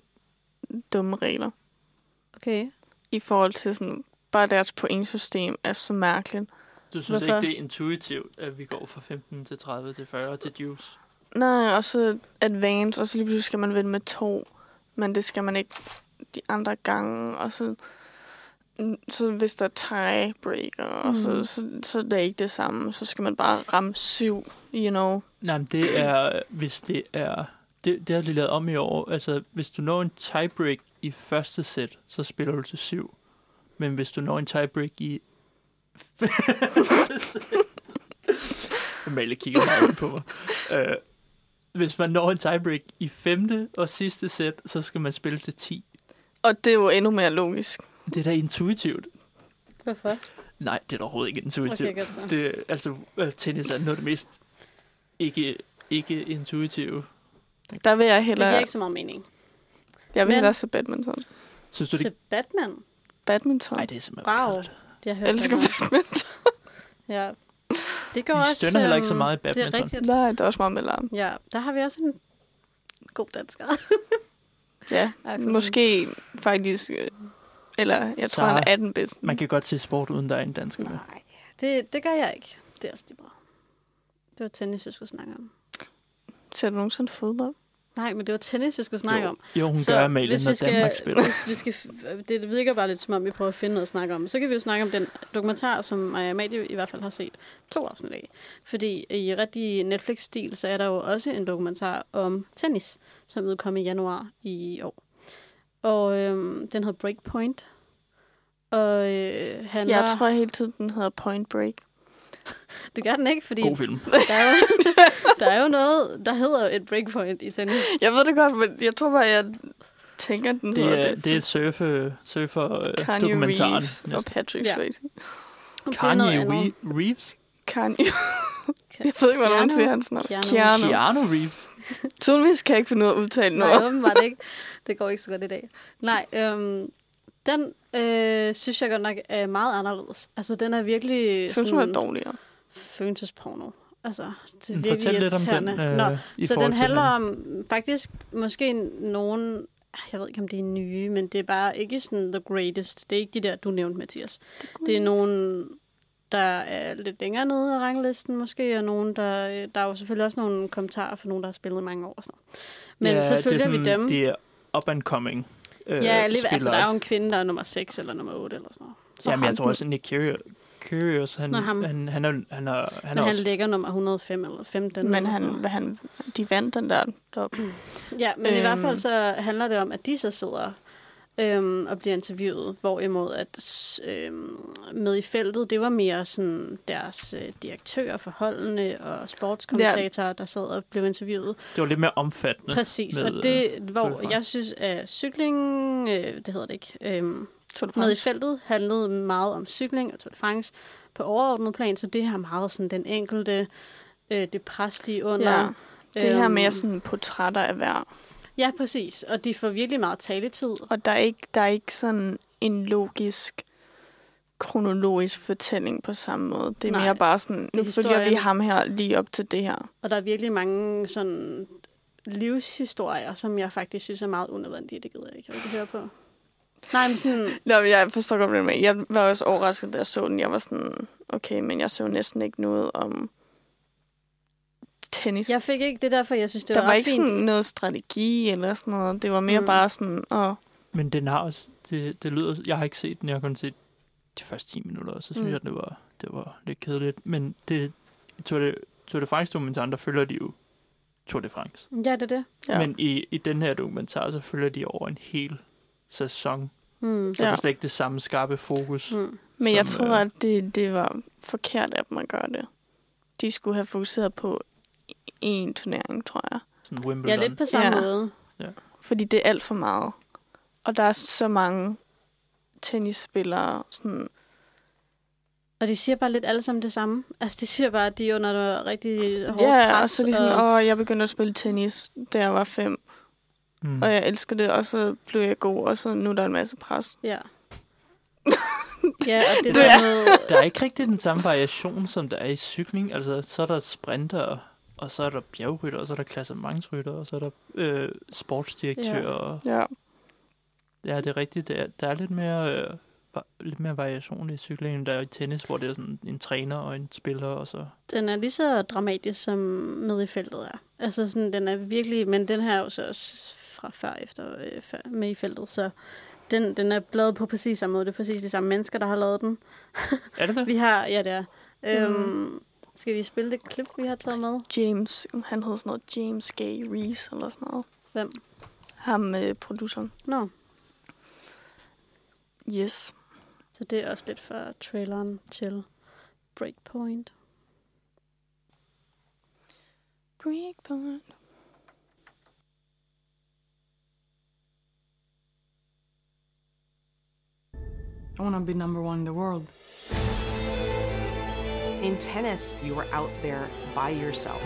Speaker 4: dumme regler.
Speaker 2: Okay.
Speaker 4: I forhold til sådan, bare deres pointsystem er så mærkeligt.
Speaker 3: Du synes
Speaker 2: Hvorfor?
Speaker 3: Hvorfor? ikke, det er intuitivt, at vi går fra 15 til 30 til 40 til juice?
Speaker 4: Nej, og så advance, og så lige pludselig skal man vinde med to, men det skal man ikke de andre gange, og så, så hvis der er tiebreaker, mm. og
Speaker 2: Mm.
Speaker 4: så, så, så det er ikke det samme, så skal man bare ramme syv, you know.
Speaker 3: Nej, men det er, hvis det er... Det, det har de lavet om i år. Altså, hvis du når en tiebreak i første sæt, så spiller du til 7. Men hvis du når en tiebreak i... Amalie kigger meget ondt på mig. Øh, hvis man når en tiebreak i femte og sidste sæt, så skal man spille til 10.
Speaker 4: Og det er jo endnu mere logisk.
Speaker 3: Det er da intuitivt.
Speaker 2: Hvorfor?
Speaker 3: Nej, det er da overhovedet ikke intuitivt.
Speaker 2: Okay, godt så.
Speaker 3: Det, altså, øh, tennis er noget af det mest ikke, ikke intuitive.
Speaker 4: Der vil jeg
Speaker 2: Det giver
Speaker 4: hellere...
Speaker 2: ikke så meget mening.
Speaker 4: Jeg vil
Speaker 2: Men-
Speaker 4: hellere se badminton.
Speaker 3: Synes du,
Speaker 2: Så
Speaker 3: det...
Speaker 2: Batman?
Speaker 4: Badminton?
Speaker 3: Nej, det er simpelthen
Speaker 2: Wow.
Speaker 3: kedeligt.
Speaker 2: Jeg
Speaker 4: jeg
Speaker 2: hørte
Speaker 4: elsker
Speaker 2: den her.
Speaker 4: badminton.
Speaker 2: Ja. Det går
Speaker 3: De
Speaker 2: også...
Speaker 3: stønner heller ikke så
Speaker 2: øhm,
Speaker 3: meget i
Speaker 2: Det er
Speaker 3: badminton.
Speaker 2: rigtigt.
Speaker 4: Nej, det er også meget med larm.
Speaker 2: Ja, der har vi også en god dansker.
Speaker 4: Ja,
Speaker 2: Ej, for
Speaker 4: måske faktisk... øh, Eller jeg tror,
Speaker 3: Sara.
Speaker 4: han er den bedste.
Speaker 3: Man kan godt se sport, uden der er en dansker med.
Speaker 2: Nej, det, det gør jeg ikke. Det er også lige bra. Det var tennis, jeg skulle snakke om.
Speaker 4: Ser du nogensinde fodbold?
Speaker 2: Nej, men det var tennis, jeg skulle snakke
Speaker 3: jo,
Speaker 2: om.
Speaker 3: Jo, hun så, gør Amalie, når skal... Danmark spiller.
Speaker 2: Hvis vi skal, det, det virker bare lidt, som om vi prøver at finde noget at snakke om. Så kan vi jo snakke om den dokumentar, som Maja Amalie i hvert fald har set to afsnit af. Fordi i rigtig Netflix-stil, så er der jo også en dokumentar om tennis, som udkom i januar i år. Og øhm, den hedder Breakpoint. Og øh, han
Speaker 4: Jeg tror hele tiden, den hedder Point Break.
Speaker 2: Det gør den ikke, fordi
Speaker 3: God film.
Speaker 2: der er, jo, der er jo noget, der hedder et breakpoint i tennis.
Speaker 4: Jeg ved det godt, men jeg tror bare, jeg tænker, den
Speaker 3: Det
Speaker 4: hedder
Speaker 3: er, det er surfe, øh,
Speaker 4: Kanye
Speaker 3: surfer-dokumentaren.
Speaker 4: Reeves og Patrick
Speaker 2: Ja.
Speaker 4: Swayze.
Speaker 2: Det er noget
Speaker 3: Kanye
Speaker 2: andet.
Speaker 3: Wee- Reeves?
Speaker 4: Kanye. jeg ved ikke, hvordan man
Speaker 2: Keanu.
Speaker 4: siger hans navn.
Speaker 2: Keanu.
Speaker 4: Keanu. Keanu.
Speaker 3: Keanu Reeves?
Speaker 4: Tydeligvis kan jeg ikke finde ud af at udtale noget.
Speaker 2: Nej, åbenbart ikke. Det går ikke så godt i dag. Nej, øhm, den øh, synes jeg godt nok er meget anderledes. Altså, den er virkelig
Speaker 4: Jeg synes, hun er
Speaker 2: sådan
Speaker 4: dårligere.
Speaker 2: følelsesporno. Altså, det er
Speaker 3: Mm,
Speaker 2: virkelig
Speaker 3: Fortæl lidt om den.
Speaker 2: irriterende.
Speaker 3: Øh,
Speaker 2: Nå,
Speaker 3: i
Speaker 2: så
Speaker 3: forhold
Speaker 2: den
Speaker 3: til
Speaker 2: handler om faktisk måske nogen... Jeg ved ikke, om det er nye, men det er bare ikke sådan the greatest. Det er ikke de der, du nævnte, Mathias. Det er nogen, der er lidt længere nede af ranglisten måske, og nogen, der... øh, Der er jo selvfølgelig også nogle kommentarer for nogen, der har spillet i mange år og sådan noget. Men
Speaker 3: Ja,
Speaker 2: ja, så
Speaker 3: det er
Speaker 2: følger vi
Speaker 3: sådan,
Speaker 2: dem.
Speaker 3: Det er up and coming. Øh,
Speaker 2: Ja, alligevel, altså, der er jo
Speaker 3: spillere.
Speaker 2: en kvinde, der er nummer 6 eller nummer 8 eller sådan noget. Så
Speaker 3: Jamen,
Speaker 2: ham,
Speaker 3: jeg tror også, at Nick Curious, Curious han,
Speaker 2: Nå,
Speaker 3: han,
Speaker 2: ham.
Speaker 3: han, han, er, han, er, han
Speaker 2: han,
Speaker 3: er
Speaker 2: han
Speaker 3: også...
Speaker 2: ligger nummer 105 eller 15.
Speaker 4: Men
Speaker 2: eller sådan
Speaker 4: han,
Speaker 2: noget.
Speaker 4: hvad han, de vandt den der top.
Speaker 2: Ja, men øhm. i hvert fald
Speaker 4: Øhm.
Speaker 2: så handler det om, at de så sidder øhm, og bliver interviewet, hvorimod at s- øhm, med i feltet, det var mere sådan deres øh, direktører for holdene og sportskommentatorer, ja. der sad og blev interviewet.
Speaker 3: Det var lidt mere omfattende.
Speaker 2: Præcis,
Speaker 3: med, øh,
Speaker 2: og det,
Speaker 3: Tour de
Speaker 2: hvor
Speaker 3: France.
Speaker 2: jeg synes, at cyklingen, øh, det hedder det ikke, øhm,
Speaker 4: Tour de
Speaker 2: med i
Speaker 4: France.
Speaker 2: feltet handlede meget om cykling og Tour de France på overordnet plan, så det her meget sådan den enkelte, øh, det pres, de er under.
Speaker 4: Ja. Det her
Speaker 2: Øhm,
Speaker 4: med sådan portrætter af hver.
Speaker 2: Ja, præcis, og de får virkelig meget taletid.
Speaker 4: Og der er ikke, der er ikke sådan en logisk kronologisk fortælling på samme måde. Det er
Speaker 2: Nej,
Speaker 4: mere bare sådan, nu følger vi
Speaker 2: historien.
Speaker 4: ham her lige op til det her.
Speaker 2: Og der er virkelig mange sådan livshistorier, som jeg faktisk synes er meget unødvendige. Det gider jeg ikke rigtig høre på. Nej, men sådan,
Speaker 4: Nå, men jeg forstår godt, hvad du mener. Jeg var også overrasket, da jeg så den. Jeg var sådan, okay, men jeg så næsten ikke noget om tennis.
Speaker 2: jeg fik ikke det er derfor, jeg synes, det
Speaker 4: der
Speaker 2: var,
Speaker 4: var
Speaker 2: ret
Speaker 4: ikke
Speaker 2: fint.
Speaker 4: sådan noget strategi eller sådan noget. Det var mere
Speaker 2: Mm.
Speaker 4: mm. bare sådan, åh,
Speaker 3: Men den har også... Det, det lyder... Jeg har ikke set den. Jeg har kun set de første 10 minutter, og så synes
Speaker 2: Mm.
Speaker 3: mm. jeg, det var, det var lidt kedeligt. Men det... Tour de, Tour de France-dokumentaren, der følger de jo Tour de France.
Speaker 2: Ja, det er det.
Speaker 4: ja.
Speaker 3: Ja. Men i, i den her dokumentar, så følger de over en hel sæson.
Speaker 2: Mm.
Speaker 3: Så ja. det
Speaker 4: Ja.
Speaker 3: er slet ikke det samme skarpe fokus. Mm.
Speaker 2: Mm.
Speaker 4: men jeg
Speaker 3: som,
Speaker 4: tror,
Speaker 3: øh,
Speaker 4: at det, det var forkert af dem at gøre det. De skulle have fokuseret på en turnering, tror jeg.
Speaker 3: Sådan Wimbledon.
Speaker 2: Ja, lidt på samme ja.
Speaker 4: Ja.
Speaker 2: måde.
Speaker 4: Fordi det er alt for meget. Og der er så mange tennisspillere, sådan,
Speaker 2: Og de siger bare lidt alle sammen det samme. Altså, de siger bare, at de er under noget rigtig hårdt
Speaker 4: ja, altså ligesom
Speaker 2: pres.
Speaker 4: og så er de sådan, åh, jeg begyndte at spille tennis, da jeg var fem.
Speaker 3: Mm.
Speaker 4: Og jeg elsker det, og så blev jeg god, og så nu er der en masse pres.
Speaker 2: Ja. ja, og det,
Speaker 4: Det
Speaker 2: der
Speaker 4: er-
Speaker 2: med...
Speaker 3: Der er ikke rigtig den samme variation, som der er i cykling. Altså, så er der sprinter, og så er der bjergrytter, og så er der klassementsrytter, og så er der øh, sportsdirektør.
Speaker 2: Ja.
Speaker 3: Ja. Og,
Speaker 4: Ja.
Speaker 3: ja, det er rigtigt. Det er, der er lidt mere, øh, va- lidt mere variation i cykling, end der er i tennis, hvor det er sådan en træner og en spiller, og så...
Speaker 2: Den er lige så dramatisk, som med i feltet er. Altså, sådan, den er virkelig... Men den her er jo så også fra før efter øh, før, med i feltet, så den, den er bladet på præcis samme måde. Det er præcis de samme mennesker, der har lavet den.
Speaker 3: Er det det?
Speaker 2: Vi har... Ja, det er. Øhm,
Speaker 4: Mhm.
Speaker 2: Skal vi spille det klip, vi har taget med?
Speaker 4: James, han hed sådan noget James Gay Reese eller sådan noget.
Speaker 2: Hvem?
Speaker 4: Ham med øh, produceren.
Speaker 2: Nå,
Speaker 4: Yes.
Speaker 2: så det er også lidt fra traileren til Breakpoint.
Speaker 4: Greek Bond.
Speaker 8: I want to be number one in the world.
Speaker 9: In tennis, you are out there by yourself.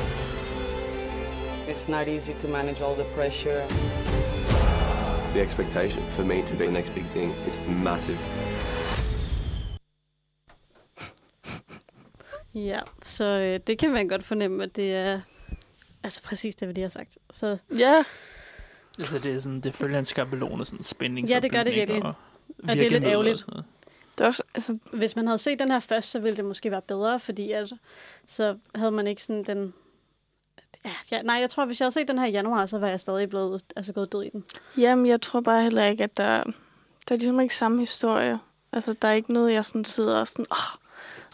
Speaker 10: It's not easy to manage all the pressure.
Speaker 11: The expectation for me to be the next big thing is massive.
Speaker 2: Ja, så øh, det kan man godt fornemme, at det er altså præcis det, vi lige har sagt. Så
Speaker 4: Ja,
Speaker 3: Altså, det er sådan, det følger en skabelon og sådan en spænding.
Speaker 2: Ja, det gør det virkelig.
Speaker 3: Og,
Speaker 2: er lidt
Speaker 3: virkemidler
Speaker 2: ærgerligt.
Speaker 3: sådan noget.
Speaker 4: det er også, altså,
Speaker 2: hvis man havde set den her først, så ville det måske være bedre, fordi at, så havde man ikke sådan den... Ja, ja, nej, jeg tror, hvis jeg havde set den her i januar, så var jeg stadig blevet altså, gået død i den.
Speaker 4: jamen, jeg tror bare heller ikke, at der, der er ligesom ikke samme historie. Altså, der er ikke noget, jeg sådan sidder og sådan, oh,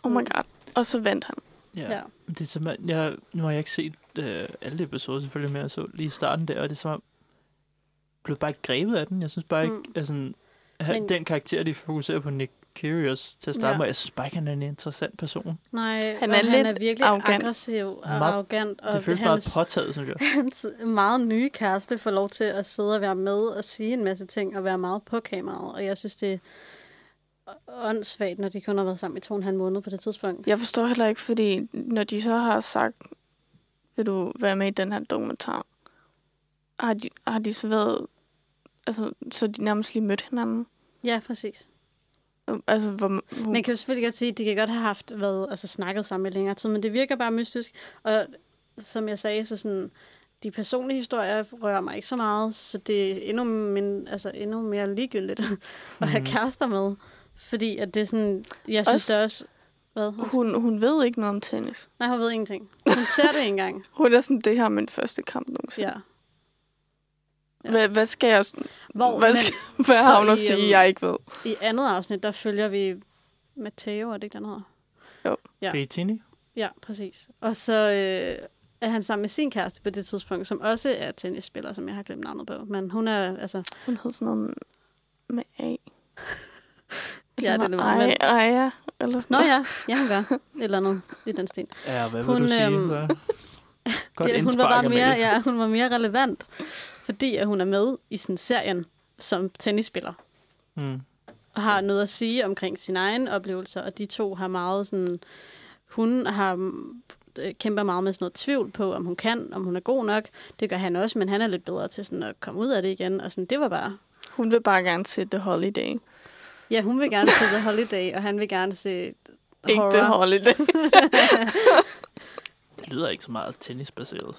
Speaker 4: oh my
Speaker 2: Mm.
Speaker 4: god, og så vandt han.
Speaker 3: Ja. ja. Det er som, at jeg, nu har jeg ikke set øh, alle episoder selvfølgelig, men jeg så lige i starten der, og det er som om, jeg blev bare ikke grebet af den. Jeg synes bare ikke,
Speaker 2: Mm.
Speaker 3: mm. altså, men...
Speaker 2: Men-
Speaker 3: den karakter, de fokuserer på Nick Curious til at starte
Speaker 2: Ja.
Speaker 3: ja. med, jeg synes bare ikke, han er en interessant person.
Speaker 2: Nej,
Speaker 4: Han
Speaker 2: og
Speaker 4: er
Speaker 2: han
Speaker 4: lidt
Speaker 2: er virkelig
Speaker 4: arrogant.
Speaker 2: aggressiv og
Speaker 3: Meget-
Speaker 2: arrogant,
Speaker 3: Og
Speaker 2: og
Speaker 3: det føles
Speaker 2: hans,
Speaker 3: meget påtaget, synes jeg.
Speaker 2: hans meget nye kæreste får lov til at sidde og være med og sige en masse ting og være meget på kameraet, og jeg synes, det er åndssvagt, når de kun har været sammen i to og en halv måned på det tidspunkt.
Speaker 4: Jeg forstår heller ikke, fordi når de så har sagt, vil du være med i den her dokumentar, har de, har de så været, altså, så de nærmest lige mødt hinanden.
Speaker 2: Ja, præcis.
Speaker 4: Altså, hvor, hvor,
Speaker 2: Man kan jo selvfølgelig godt sige, at de kan godt have haft været, altså, snakket sammen i længere tid, men det virker bare mystisk. Og som jeg sagde, så sådan, de personlige historier rører mig ikke så meget, så det er endnu, min, altså, endnu mere ligegyldigt at
Speaker 3: Mm.
Speaker 2: have kærester med. Fordi at det er sådan, jeg synes
Speaker 4: Også-
Speaker 2: også, det er også... Hvad?
Speaker 4: hun, hun ved ikke noget om tennis.
Speaker 2: Nej, hun ved ingenting. Hun ser det ikke engang.
Speaker 4: Hun er sådan, det her er min første kamp nogensinde.
Speaker 2: Ja.
Speaker 4: Ja. Hvad, hvad skal jeg,
Speaker 2: Hvor,
Speaker 4: Hvad
Speaker 2: men
Speaker 4: skal- hvad
Speaker 2: Så
Speaker 4: har hun at
Speaker 2: i,
Speaker 4: sige,
Speaker 2: øhm,
Speaker 4: jeg ikke ved?
Speaker 2: i andet afsnit, der følger vi Matteo, er det ikke, den hedder? Ja.
Speaker 3: Ja. Bettini?
Speaker 2: Ja, præcis. Og så øh, er han sammen med sin kæreste på det tidspunkt, som også er tennisspiller, som jeg har glemt navnet på. Men hun er, altså...
Speaker 4: Hun hed sådan noget med A.
Speaker 2: Ja, det er det,
Speaker 4: Ej,
Speaker 2: men-
Speaker 4: ej, ja. Eller sådan
Speaker 2: Nå
Speaker 4: noget.
Speaker 2: ja, ja, hun gør. Et eller andet i den sten.
Speaker 3: Ja, hvad
Speaker 2: Hun,
Speaker 3: vil du sige?
Speaker 2: øhm,
Speaker 3: Øhm... Godt
Speaker 2: ja, hun var bare mere, ja, hun var mere relevant, fordi at hun er med i sådan serien som tennisspiller.
Speaker 3: Mm.
Speaker 2: og har noget at sige omkring sin egen oplevelser, og de to har meget sådan... Hun har mm, øh, kæmper meget med sådan noget tvivl på, om hun kan, om hun er god nok. Det gør han også, men han er lidt bedre til sådan at komme ud af det igen. Og sådan, det var bare...
Speaker 4: Hun vil bare gerne se The Holiday.
Speaker 2: Ja, hun vil gerne se The Holiday, og han vil gerne se
Speaker 4: Ikke
Speaker 2: horror.
Speaker 4: The Holiday.
Speaker 3: Det lyder ikke så meget tennisbaseret.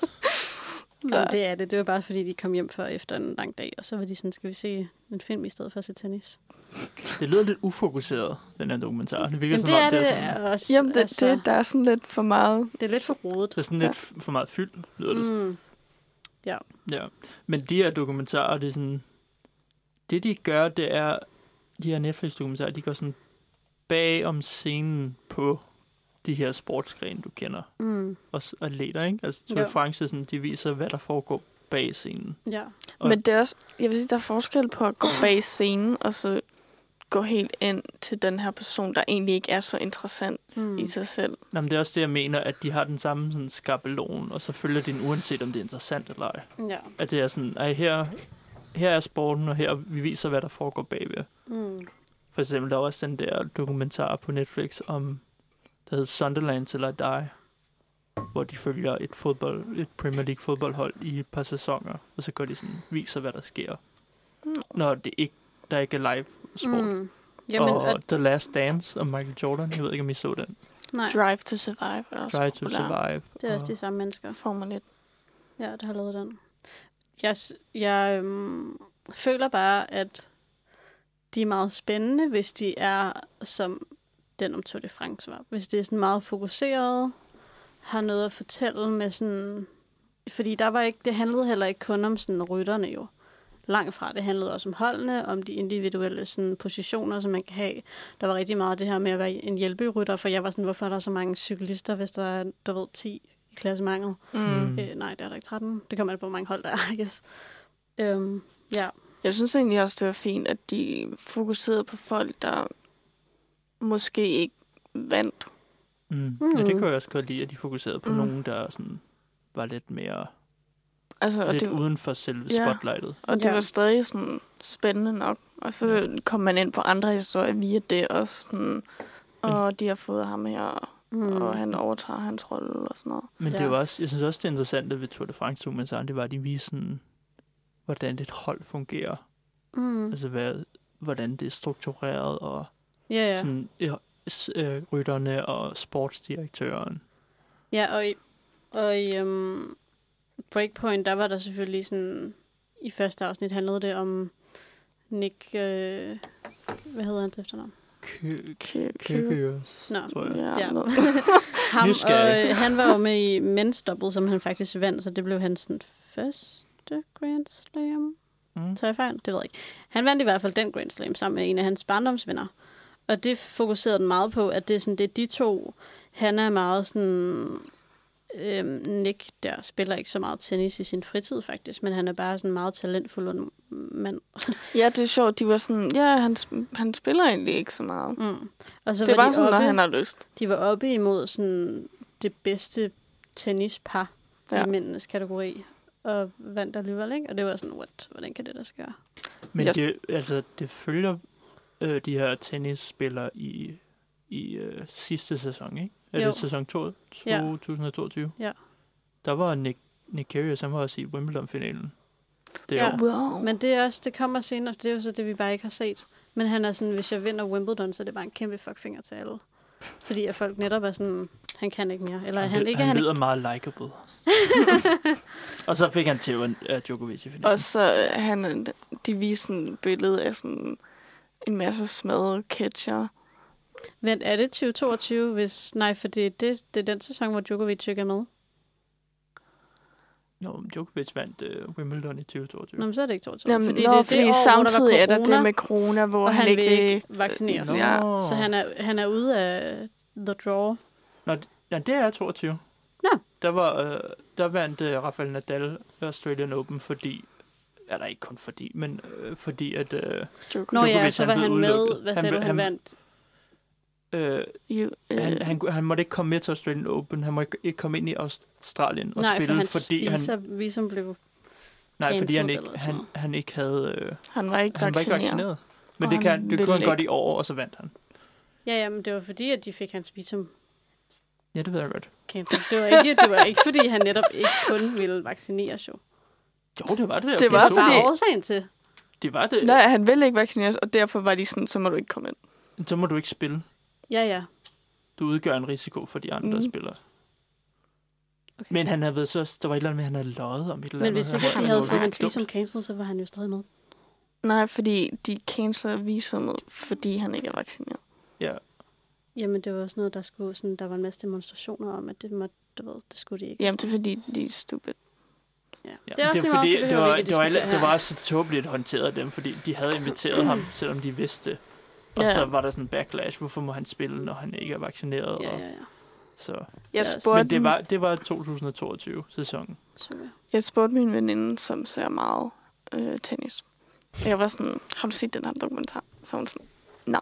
Speaker 2: Jamen, det er det. Det var bare, fordi de kom hjem før efter en lang dag, og så var de sådan, skal vi se en film i stedet for at se tennis?
Speaker 3: Det lyder lidt ufokuseret, den her dokumentar. Det virker
Speaker 2: Jamen,
Speaker 3: som
Speaker 2: det
Speaker 3: om,
Speaker 2: er
Speaker 3: det
Speaker 2: det,
Speaker 3: er sådan,
Speaker 2: også.
Speaker 4: Jamen, det,
Speaker 2: altså,
Speaker 4: det, der er sådan lidt for meget.
Speaker 2: det er lidt for rodet.
Speaker 3: det er sådan lidt f- for meget fyld, lyder det
Speaker 2: Mm.
Speaker 3: Ja, men de her dokumentarer, det er sådan... Det, de gør, det er... De her Netflix-dokumentarer, de går sådan bag om scenen på de her sportsgrene, du kender.
Speaker 2: Mm.
Speaker 3: Og s- atleter, ikke? Altså Tour
Speaker 2: Jo.
Speaker 3: de France, sådan, de viser, hvad der foregår bag scenen.
Speaker 2: Ja.
Speaker 3: Og-
Speaker 4: Men det er også, jeg vil sige, der er forskel på at gå bag scenen, og så gå helt ind til den her person, der egentlig ikke er så interessant
Speaker 2: Mm.
Speaker 4: mm. i sig selv.
Speaker 3: Nå, men det er også det, jeg mener, at de har den samme sådan, skabelon, og så følger de den, uanset om det er interessant eller ej.
Speaker 2: Ja.
Speaker 3: At det er sådan, at her, her er sporten, og her vi viser, hvad der foregår bagved.
Speaker 2: Mm.
Speaker 3: For eksempel, der er også den der dokumentar på Netflix om, der hedder Sunderland Till I Die, hvor de følger et, fodbold, et Premier League fodboldhold i et par sæsoner, og så går de sådan, viser, hvad der sker,
Speaker 4: Mm.
Speaker 3: når det ikke, der ikke er live sport. Mm.
Speaker 2: Mm. Jamen,
Speaker 3: og,
Speaker 2: og,
Speaker 3: The Last Dance om Michael Jordan, jeg ved ikke, om I så den.
Speaker 2: nej,
Speaker 4: Drive to Survive er også
Speaker 3: Try to
Speaker 4: populær.
Speaker 3: Survive.
Speaker 2: det er også
Speaker 3: og,
Speaker 2: de samme mennesker.
Speaker 4: Formel 1.
Speaker 2: Ja, der har lavet den. Jeg, s- jeg øhm, føler bare, at de er meget spændende, hvis de er som den om Tour de France var. Hvis det er sådan meget fokuseret, har noget at fortælle med sådan... Fordi der var ikke, det handlede heller ikke kun om sådan rytterne jo. Langt fra. Det handlede også om holdene, om de individuelle sådan, positioner, som man kan have. Der var rigtig meget det her med at være en hjælperytter, for jeg var sådan, hvorfor er der så mange cyklister, hvis der er, du ved, 10 i klassementet?
Speaker 4: Mm.
Speaker 2: Øh, nej, det er der ikke 13. Det kommer an på, hvor mange hold der er, I guess. Øhm, ja.
Speaker 4: Jeg synes egentlig også, det var fint, at de fokuserede på folk, der måske ikke vandt.
Speaker 3: Mm. Ja, det
Speaker 2: Mm.
Speaker 3: kunne jeg også godt lide, at de fokuserede på
Speaker 4: Mm.
Speaker 3: mm. nogen, der sådan var lidt mere
Speaker 4: Altså, og
Speaker 3: lidt
Speaker 4: det-
Speaker 3: uden for selve
Speaker 4: Ja.
Speaker 3: spotlightet.
Speaker 4: Og det ja. var stadig sådan spændende nok. Og så ja. kom man ind på andre historier via det også. Sådan, og de har fået ham her, mm.
Speaker 2: Mm.
Speaker 4: og han overtager hans rolle og sådan noget.
Speaker 3: Men ja.
Speaker 2: Ja.
Speaker 3: det var også, jeg synes også, det interessante ved Tour de France dokumentaren, det var, at de viste sådan, hvordan et hold fungerer.
Speaker 2: Mm.
Speaker 3: Altså, hvad, hvordan det er struktureret, og
Speaker 2: Ja,
Speaker 3: ja.
Speaker 2: ja.
Speaker 3: sådan, ja, s- øh, rytterne og sportsdirektøren.
Speaker 2: Ja, og i, og i um, Breakpoint, der var der selvfølgelig sådan... I første afsnit handlede det om Nick... Øh, hvad hedder han til efternavn?
Speaker 3: Kø-
Speaker 4: Kø-
Speaker 3: Køkøres,
Speaker 2: Nå,
Speaker 3: tror jeg.
Speaker 4: Ja,
Speaker 2: Ja.
Speaker 4: noget.
Speaker 2: Ham, og
Speaker 3: Nysgerrig.
Speaker 2: øh, han var jo med i Men's Double, som han faktisk vandt, så det blev hans sådan, første Grand Slam.
Speaker 3: Mm.
Speaker 2: Tager jeg fejl? Det ved jeg ikke. Han vandt i hvert fald den Grand Slam sammen med en af hans barndomsvenner. Og det fokuserede den meget på, at det er sådan, det er de to. Han er meget sådan... Øhm, Nick der spiller ikke så meget tennis i sin fritid faktisk, men han er bare sådan meget talentfuld en mand.
Speaker 4: ja, det er sjovt. De var sådan, ja, han, sp- han spiller egentlig ikke så meget.
Speaker 2: Mm. Og så
Speaker 4: Så det er
Speaker 2: var
Speaker 4: bare
Speaker 2: de
Speaker 4: sådan, når
Speaker 2: oppe-
Speaker 4: han har lyst.
Speaker 2: de var oppe imod sådan det bedste tennispar ja.
Speaker 4: Ja.
Speaker 2: i mændenes kategori, og vandt alligevel, ikke? Og det var sådan, what, hvordan kan det der ske?
Speaker 3: Men
Speaker 4: Jeg-
Speaker 3: det, altså, det følger øh, de her tennisspillere i, i øh, sidste sæson, ikke? Er
Speaker 2: Jo.
Speaker 3: det sæson to-
Speaker 2: Ja.
Speaker 3: 2022?
Speaker 2: Ja.
Speaker 3: Der var Nick, Nick Kyrgios, han var også i Wimbledon-finalen. Det
Speaker 2: Ja.
Speaker 3: ja. år.
Speaker 4: Wow. Men,
Speaker 2: Men det er også, det kommer senere, det er jo så det, vi bare ikke har set. Men han er sådan, hvis jeg vinder Wimbledon, så er det bare en kæmpe fuckfinger til alle. Fordi at folk netop er sådan, han kan ikke mere. Eller han, han
Speaker 3: ly-
Speaker 2: ikke,
Speaker 3: han,
Speaker 2: han,
Speaker 3: lyder
Speaker 2: ikke.
Speaker 3: meget likable. og så fik han til at Djokovic i finalen.
Speaker 4: og så øh, han, de viste sådan et billede af sådan en masse smadrede catcher.
Speaker 2: Vent, er det 2022, hvis... Nej, for det, det, det er den sæson, hvor Djokovic ikke er med.
Speaker 3: Nå, men Djokovic vandt øh, Wimbledon i 2022.
Speaker 2: Nå, men så er det ikke 2022.
Speaker 4: Jamen, fordi, nå, det, fordi det
Speaker 2: år, hvor der var
Speaker 4: samtidig er der
Speaker 2: corona.
Speaker 4: det med corona, hvor
Speaker 2: og
Speaker 4: han,
Speaker 2: han
Speaker 4: ikke...
Speaker 2: vil ikke vaccineres.
Speaker 4: Ja.
Speaker 2: Så han er, han er ude af the draw.
Speaker 3: Ja, det er 22.
Speaker 2: Nå.
Speaker 3: Der, var, øh, der vandt øh, Rafael Nadal Australian Open, fordi... Eller ikke kun fordi, men øh, fordi at... Øh,
Speaker 2: Nå
Speaker 3: Djokovic,
Speaker 2: ja, så
Speaker 3: han
Speaker 2: var
Speaker 3: blev
Speaker 2: han med.
Speaker 3: udelukket.
Speaker 2: Hvad
Speaker 3: Han
Speaker 2: sagde du,
Speaker 3: blev-
Speaker 2: han
Speaker 3: han-
Speaker 2: vandt?
Speaker 3: øh,
Speaker 4: You, øh,
Speaker 3: han, han, han måtte ikke komme med til Australian Open. Han måtte ikke komme ind i Australien og
Speaker 2: Nej, for
Speaker 3: spille,
Speaker 2: hans
Speaker 3: fordi han,
Speaker 2: spiser, han... visum blev...
Speaker 3: nej, fordi han,
Speaker 2: cancelled
Speaker 3: ikke,
Speaker 2: eller sådan
Speaker 3: han,
Speaker 2: noget.
Speaker 3: han ikke havde... Øh,
Speaker 4: han var ikke
Speaker 3: han var ikke
Speaker 4: vaccineret.
Speaker 3: vaccineret. Men
Speaker 4: Og
Speaker 3: det,
Speaker 4: han
Speaker 3: kan, det
Speaker 4: ville
Speaker 3: kunne han godt
Speaker 4: ikke.
Speaker 3: i år, og så vandt han.
Speaker 2: Ja, ja, men det var fordi, at de fik hans visum
Speaker 3: Ja, det ved jeg godt.
Speaker 2: cancelled. Det var ikke, det var ikke fordi, han netop ikke kun ville vaccineres jo.
Speaker 3: Jo, det var det. der.
Speaker 4: Det var
Speaker 3: to-
Speaker 2: Hvad
Speaker 4: fordi-
Speaker 2: er årsagen til?
Speaker 3: Det var det.
Speaker 4: Nej, han ville ikke vaccineres, og derfor var de sådan, så må du ikke komme ind.
Speaker 3: Så må du ikke spille.
Speaker 2: Ja, ja.
Speaker 3: Du udgør en risiko for de andre
Speaker 4: Mm.
Speaker 3: mm. spillere. Okay. Men han havde så, der var et eller andet med, at han havde løjet om et eller
Speaker 2: Men
Speaker 3: andet.
Speaker 2: hvis ikke
Speaker 3: Han
Speaker 2: de
Speaker 3: var
Speaker 2: havde
Speaker 3: lidt
Speaker 2: fået hans
Speaker 3: dumt.
Speaker 2: visum cancelled, så var han jo stadig med.
Speaker 4: Nej, fordi de canceler visummet, fordi han ikke er vaccineret.
Speaker 3: Ja,
Speaker 2: Jamen, det var også noget, der skulle sådan, der var en masse demonstrationer om, at det måtte, du ved, det skulle de ikke.
Speaker 4: Jamen, det er fordi, de er stupid.
Speaker 2: ja.
Speaker 3: ja.
Speaker 2: Det er også
Speaker 3: det,
Speaker 2: lige
Speaker 3: var
Speaker 2: meget,
Speaker 3: fordi,
Speaker 2: det,
Speaker 3: det,
Speaker 2: behøver
Speaker 3: var,
Speaker 2: vi ikke
Speaker 3: det,
Speaker 2: diskutere
Speaker 3: var, alle- det
Speaker 2: her.
Speaker 3: var også så tåbeligt håndteret af dem, fordi de havde inviteret ham, selvom de vidste. det. Og
Speaker 4: Ja.
Speaker 3: så var der sådan en backlash. Hvorfor må han spille, når han ikke er vaccineret?
Speaker 2: Ja,
Speaker 3: Og
Speaker 2: ja, ja.
Speaker 3: så.
Speaker 2: Det
Speaker 4: Jeg
Speaker 2: er også-
Speaker 4: spurgte,
Speaker 3: Men det var, det var 2022-sæsonen.
Speaker 2: Super.
Speaker 4: jeg spurgte min veninde, som ser meget øh, tennis. Og Jeg var sådan, har du set den her dokumentar? Så var hun sådan, nej.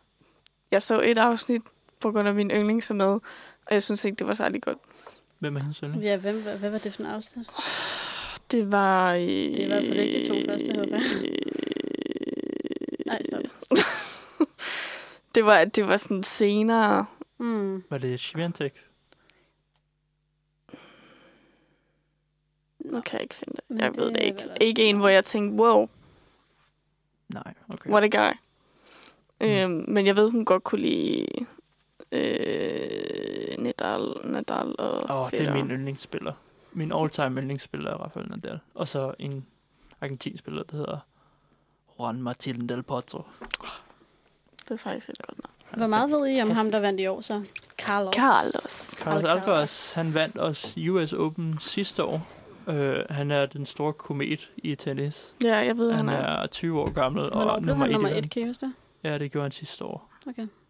Speaker 4: Jeg så et afsnit på grund af min yndlings er med, og jeg synes ikke, det var særlig godt.
Speaker 3: Hvem er hans søn?
Speaker 2: Ja, hvem, hvad, hvad var det for en afsnit?
Speaker 4: Det var... Øh,
Speaker 2: Det er i hvert fald ikke de to første, håber jeg. Nej, stop.
Speaker 4: Øh, Det var, det var sådan senere...
Speaker 2: Mm.
Speaker 3: Var det Sviantek?
Speaker 4: Nu kan jeg ikke finde det.
Speaker 2: Men
Speaker 4: jeg ved
Speaker 2: det
Speaker 4: det
Speaker 2: er
Speaker 4: ikke.
Speaker 2: vel også
Speaker 4: Ikke en, hvor jeg tænkte, wow,
Speaker 3: Nej, okay.
Speaker 4: what a guy.
Speaker 3: Mm.
Speaker 4: Øhm, men jeg ved, hun godt kunne lide øh, Nadal, Nadal og
Speaker 3: Åh, oh, det er
Speaker 4: Federer.
Speaker 3: min yndlingsspiller. Min all-time yndlingsspiller er Rafael Nadal. Og så en argentinsk spiller, der hedder Juan Martín del Potro.
Speaker 4: Det er faktisk et godt navn.
Speaker 2: Hvor meget ved I om ham, der
Speaker 3: fantastisk.
Speaker 2: vandt i år så? Carlos.
Speaker 4: Carlos.
Speaker 2: Carlos
Speaker 3: Carlos Alcaraz, han vandt også US Open sidste år. Uh, han er den store komet i tennis.
Speaker 4: Ja, jeg ved,
Speaker 3: Han
Speaker 4: han er,
Speaker 3: er 20 år gammel
Speaker 2: Hvornår
Speaker 3: og
Speaker 2: blev
Speaker 3: nummer
Speaker 2: han nummer
Speaker 3: 1
Speaker 2: et, kan I huske det?
Speaker 3: Ja, det gjorde han sidste år.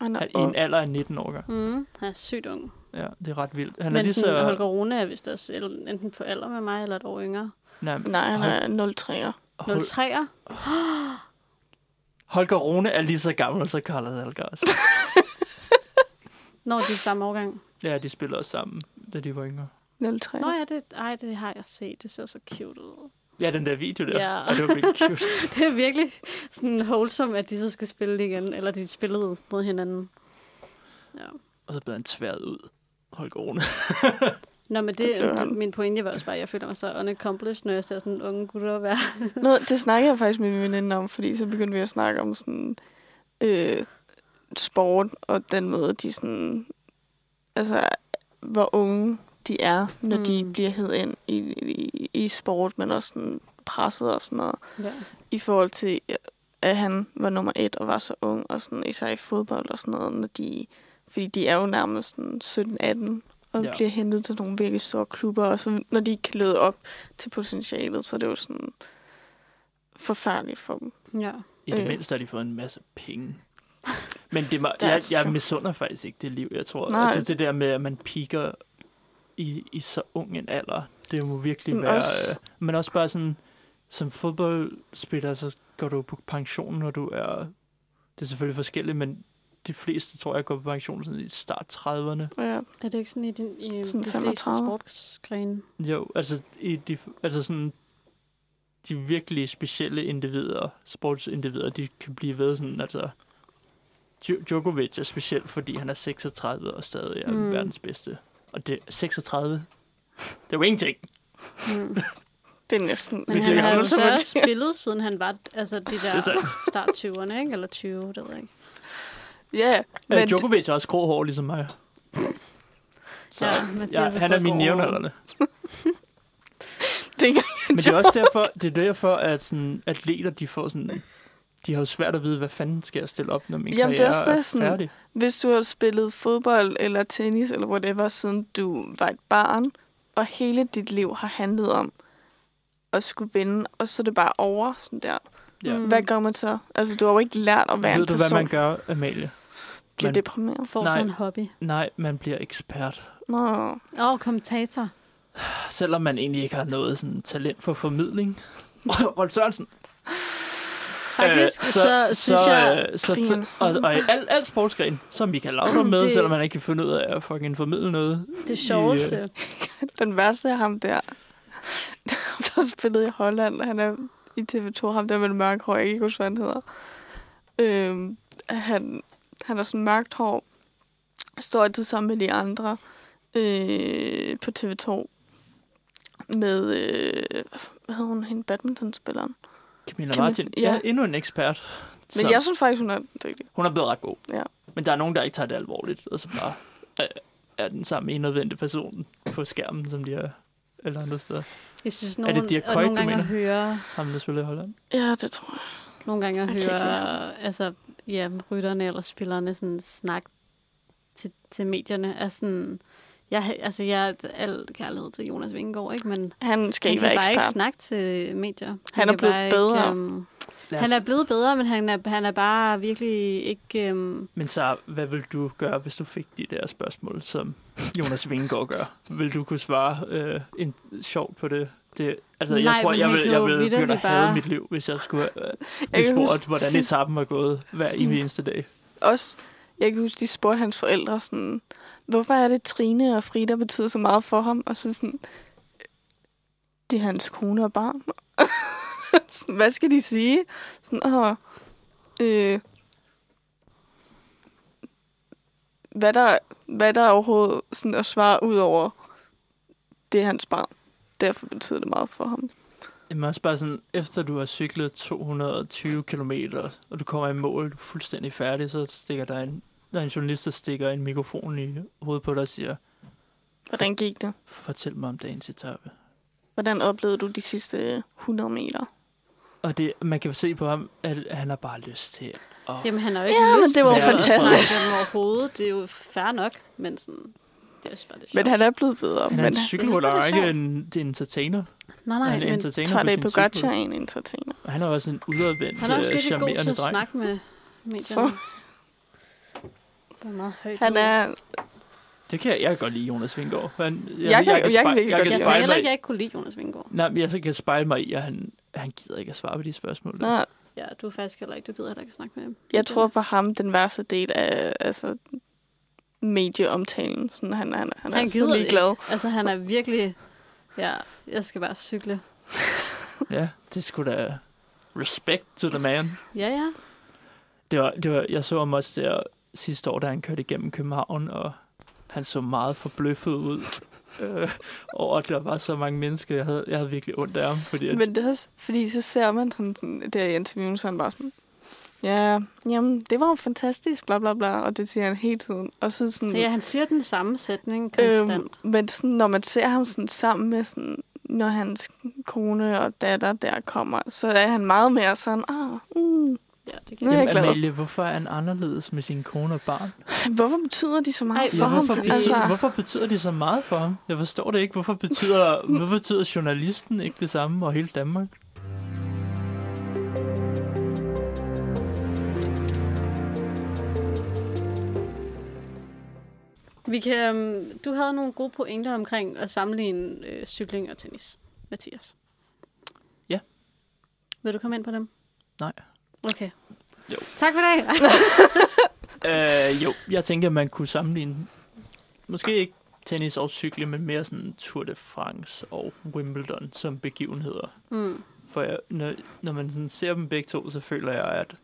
Speaker 4: han er,
Speaker 3: Han, I
Speaker 4: ung.
Speaker 3: en alder af 19 år. gammel.
Speaker 2: Mm, han er sygt ung.
Speaker 3: Ja, det er ret vildt. Han er
Speaker 2: Men
Speaker 3: lige
Speaker 2: sådan, så... Holger
Speaker 3: så...
Speaker 2: Rune er vist også el- enten på alder med mig, eller et år yngre.
Speaker 3: Nej,
Speaker 4: Nej, han
Speaker 3: Hol-
Speaker 4: er 03'er.
Speaker 3: Hol,
Speaker 2: 03'er?
Speaker 3: Holger Rune er lige så gammel som Carlos Alcaraz.
Speaker 2: Når de er samme årgang.
Speaker 3: ja, de spillede også sammen, da de var yngre.
Speaker 4: 03.
Speaker 2: Nå ja, det, ej, det har jeg set. Det ser så cute ud.
Speaker 3: Ja, den der video der.
Speaker 2: Ja.
Speaker 3: Ja. det var virkelig cute.
Speaker 2: det er virkelig sådan wholesome, at de så skal spille det igen. Eller de spillede mod hinanden. Ja.
Speaker 3: Og så blev han tværet ud. Holger Rune.
Speaker 2: Nå, men det,
Speaker 4: Det blev
Speaker 2: det
Speaker 4: han.
Speaker 2: min pointe var også bare, at jeg føler mig så unaccomplished, når jeg ser sådan unge gutter være.
Speaker 4: Noget, det snakkede jeg faktisk med min veninde om, fordi så begyndte vi at snakke om sådan øh, sport, og den måde, de sådan, altså, hvor unge de er, når mm. de
Speaker 2: Mm.
Speaker 4: bliver hed ind i, i, i sport, men også sådan presset og sådan noget,
Speaker 2: ja.
Speaker 4: i forhold til, at han var nummer et og var så ung, og sådan især i fodbold og sådan noget, når de, fordi de er jo nærmest sådan 17-18, og
Speaker 3: Ja.
Speaker 4: ja. bliver hentet til nogle virkelig store klubber, og så når de ikke kan lede op til potentialet, så er det jo sådan forfærdeligt for dem.
Speaker 2: ja.
Speaker 3: I det
Speaker 4: Øh.
Speaker 3: mindste har de fået en masse penge. Men det må,
Speaker 4: Der er
Speaker 3: jeg, jeg
Speaker 4: så-
Speaker 3: misunder faktisk ikke det liv, jeg tror.
Speaker 4: Nej.
Speaker 3: Altså det der med, at man piker i, i så ung en alder, det må virkelig
Speaker 4: Men
Speaker 3: være...
Speaker 4: også-
Speaker 3: øh, Men også bare sådan, som fodboldspiller, så går du på pension, når du er... Det er selvfølgelig forskelligt, men de fleste, tror jeg, går på pension sådan i start 30'erne.
Speaker 4: Ja.
Speaker 2: Er det ikke sådan i, den, i
Speaker 4: Sådan
Speaker 2: de fleste
Speaker 4: 35?
Speaker 2: sportsgrene?
Speaker 3: Jo, altså, i de, altså sådan, de virkelig specielle individer, sportsindivider, de kan blive ved sådan, altså... Jo- Djokovic er speciel, fordi han er 36 og stadig er
Speaker 2: Mm.
Speaker 3: mm. verdens bedste. Og det 36, det er jo ingenting.
Speaker 2: Mm.
Speaker 4: Det er næsten...
Speaker 2: Men
Speaker 3: Det
Speaker 2: han
Speaker 3: tænker
Speaker 2: har
Speaker 3: jeg
Speaker 2: jo
Speaker 3: også.
Speaker 2: så også spillet, siden han var altså, de
Speaker 3: er
Speaker 2: der
Speaker 3: sandt.
Speaker 2: start 20'erne, ikke? Eller 20, det ved jeg ikke.
Speaker 4: Ja,
Speaker 3: Men
Speaker 4: men,
Speaker 3: Øh, Djokovic har også grå hår, ligesom mig. Så
Speaker 2: Ja,
Speaker 3: ja,
Speaker 2: Mathias
Speaker 3: ja, han er
Speaker 2: fået
Speaker 3: min
Speaker 2: grå hår.
Speaker 3: jævnaldrende.
Speaker 4: det,
Speaker 3: Men det er også derfor, det er derfor at sådan, atleter, de får sådan... De har jo svært at vide, hvad fanden skal jeg stille op, når min
Speaker 4: Jamen, det er
Speaker 3: karriere
Speaker 4: også
Speaker 3: er,
Speaker 4: det, sådan-
Speaker 3: færdig.
Speaker 4: hvis du har spillet fodbold eller tennis eller whatever, siden du var et barn, og hele dit liv har handlet om at skulle vinde, og så er det bare over sådan der.
Speaker 3: Ja.
Speaker 4: Mm. Hvad gør man så? Altså, du har jo ikke lært at være
Speaker 3: Ved
Speaker 4: en
Speaker 3: du,
Speaker 4: person,
Speaker 3: hvad man gør, Amalie?
Speaker 4: bliver
Speaker 3: man-
Speaker 4: deprimeret.
Speaker 2: Får
Speaker 3: Nej.
Speaker 2: sådan en hobby.
Speaker 3: Nej, man bliver ekspert.
Speaker 4: Nå,
Speaker 2: Åh, oh, kommentator.
Speaker 3: Selvom man egentlig ikke har noget sådan, talent for formidling. Rolf Sørensen.
Speaker 2: Faktisk, øh, så, så, synes så, jeg...
Speaker 3: øh, så,
Speaker 4: griner.
Speaker 3: så, og, og i al, al sportsgren, som vi kan lave med,
Speaker 2: Det-
Speaker 3: det... selvom man ikke kan finde ud af at fucking formidle noget.
Speaker 2: Det sjoveste,
Speaker 3: øh,
Speaker 4: den værste er ham der, der spillede i Holland, og han er i TV2, ham der med det mørke hår, jeg kan ikke huske, hvad han hedder. Øhm, han, han har sådan mørkt hår, står altid sammen med de andre øh, på TV2 med, øh, hvad hedder hun, hende badmintonspilleren.
Speaker 3: Camilla
Speaker 4: Camilla-
Speaker 3: Martin
Speaker 4: ja.
Speaker 3: ja. er endnu en ekspert.
Speaker 4: Men
Speaker 3: som-
Speaker 4: jeg synes faktisk, hun er dygtig.
Speaker 3: Hun er blevet ret god.
Speaker 4: Ja.
Speaker 3: Men der er nogen, der ikke tager det alvorligt, og så bare øh, er den samme enadvendte person på skærmen, som de er eller andre steder.
Speaker 2: jeg synes,
Speaker 3: det
Speaker 2: nogen, det
Speaker 3: Dirk
Speaker 2: og
Speaker 3: Kuyt,
Speaker 2: nogle
Speaker 3: du
Speaker 2: gange at
Speaker 3: mener?
Speaker 2: høre,
Speaker 3: Ham, der spiller i Holland.
Speaker 4: Ja, det tror jeg.
Speaker 2: nogle gange at
Speaker 4: Jeg kan ikke lide
Speaker 2: høre altså, ja, rytterne eller spillerne sådan snakke til, til medierne, er sådan... Jeg, altså, jeg er al kærlighed til Jonas Vingegaard, ikke? Men
Speaker 4: Han skal
Speaker 2: han
Speaker 4: ikke
Speaker 2: kan
Speaker 4: være
Speaker 2: bare
Speaker 4: ekspert.
Speaker 2: ikke snakke til medier. Han,
Speaker 4: er
Speaker 2: kan
Speaker 4: blevet
Speaker 2: bare
Speaker 4: bedre.
Speaker 2: øhm,
Speaker 3: Lad os-
Speaker 2: han er blevet bedre, men han er, han er bare virkelig ikke... Øhm,
Speaker 3: Men så, hvad vil du gøre, hvis du fik de der spørgsmål, som Jonas Vingegaard gør? Vil du kunne svare øh, en, sjovt på det? det altså,
Speaker 2: Nej,
Speaker 3: jeg tror,
Speaker 2: men
Speaker 3: jeg
Speaker 2: han
Speaker 3: vil,
Speaker 2: kan jo
Speaker 3: jeg vil begynde
Speaker 2: vitterligt
Speaker 3: at have
Speaker 2: bare-
Speaker 3: mit liv, hvis jeg skulle øh,
Speaker 4: kan
Speaker 3: blive
Speaker 4: huske
Speaker 3: spurgt, hvordan
Speaker 4: sidst-
Speaker 3: etappen var gået hver evig eneste dag.
Speaker 4: også, jeg kan huske, de spurgte hans forældre sådan, hvorfor er det Trine og Frida betyder så meget for ham? Og så sådan, det er hans kone og barn. sådan, hvad skal de sige? Sådan, åh, øh, hvad der, hvad der er overhovedet sådan at svare ud over, det er hans barn. Derfor betyder det meget for ham.
Speaker 3: Jamen også bare sådan, efter du har cyklet 220 km, og du kommer i mål, du er fuldstændig færdig, så stikker der en, der er en journalist, der stikker en mikrofon i hovedet på dig og siger,
Speaker 4: Hvordan gik det?
Speaker 3: fortæl mig om dagens etape.
Speaker 4: Hvordan oplevede du de sidste 100 meter?
Speaker 3: Og det, man kan se på ham, at han har bare lyst til at
Speaker 2: jamen, han har jo ikke
Speaker 4: Ja, men
Speaker 2: lyst
Speaker 4: det var
Speaker 2: til at
Speaker 4: fantastisk.
Speaker 2: snakke med dem overhovedet. Det er jo fair nok, men sådan... Det er også bare det
Speaker 4: Men han er blevet bedre.
Speaker 3: Han er
Speaker 4: men
Speaker 3: en cykelrytter, og ikke en det er entertainer.
Speaker 2: Nej,
Speaker 3: Nej,
Speaker 2: nej,
Speaker 3: han er
Speaker 2: men
Speaker 3: entertainer
Speaker 4: Tager det
Speaker 3: på
Speaker 4: på
Speaker 3: sin
Speaker 4: godt,
Speaker 3: cykel.
Speaker 4: en entertainer.
Speaker 3: Og han er også en udadvendt,
Speaker 2: han er også
Speaker 3: øh,
Speaker 2: virkelig god til
Speaker 3: charmerende
Speaker 2: at
Speaker 3: dreng.
Speaker 2: snakke med medierne. Så. Det er meget højt.
Speaker 4: Han
Speaker 2: nu.
Speaker 4: er...
Speaker 3: Det kan jeg, jeg kan godt lide, Jonas Vingård. Han,
Speaker 4: Jeg kan- jeg kan
Speaker 3: spej-
Speaker 4: virkelig godt
Speaker 2: Jeg
Speaker 4: lide
Speaker 2: sagde
Speaker 3: spejle
Speaker 2: heller
Speaker 3: mig
Speaker 2: ikke, at
Speaker 3: i.
Speaker 2: jeg ikke kunne lide Jonas Vingård.
Speaker 3: Nej, men jeg så kan spejle mig i, at han, han gider ikke at svare på de spørgsmål. der.
Speaker 4: Nå,
Speaker 2: Ja, du er faktisk heller ikke. Du gider heller ikke at snakke med ham.
Speaker 4: jeg tror for ham, den værste del af altså, medieomtalen. Sådan, han, han, han,
Speaker 2: Han
Speaker 4: er
Speaker 2: gider
Speaker 4: så ligeglad.
Speaker 2: ikke. Altså, han er virkelig... Ja, jeg skal bare cykle.
Speaker 3: Ja, det skulle da respect to the man.
Speaker 2: Ja, ja.
Speaker 3: Det var, det var, jeg så ham også der sidste år, da han kørte igennem København, og han så meget forbløffet ud. Øh, over, at der var så mange mennesker. Jeg havde, jeg havde virkelig ondt af ham, fordi at,
Speaker 4: Men det er også, fordi så ser man sådan, sådan der i interviewen, så er han bare sådan, ja, jamen, det var jo fantastisk, bla bla bla, og det siger han hele tiden. Og så sådan,
Speaker 2: Ja, han siger den samme sætning konstant.
Speaker 4: Mm. Øhm, men sådan, når man ser ham sådan sammen med sådan, når hans kone og datter der kommer, så er han meget mere sådan, ah, mm,
Speaker 2: Ja, det
Speaker 4: nu er jeg
Speaker 3: Jamen,
Speaker 4: glad.
Speaker 3: Amalie, hvorfor er han anderledes med sin kone og barn?
Speaker 4: Hvorfor betyder de så meget
Speaker 2: Ej,
Speaker 4: for
Speaker 3: Ja,
Speaker 4: ham?
Speaker 3: hvorfor, betyder,
Speaker 4: Altså,
Speaker 3: altså... hvorfor betyder det så meget for ham? Jeg forstår det ikke. Hvorfor betyder, hvorfor betyder journalisten ikke det samme, og hele Danmark?
Speaker 2: Vi kan, øhm, du havde nogle gode pointer omkring at sammenligne øh, cykling og tennis, Mathias.
Speaker 3: Ja.
Speaker 2: Vil du komme ind på dem?
Speaker 3: Nej.
Speaker 2: Okay.
Speaker 3: Jo.
Speaker 2: Tak for i dag.
Speaker 3: Øh, jo, jeg tænker, man kunne sammenligne måske ikke tennis og cykle, men mere sådan Tour de France og Wimbledon som begivenheder.
Speaker 2: mm.
Speaker 3: For jeg, når, når man sådan ser dem begge to, så føler jeg, at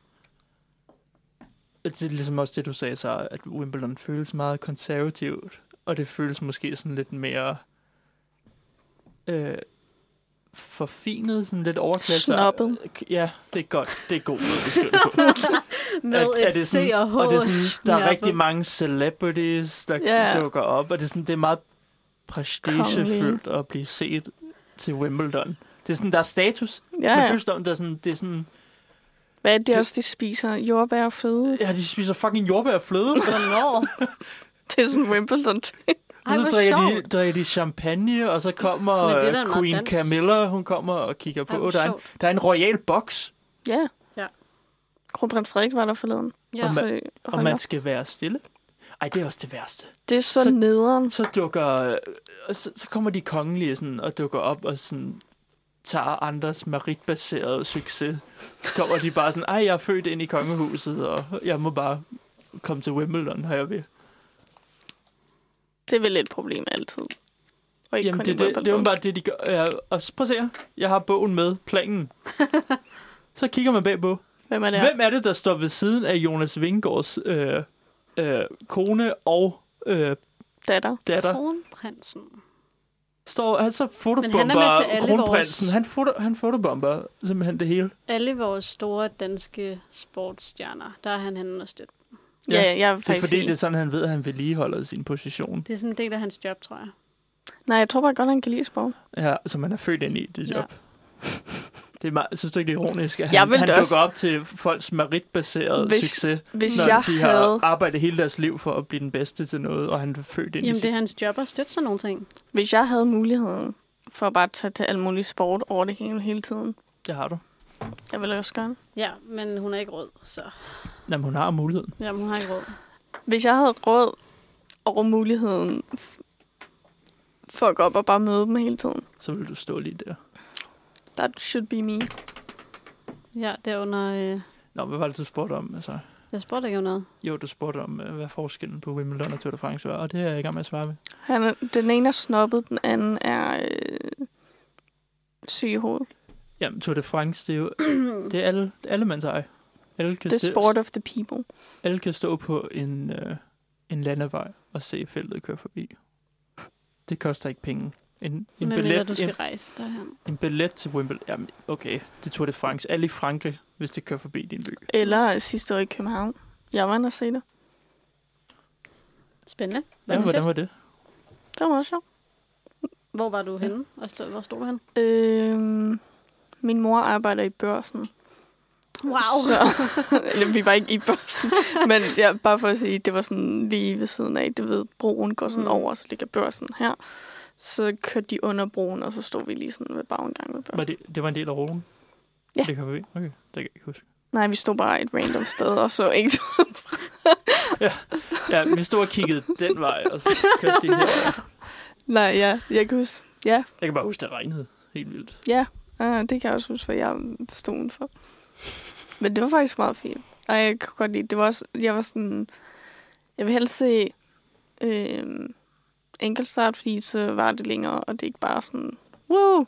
Speaker 3: at det er ligesom også det, du sagde, så, at Wimbledon føles meget konservativt, og det føles måske sådan lidt mere øh, forfinet, sådan lidt overklasse.
Speaker 4: Snobbet.
Speaker 3: Ja, det er godt. Det er god måde at beskrive det på
Speaker 2: Med et
Speaker 3: det
Speaker 2: C og H.
Speaker 3: og det er sådan, der er
Speaker 2: knappet.
Speaker 3: rigtig mange celebrities, der
Speaker 4: Ja.
Speaker 3: dukker op, og det er, sådan, det er meget prestigefyldt at blive set til Wimbledon. Det er sådan, der er status.
Speaker 4: ja,
Speaker 3: Men
Speaker 4: ja.
Speaker 3: føles det om, der er sådan, det er sådan,
Speaker 4: Hvad er det
Speaker 3: det-
Speaker 4: også, de spiser? Jordbær og fløde?
Speaker 3: ja, de spiser fucking jordbær og fløde, og
Speaker 2: Hvornår?
Speaker 4: Det er sådan Wimbledon.
Speaker 2: Ej,
Speaker 3: så
Speaker 2: hvor
Speaker 3: drikker de,
Speaker 2: sjovt.
Speaker 3: drikker de champagne, og så kommer
Speaker 2: Men det er
Speaker 3: øh,
Speaker 2: da meget
Speaker 3: Queen
Speaker 2: dans.
Speaker 3: Camilla, hun kommer og kigger
Speaker 2: Ej,
Speaker 3: på.
Speaker 2: hvor
Speaker 3: der, er en,
Speaker 2: sjovt.
Speaker 3: der er en royal boks,
Speaker 4: ja.
Speaker 2: Ja.
Speaker 4: Kronprins Frederik var der forleden.
Speaker 2: Ja.
Speaker 3: Og
Speaker 4: Så,
Speaker 3: og
Speaker 4: hold
Speaker 3: man
Speaker 4: op.
Speaker 3: skal være stille. Ej, det er også det værste.
Speaker 4: Det er så,
Speaker 3: så-
Speaker 4: så nederen.
Speaker 3: så dukker øh, og så, så kommer de kongelige sådan, og dukker op og sådan tager andres meritbaseret succes. Så kommer de bare sådan, ej, jeg er født ind i kongehuset, og jeg må bare komme til Wimbledon, har jeg ved.
Speaker 4: Det er vel et problem altid. Og ikke
Speaker 3: Jamen,
Speaker 4: kun
Speaker 3: det,
Speaker 4: i
Speaker 3: det, det er jo bare det, de gør. Ja, og så, prøv at se her. Jeg har bogen med, planen. så kigger man bagpå.
Speaker 4: Hvem er det?
Speaker 3: Ja.
Speaker 4: Hvem?
Speaker 3: Hvem er det, der står ved siden af Jonas Vingårds øh, øh, kone og øh,
Speaker 4: Datter.
Speaker 3: datter?
Speaker 2: Kronprinsen.
Speaker 3: Står, han så fotobomber
Speaker 2: han er med til alle
Speaker 3: kronprinsen.
Speaker 2: vores-
Speaker 3: Han, foto, han fotobomber simpelthen det hele.
Speaker 2: Alle vores store danske sportsstjerner, der er han henne og støtte.
Speaker 4: Ja, ja, jeg vil
Speaker 3: Det er
Speaker 4: faktisk
Speaker 3: fordi,
Speaker 4: sige-
Speaker 3: det er sådan, han ved, at han vedligeholder sin position.
Speaker 2: Det er sådan en del af hans job, tror jeg.
Speaker 4: Nej, jeg tror bare godt, han kan lide sport.
Speaker 3: Ja, som han er født ind i det
Speaker 2: Ja.
Speaker 3: job. Det er meget, synes du ikke, det er ironisk, at
Speaker 4: Jeg
Speaker 3: han,
Speaker 4: ville
Speaker 3: han
Speaker 4: da
Speaker 3: dukker
Speaker 4: også-
Speaker 3: op til folks meritbaserede
Speaker 4: Hvis-
Speaker 3: succes,
Speaker 4: Hvis
Speaker 3: når
Speaker 4: jeg
Speaker 3: de
Speaker 4: havde...
Speaker 3: har arbejdet hele deres liv for at blive den bedste til noget, og han er født ind i
Speaker 2: Jamen, det
Speaker 3: sit...
Speaker 2: er hans job at støtte sådan nogle ting.
Speaker 4: Hvis jeg havde muligheden for bare at tage til alle mulige sport over det hele, hele tiden,
Speaker 3: Det har du.
Speaker 4: jeg ville også gøre det.
Speaker 2: Ja, men hun er ikke råd, så...
Speaker 3: Jamen, hun har muligheden.
Speaker 2: Jamen, hun har ikke råd.
Speaker 4: Hvis jeg havde råd over muligheden f- for at gå op og bare møde dem hele tiden,
Speaker 3: Så vil du stå lige der.
Speaker 4: that should be me.
Speaker 2: Ja, derunder... Øh,
Speaker 3: Nå, hvad var det, du spurgte om? Altså,
Speaker 2: jeg spurgte ikke om noget.
Speaker 3: jo, du spurgte om, øh, hvad forskellen på Wimbledon og Tour de France var, og det er jeg i gang med at svare ved.
Speaker 4: Han er, den ene er snobbet, den anden er øh, syg i hovedet.
Speaker 3: Jamen, Tour de France, det er jo det er alle, det er alle mands eje. Alle kan,
Speaker 4: The
Speaker 3: se-
Speaker 4: sport of the people.
Speaker 3: alle kan stå på en, øh, en landevej og se feltet køre forbi. Det koster ikke penge. En, en,
Speaker 2: Men mindre,
Speaker 3: billet,
Speaker 2: du skal
Speaker 3: en,
Speaker 2: rejse derhen.
Speaker 3: en billet til Wimbledon, jamen okay, det Tour de France. Alle i Frankrig, hvis det kører forbi din by.
Speaker 4: Eller øh, sidste år i København. Jeg var inde og se det.
Speaker 2: Spændende. Var
Speaker 3: Ja,
Speaker 2: det
Speaker 3: hvordan
Speaker 2: fedt?
Speaker 3: var det?
Speaker 4: Det var også sjovt.
Speaker 2: Hvor var du henne? Og stod, hvor stod du henne?
Speaker 4: Øhm, min mor arbejder i børsen. Så, eller, vi var ikke i børsen, men ja, bare for at sige, det var sådan lige ved siden af, det ved, broen går sådan
Speaker 2: Mm.
Speaker 4: over, så ligger børsen her. Så kørte de under broen, og så stod vi lige sådan ved bagindgangen ved børsen.
Speaker 3: var det? Det var en del af ruten?
Speaker 4: Ja.
Speaker 3: Det kører forbi? Okay, det kan jeg ikke huske.
Speaker 4: Nej, vi stod bare et random sted og så ikke.
Speaker 3: Ja, vi stod og kiggede den vej, og så kørte de her.
Speaker 4: Nej, ja, jeg kan huske. Ja,
Speaker 3: Jeg kan bare huske, det regnede helt vildt.
Speaker 4: ja, uh, det kan jeg også huske, for jeg stod udenfor. Men det var faktisk meget fint. Og jeg kunne godt lide, det var også, jeg var sådan, jeg vil helst se øh, enkeltstart, fordi så var det længere, og det er ikke bare sådan, wow!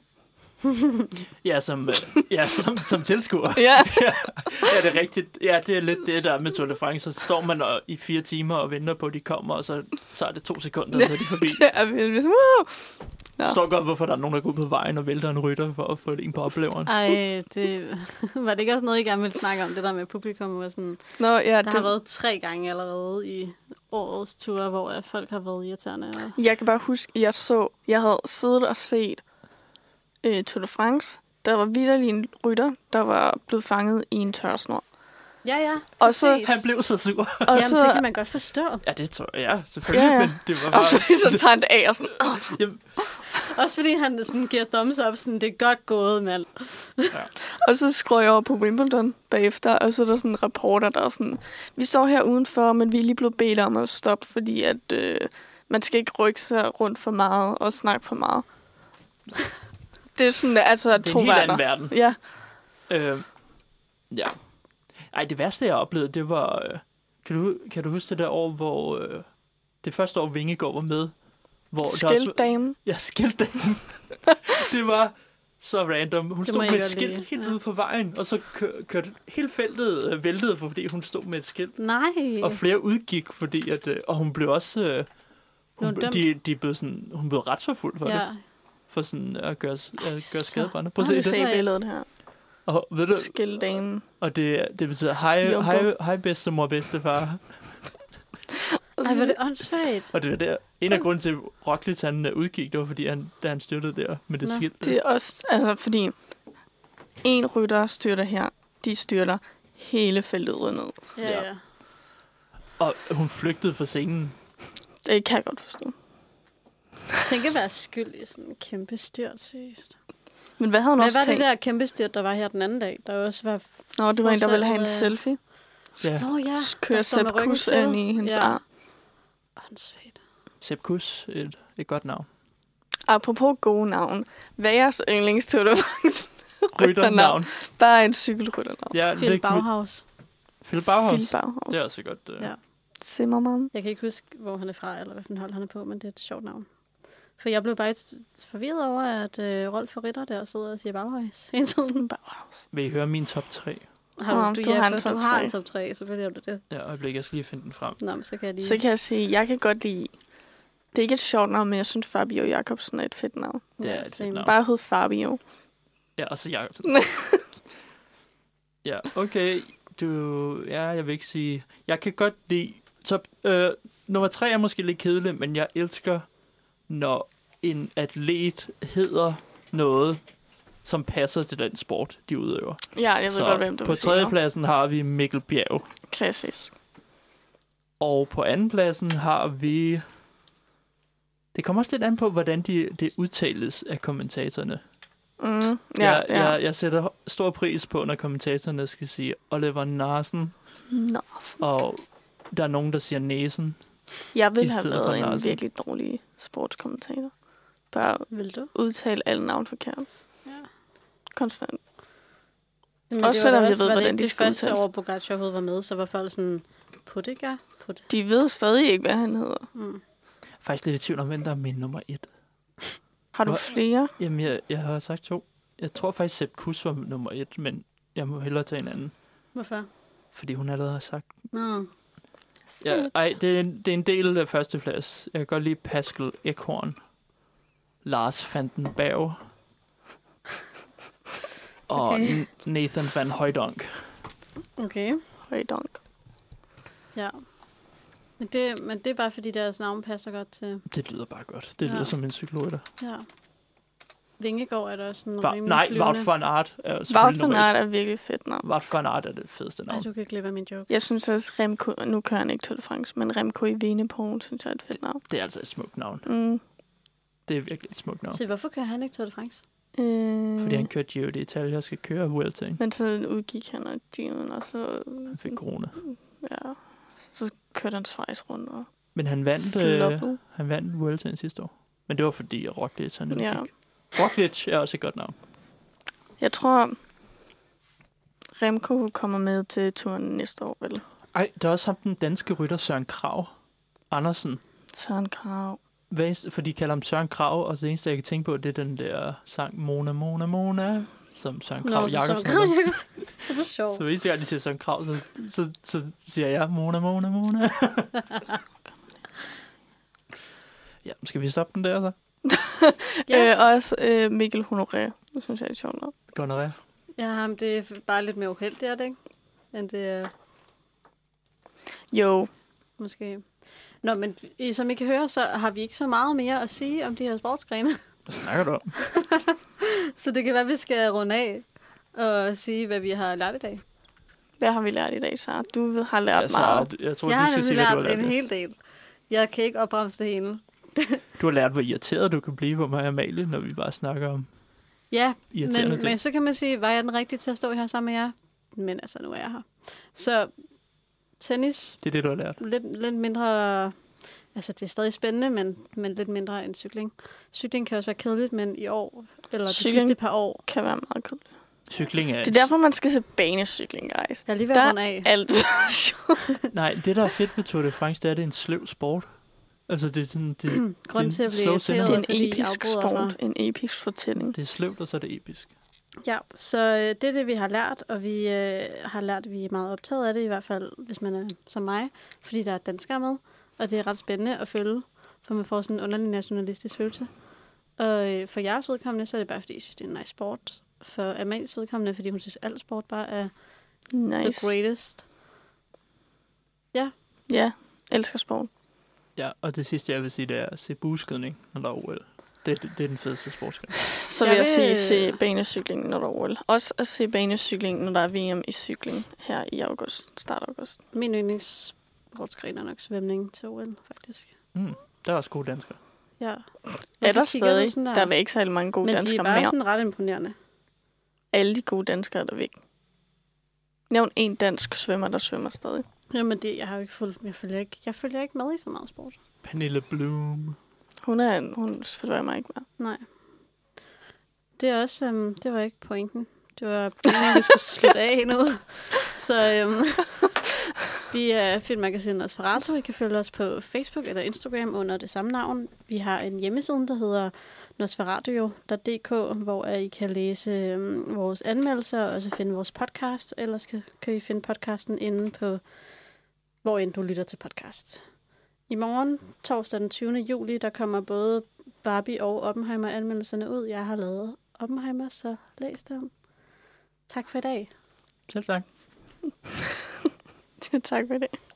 Speaker 3: Ja, som, øh, ja, som, som tilskuer.
Speaker 4: ja.
Speaker 3: ja, det er rigtigt. Ja, det er lidt det der med Tour de France. Så står man og, i fire timer og venter på, at de kommer, og så tager det to sekunder, og så er de forbi.
Speaker 4: det er virkelig sådan, wow!
Speaker 3: Jeg forstår godt, hvorfor der er nogen, der går ud på vejen og vælter en rytter for at få det en på opleveren.
Speaker 2: Ej, det, var det ikke også noget, I gerne ville snakke om, det der med publikum? Var sådan,
Speaker 4: Nå, ja,
Speaker 2: der har været tre gange allerede i årets ture, hvor øh, folk har været irriterende. Og...
Speaker 4: Jeg kan bare huske, jeg så, jeg havde siddet og set øh, Tour de France. Der var vidderlig en rytter, der var blevet fanget i en tørsnor.
Speaker 2: Ja, ja,
Speaker 4: Og så-
Speaker 2: præcis.
Speaker 3: Han blev så sur.
Speaker 4: Og
Speaker 2: Jamen,
Speaker 4: så,
Speaker 2: det kan man godt forstå.
Speaker 3: Ja, det tror jeg. Ja, selvfølgelig.
Speaker 4: Ja,
Speaker 3: Ja,
Speaker 4: ja.
Speaker 3: ja. Men det var
Speaker 4: og så,
Speaker 3: bare...
Speaker 4: så tager han det af og sådan, "Åh,
Speaker 3: Jamen,
Speaker 2: Også fordi han sådan giver thumbs up, sådan, det er godt gået, mand.
Speaker 4: Og så skruer jeg over på Wimbledon bagefter, og så er der sådan en reporter, der er sådan, vi står her udenfor, men vi er lige blevet bedt om at stoppe, fordi at øh, man skal ikke rykke sig rundt for meget og snakke for meget. det er sådan, altså
Speaker 3: det er
Speaker 4: to
Speaker 3: en helt anden
Speaker 4: verdener.
Speaker 3: verden.
Speaker 4: Ja,
Speaker 3: Øh, ja. Ej, det værste, jeg oplevede, det var... Øh, kan, du, kan du huske det der år, hvor... Øh, det første år, Vingegaard var med. Hvor Der, også-
Speaker 4: skiltdame.
Speaker 3: jeg skældte den. det var så random. Hun
Speaker 2: Det
Speaker 3: stod
Speaker 2: må jeg
Speaker 3: med et
Speaker 2: godt
Speaker 3: skilt
Speaker 2: lide,
Speaker 3: helt
Speaker 2: ja.
Speaker 3: ude på vejen, og så kør, kørte hele feltet øh, væltede, fordi hun stod med et skilt.
Speaker 2: Nej.
Speaker 3: Og flere udgik, fordi at, øh, og hun blev også... Øh, hun,
Speaker 2: Blev
Speaker 3: blev-
Speaker 2: dømt?
Speaker 3: de, de blev sådan, hun blev retsforfulgt for ja. det,
Speaker 2: ja.
Speaker 3: for sådan at gøre, at gøre
Speaker 2: så
Speaker 3: skadebrænder. Prøv
Speaker 2: Det er
Speaker 4: Det
Speaker 3: at
Speaker 2: det.
Speaker 3: se det.
Speaker 4: se billedet her.
Speaker 3: Og, ved du,
Speaker 4: Skiltdame.
Speaker 3: og det, det betyder, hej,
Speaker 4: Jumbo.
Speaker 3: hej, hej bedstemor, bedstefar.
Speaker 2: Ej, hvor er det åndssvagt.
Speaker 3: Og det var der, en af grunden til, at Roglic han øh, udgik, det var fordi, han, da han styrtede der med det
Speaker 2: Nå.
Speaker 3: skilt.
Speaker 4: Det er også, altså fordi, en rytter styrter her, de styrter hele feltet ud ned.
Speaker 2: Ja,
Speaker 3: Ja.
Speaker 2: ja.
Speaker 3: Og hun flygtede fra scenen.
Speaker 4: Det kan jeg godt forstå.
Speaker 2: Tænk at være skyld i sådan en kæmpe styrt, seriøst.
Speaker 4: Men hvad havde hun
Speaker 2: Hvad
Speaker 4: også
Speaker 2: var det
Speaker 4: tænkt?
Speaker 2: der kæmpe styrt, der var her den anden dag? Der også var...
Speaker 4: Nå, det var en, der ville have en
Speaker 2: Fortsat, øh,
Speaker 4: selfie.
Speaker 3: Ja.
Speaker 2: Nå ja,
Speaker 4: kører Sepp Kuss ind i hendes ja. arm.
Speaker 2: Åndssvagt.
Speaker 3: Sepp Kuss, et, et godt navn.
Speaker 4: Apropos gode navn. Hvad er jeres yndlings Tour de France?
Speaker 3: Rytternavn.
Speaker 4: Bare en cykelrytternavn.
Speaker 3: Ja,
Speaker 2: Phil
Speaker 3: det-
Speaker 2: Bauhaus.
Speaker 3: Phil Bauhaus.
Speaker 4: Phil Bauhaus.
Speaker 3: Det er
Speaker 4: Ja.
Speaker 3: også et godt. Øh,
Speaker 2: Ja.
Speaker 3: ja.
Speaker 4: Zimmermann.
Speaker 2: Jeg kan ikke huske, hvor han er fra, eller hvilken hold han er på, men det er et sjovt navn. For jeg blev bare forvirret over, at øh, Rolf og Ritter der sidder og siger Bauhaus hele tiden.
Speaker 4: Bauhaus.
Speaker 3: Vil I høre min top 3?
Speaker 2: Har
Speaker 4: Nå,
Speaker 2: du,
Speaker 4: du
Speaker 2: du,
Speaker 4: har
Speaker 2: ja,
Speaker 4: en
Speaker 2: for,
Speaker 4: top
Speaker 2: du har
Speaker 4: tre.
Speaker 2: en top 3, selvfølgelig har du det.
Speaker 3: Ja, øjeblik, jeg skal lige finde den frem.
Speaker 2: Nå, men så kan jeg lige...
Speaker 4: Så kan jeg sige, jeg kan godt lide... Det er ikke et sjovt navn, men jeg synes Fabio Jacobsen er et fedt navn.
Speaker 3: Det er
Speaker 2: Ja,
Speaker 3: et
Speaker 2: same.
Speaker 3: navn.
Speaker 4: Bare hed Fabio.
Speaker 3: Ja, og så Jacobsen. ja, okay. Du, ja, jeg vil ikke sige... Jeg kan godt lide... Top, øh, nummer 3 er måske lidt kedelig, men jeg elsker, når en atlet hedder noget, som passer til den sport, de udøver.
Speaker 4: Ja, jeg ved
Speaker 3: Så
Speaker 4: godt, hvem du
Speaker 3: på
Speaker 4: vil sige nu.
Speaker 3: tredjepladsen har vi Mikkel Bjerg.
Speaker 4: Klassisk.
Speaker 3: Og på andenpladsen har vi... Det kommer også lidt an på, hvordan de, det udtales af kommentatorerne.
Speaker 4: Mm, ja,
Speaker 3: jeg,
Speaker 4: ja. ja.
Speaker 3: Jeg, jeg sætter ho- stor pris på, når kommentatorerne skal sige Oliver Narsen,
Speaker 4: Nå.
Speaker 3: og der er nogen, der siger Næsen.
Speaker 4: Jeg
Speaker 3: I
Speaker 4: ville have
Speaker 3: stedet for
Speaker 4: været en
Speaker 3: Larsen.
Speaker 4: virkelig dårlig sportskommentator. Bare
Speaker 2: Vil du?
Speaker 4: udtale alle navn forkert.
Speaker 2: Ja.
Speaker 4: Konstant.
Speaker 2: Men
Speaker 4: Også
Speaker 2: det var da
Speaker 4: selvom jeg ved,
Speaker 2: var det
Speaker 4: hvordan
Speaker 2: ikke
Speaker 4: de
Speaker 2: det
Speaker 4: skal
Speaker 2: første
Speaker 4: udtales.
Speaker 2: år, Bogacar overhovedet var med, så var folk sådan, Puttega, Puttega.
Speaker 4: De ved stadig ikke, hvad han hedder.
Speaker 2: Mm.
Speaker 3: Jeg er Faktisk lidt i tvivl om, hvem der er min nummer et.
Speaker 4: Har du
Speaker 3: Hvor-
Speaker 4: flere?
Speaker 3: Jamen, jeg, jeg har sagt to. Jeg tror faktisk, Sepp Kuss var nummer et, men jeg må hellere tage en anden,
Speaker 2: Hvorfor?
Speaker 3: fordi hun allerede har sagt.
Speaker 2: Nå.
Speaker 3: Ja, ej, det er, en, det er en del af førsteplads. Jeg kan godt lide Pascal Ekhorn, Lars van den Berg, og
Speaker 2: Okay.
Speaker 3: okay. Nathan van Højdonk.
Speaker 2: Okay.
Speaker 4: Højdonk.
Speaker 2: Ja. Men det, men det er bare fordi deres navn passer godt til...
Speaker 3: Det lyder bare godt. Det
Speaker 2: Ja.
Speaker 3: lyder som en cykelrytter.
Speaker 2: Ja. Vingegård er der også en
Speaker 3: Va-
Speaker 2: rimelig
Speaker 3: nej,
Speaker 2: flyvende...
Speaker 3: Wout van Aert er
Speaker 4: Wout
Speaker 3: selvfølgelig
Speaker 4: van
Speaker 3: nummer et.
Speaker 4: Aert er virkelig fedt navn.
Speaker 3: Wout van Aert er det fedeste
Speaker 2: Ej,
Speaker 3: navn.
Speaker 2: du kan glemme min joke.
Speaker 4: Jeg synes også, Remco, nu kører han ikke Tour de France, men Remco i Venepolen, synes jeg er et fedt navn.
Speaker 3: Det er altså et smukt navn.
Speaker 4: Mm.
Speaker 3: Det er virkelig et smukt navn.
Speaker 2: Så hvorfor kører han ikke Tour de France?
Speaker 4: Øh,
Speaker 3: Fordi han kørte Giro d'Italia og skal køre Vueltaen.
Speaker 4: Men så udgik han og Giroen, og så,
Speaker 3: Han fik corona.
Speaker 4: ja, så kørte han Schweiz rundt og
Speaker 3: Men han vandt, øh,
Speaker 4: floppede.
Speaker 3: han vandt Vueltaen sidste år. Men det var fordi at Roglic han
Speaker 4: Ja.
Speaker 3: udgik. Roglic er også et godt navn.
Speaker 4: Jeg tror, Remco kommer med til turen næste år, vel?
Speaker 3: Ej, der er også ham den danske rytter Søren Krav Andersen.
Speaker 4: Søren Krav.
Speaker 3: Hvad, eneste- for de kalder ham Søren Krav, og det eneste, jeg kan tænke på, det er den der sang Mona, Mona, Mona, som Søren Krav Jacobsen.
Speaker 2: Krav Jacobsen. Det var sjovt.
Speaker 3: Så hvis jeg lige siger Søren Krav, så, så, så siger jeg Mona, Mona, Mona. ja, skal vi stoppe den der så?
Speaker 4: Ja. Øh, også øh, Mikkel Honoré. Det synes jeg er sjovt nok.
Speaker 3: Gonorrhea.
Speaker 2: Ja, ham, det er bare lidt mere uheldigt, er det ikke? End det er
Speaker 4: Jo.
Speaker 2: måske... Nå, men I- som I kan høre, så har vi ikke så meget mere at sige om de her sportsgrene.
Speaker 3: Hvad snakker du om?
Speaker 2: Så det kan være, at vi skal runde af og sige, hvad vi har lært i dag.
Speaker 4: Hvad har vi lært i dag, Sara? Du ved- har lært
Speaker 3: Jeg,
Speaker 4: altså, meget.
Speaker 3: Sara, jeg tror,
Speaker 2: jeg
Speaker 3: du
Speaker 2: har
Speaker 3: skal
Speaker 2: nemlig
Speaker 3: sige, hvad
Speaker 2: lært,
Speaker 3: du har lært.
Speaker 2: en
Speaker 3: ja.
Speaker 2: hel del. Jeg kan ikke opbremse det hele.
Speaker 3: Du har lært, hvor irriteret du kan blive på mig og Amalie, når vi bare snakker om
Speaker 2: Ja,
Speaker 3: irriterende
Speaker 2: men,
Speaker 3: ting.
Speaker 2: men så kan man sige, var jeg den rigtige til at stå her sammen med jer? Men altså, nu er jeg her. Så tennis,
Speaker 3: Det er det, du har lært.
Speaker 2: lidt, lidt mindre... Altså, det er stadig spændende, men, men lidt mindre end cykling. Cykling kan også være kedeligt, men i år, eller de
Speaker 4: Cykling.
Speaker 2: sidste par år,
Speaker 4: kan være meget kedeligt.
Speaker 3: Cykling er...
Speaker 4: Det er derfor, man skal se banecykling, guys.
Speaker 2: jeg er lige ved
Speaker 4: Der
Speaker 2: at
Speaker 4: er
Speaker 2: runde af.
Speaker 4: alt sjovt.
Speaker 3: Nej, det, der er fedt ved Tour de France, det er, at det er en sløv sport. Altså, det er sådan... Det,
Speaker 2: Grunden til at blive
Speaker 3: slow sender.
Speaker 2: irriteret,
Speaker 4: Det er en e-
Speaker 2: fordi I
Speaker 4: episk
Speaker 2: afbryder mig.
Speaker 4: sport. En episk fortælling.
Speaker 3: det er sløvt, og så er det episk.
Speaker 2: Ja, så øh, det er det, vi har lært, og vi øh, har lært, at vi er meget optaget af det, i hvert fald hvis man er som mig, fordi der er danskere med, og det er ret spændende at følge, for man får sådan en underlig nationalistisk følelse. Og øh, for jeres vedkommende, så er det bare, fordi jeg synes, det er en nice sport. For Amalies vedkommende, fordi hun synes, alt sport bare er nice.
Speaker 4: Nice.
Speaker 2: the greatest.
Speaker 4: Ja, elsker sport.
Speaker 3: Ja, og det sidste, jeg vil sige, det er at se buskydning, når der er OL. Det, det, det er den fedeste sportsgren.
Speaker 4: Så
Speaker 2: Jeg
Speaker 4: vil jeg
Speaker 2: vil-
Speaker 4: sige, se banecykling, når der er OL. Også at se banecykling, når der er VM i cykling her i august, start august.
Speaker 2: Min yndlingssportsgren er nok svømning til OL, faktisk.
Speaker 3: Mm, der er også gode danskere.
Speaker 2: Ja.
Speaker 4: er
Speaker 2: Hvorfor
Speaker 4: der
Speaker 2: kigger du
Speaker 4: stadig?
Speaker 2: sådan
Speaker 4: Der er vel ikke særlig mange gode
Speaker 2: Men de er
Speaker 4: danskere
Speaker 2: bare
Speaker 4: mere.
Speaker 2: sådan ret imponerende.
Speaker 4: Alle de gode danskere er der væk. Nævn en dansk svømmer, der svømmer stadig.
Speaker 2: Jamen, det, jeg har jo ikke fulgt, jeg følger ikke, jeg følger ikke med i så meget sport.
Speaker 3: Pernille Bloom.
Speaker 4: Hun er en, hun svømmer ikke mere.
Speaker 2: Nej. Det er også, øhm, det var ikke pointen. Det var pointen, at vi skulle slutte af nu. Så øhm, vi er Filmmagasinet Osferato. I kan følge os på Facebook eller Instagram under det samme navn. Vi har en hjemmeside, der hedder nosferatio.dk, hvor øh, I kan læse øhm, vores anmeldelser og også finde vores podcast. Ellers kan, kan I finde podcasten inde på, hvor end du lytter til podcast. I morgen, torsdag den 20. juli, der kommer både Barbie og Oppenheimer-anmeldelserne ud. Jeg har lavet Oppenheimer, så læs den. Tak for i dag.
Speaker 3: Selv tak.
Speaker 4: tak for det.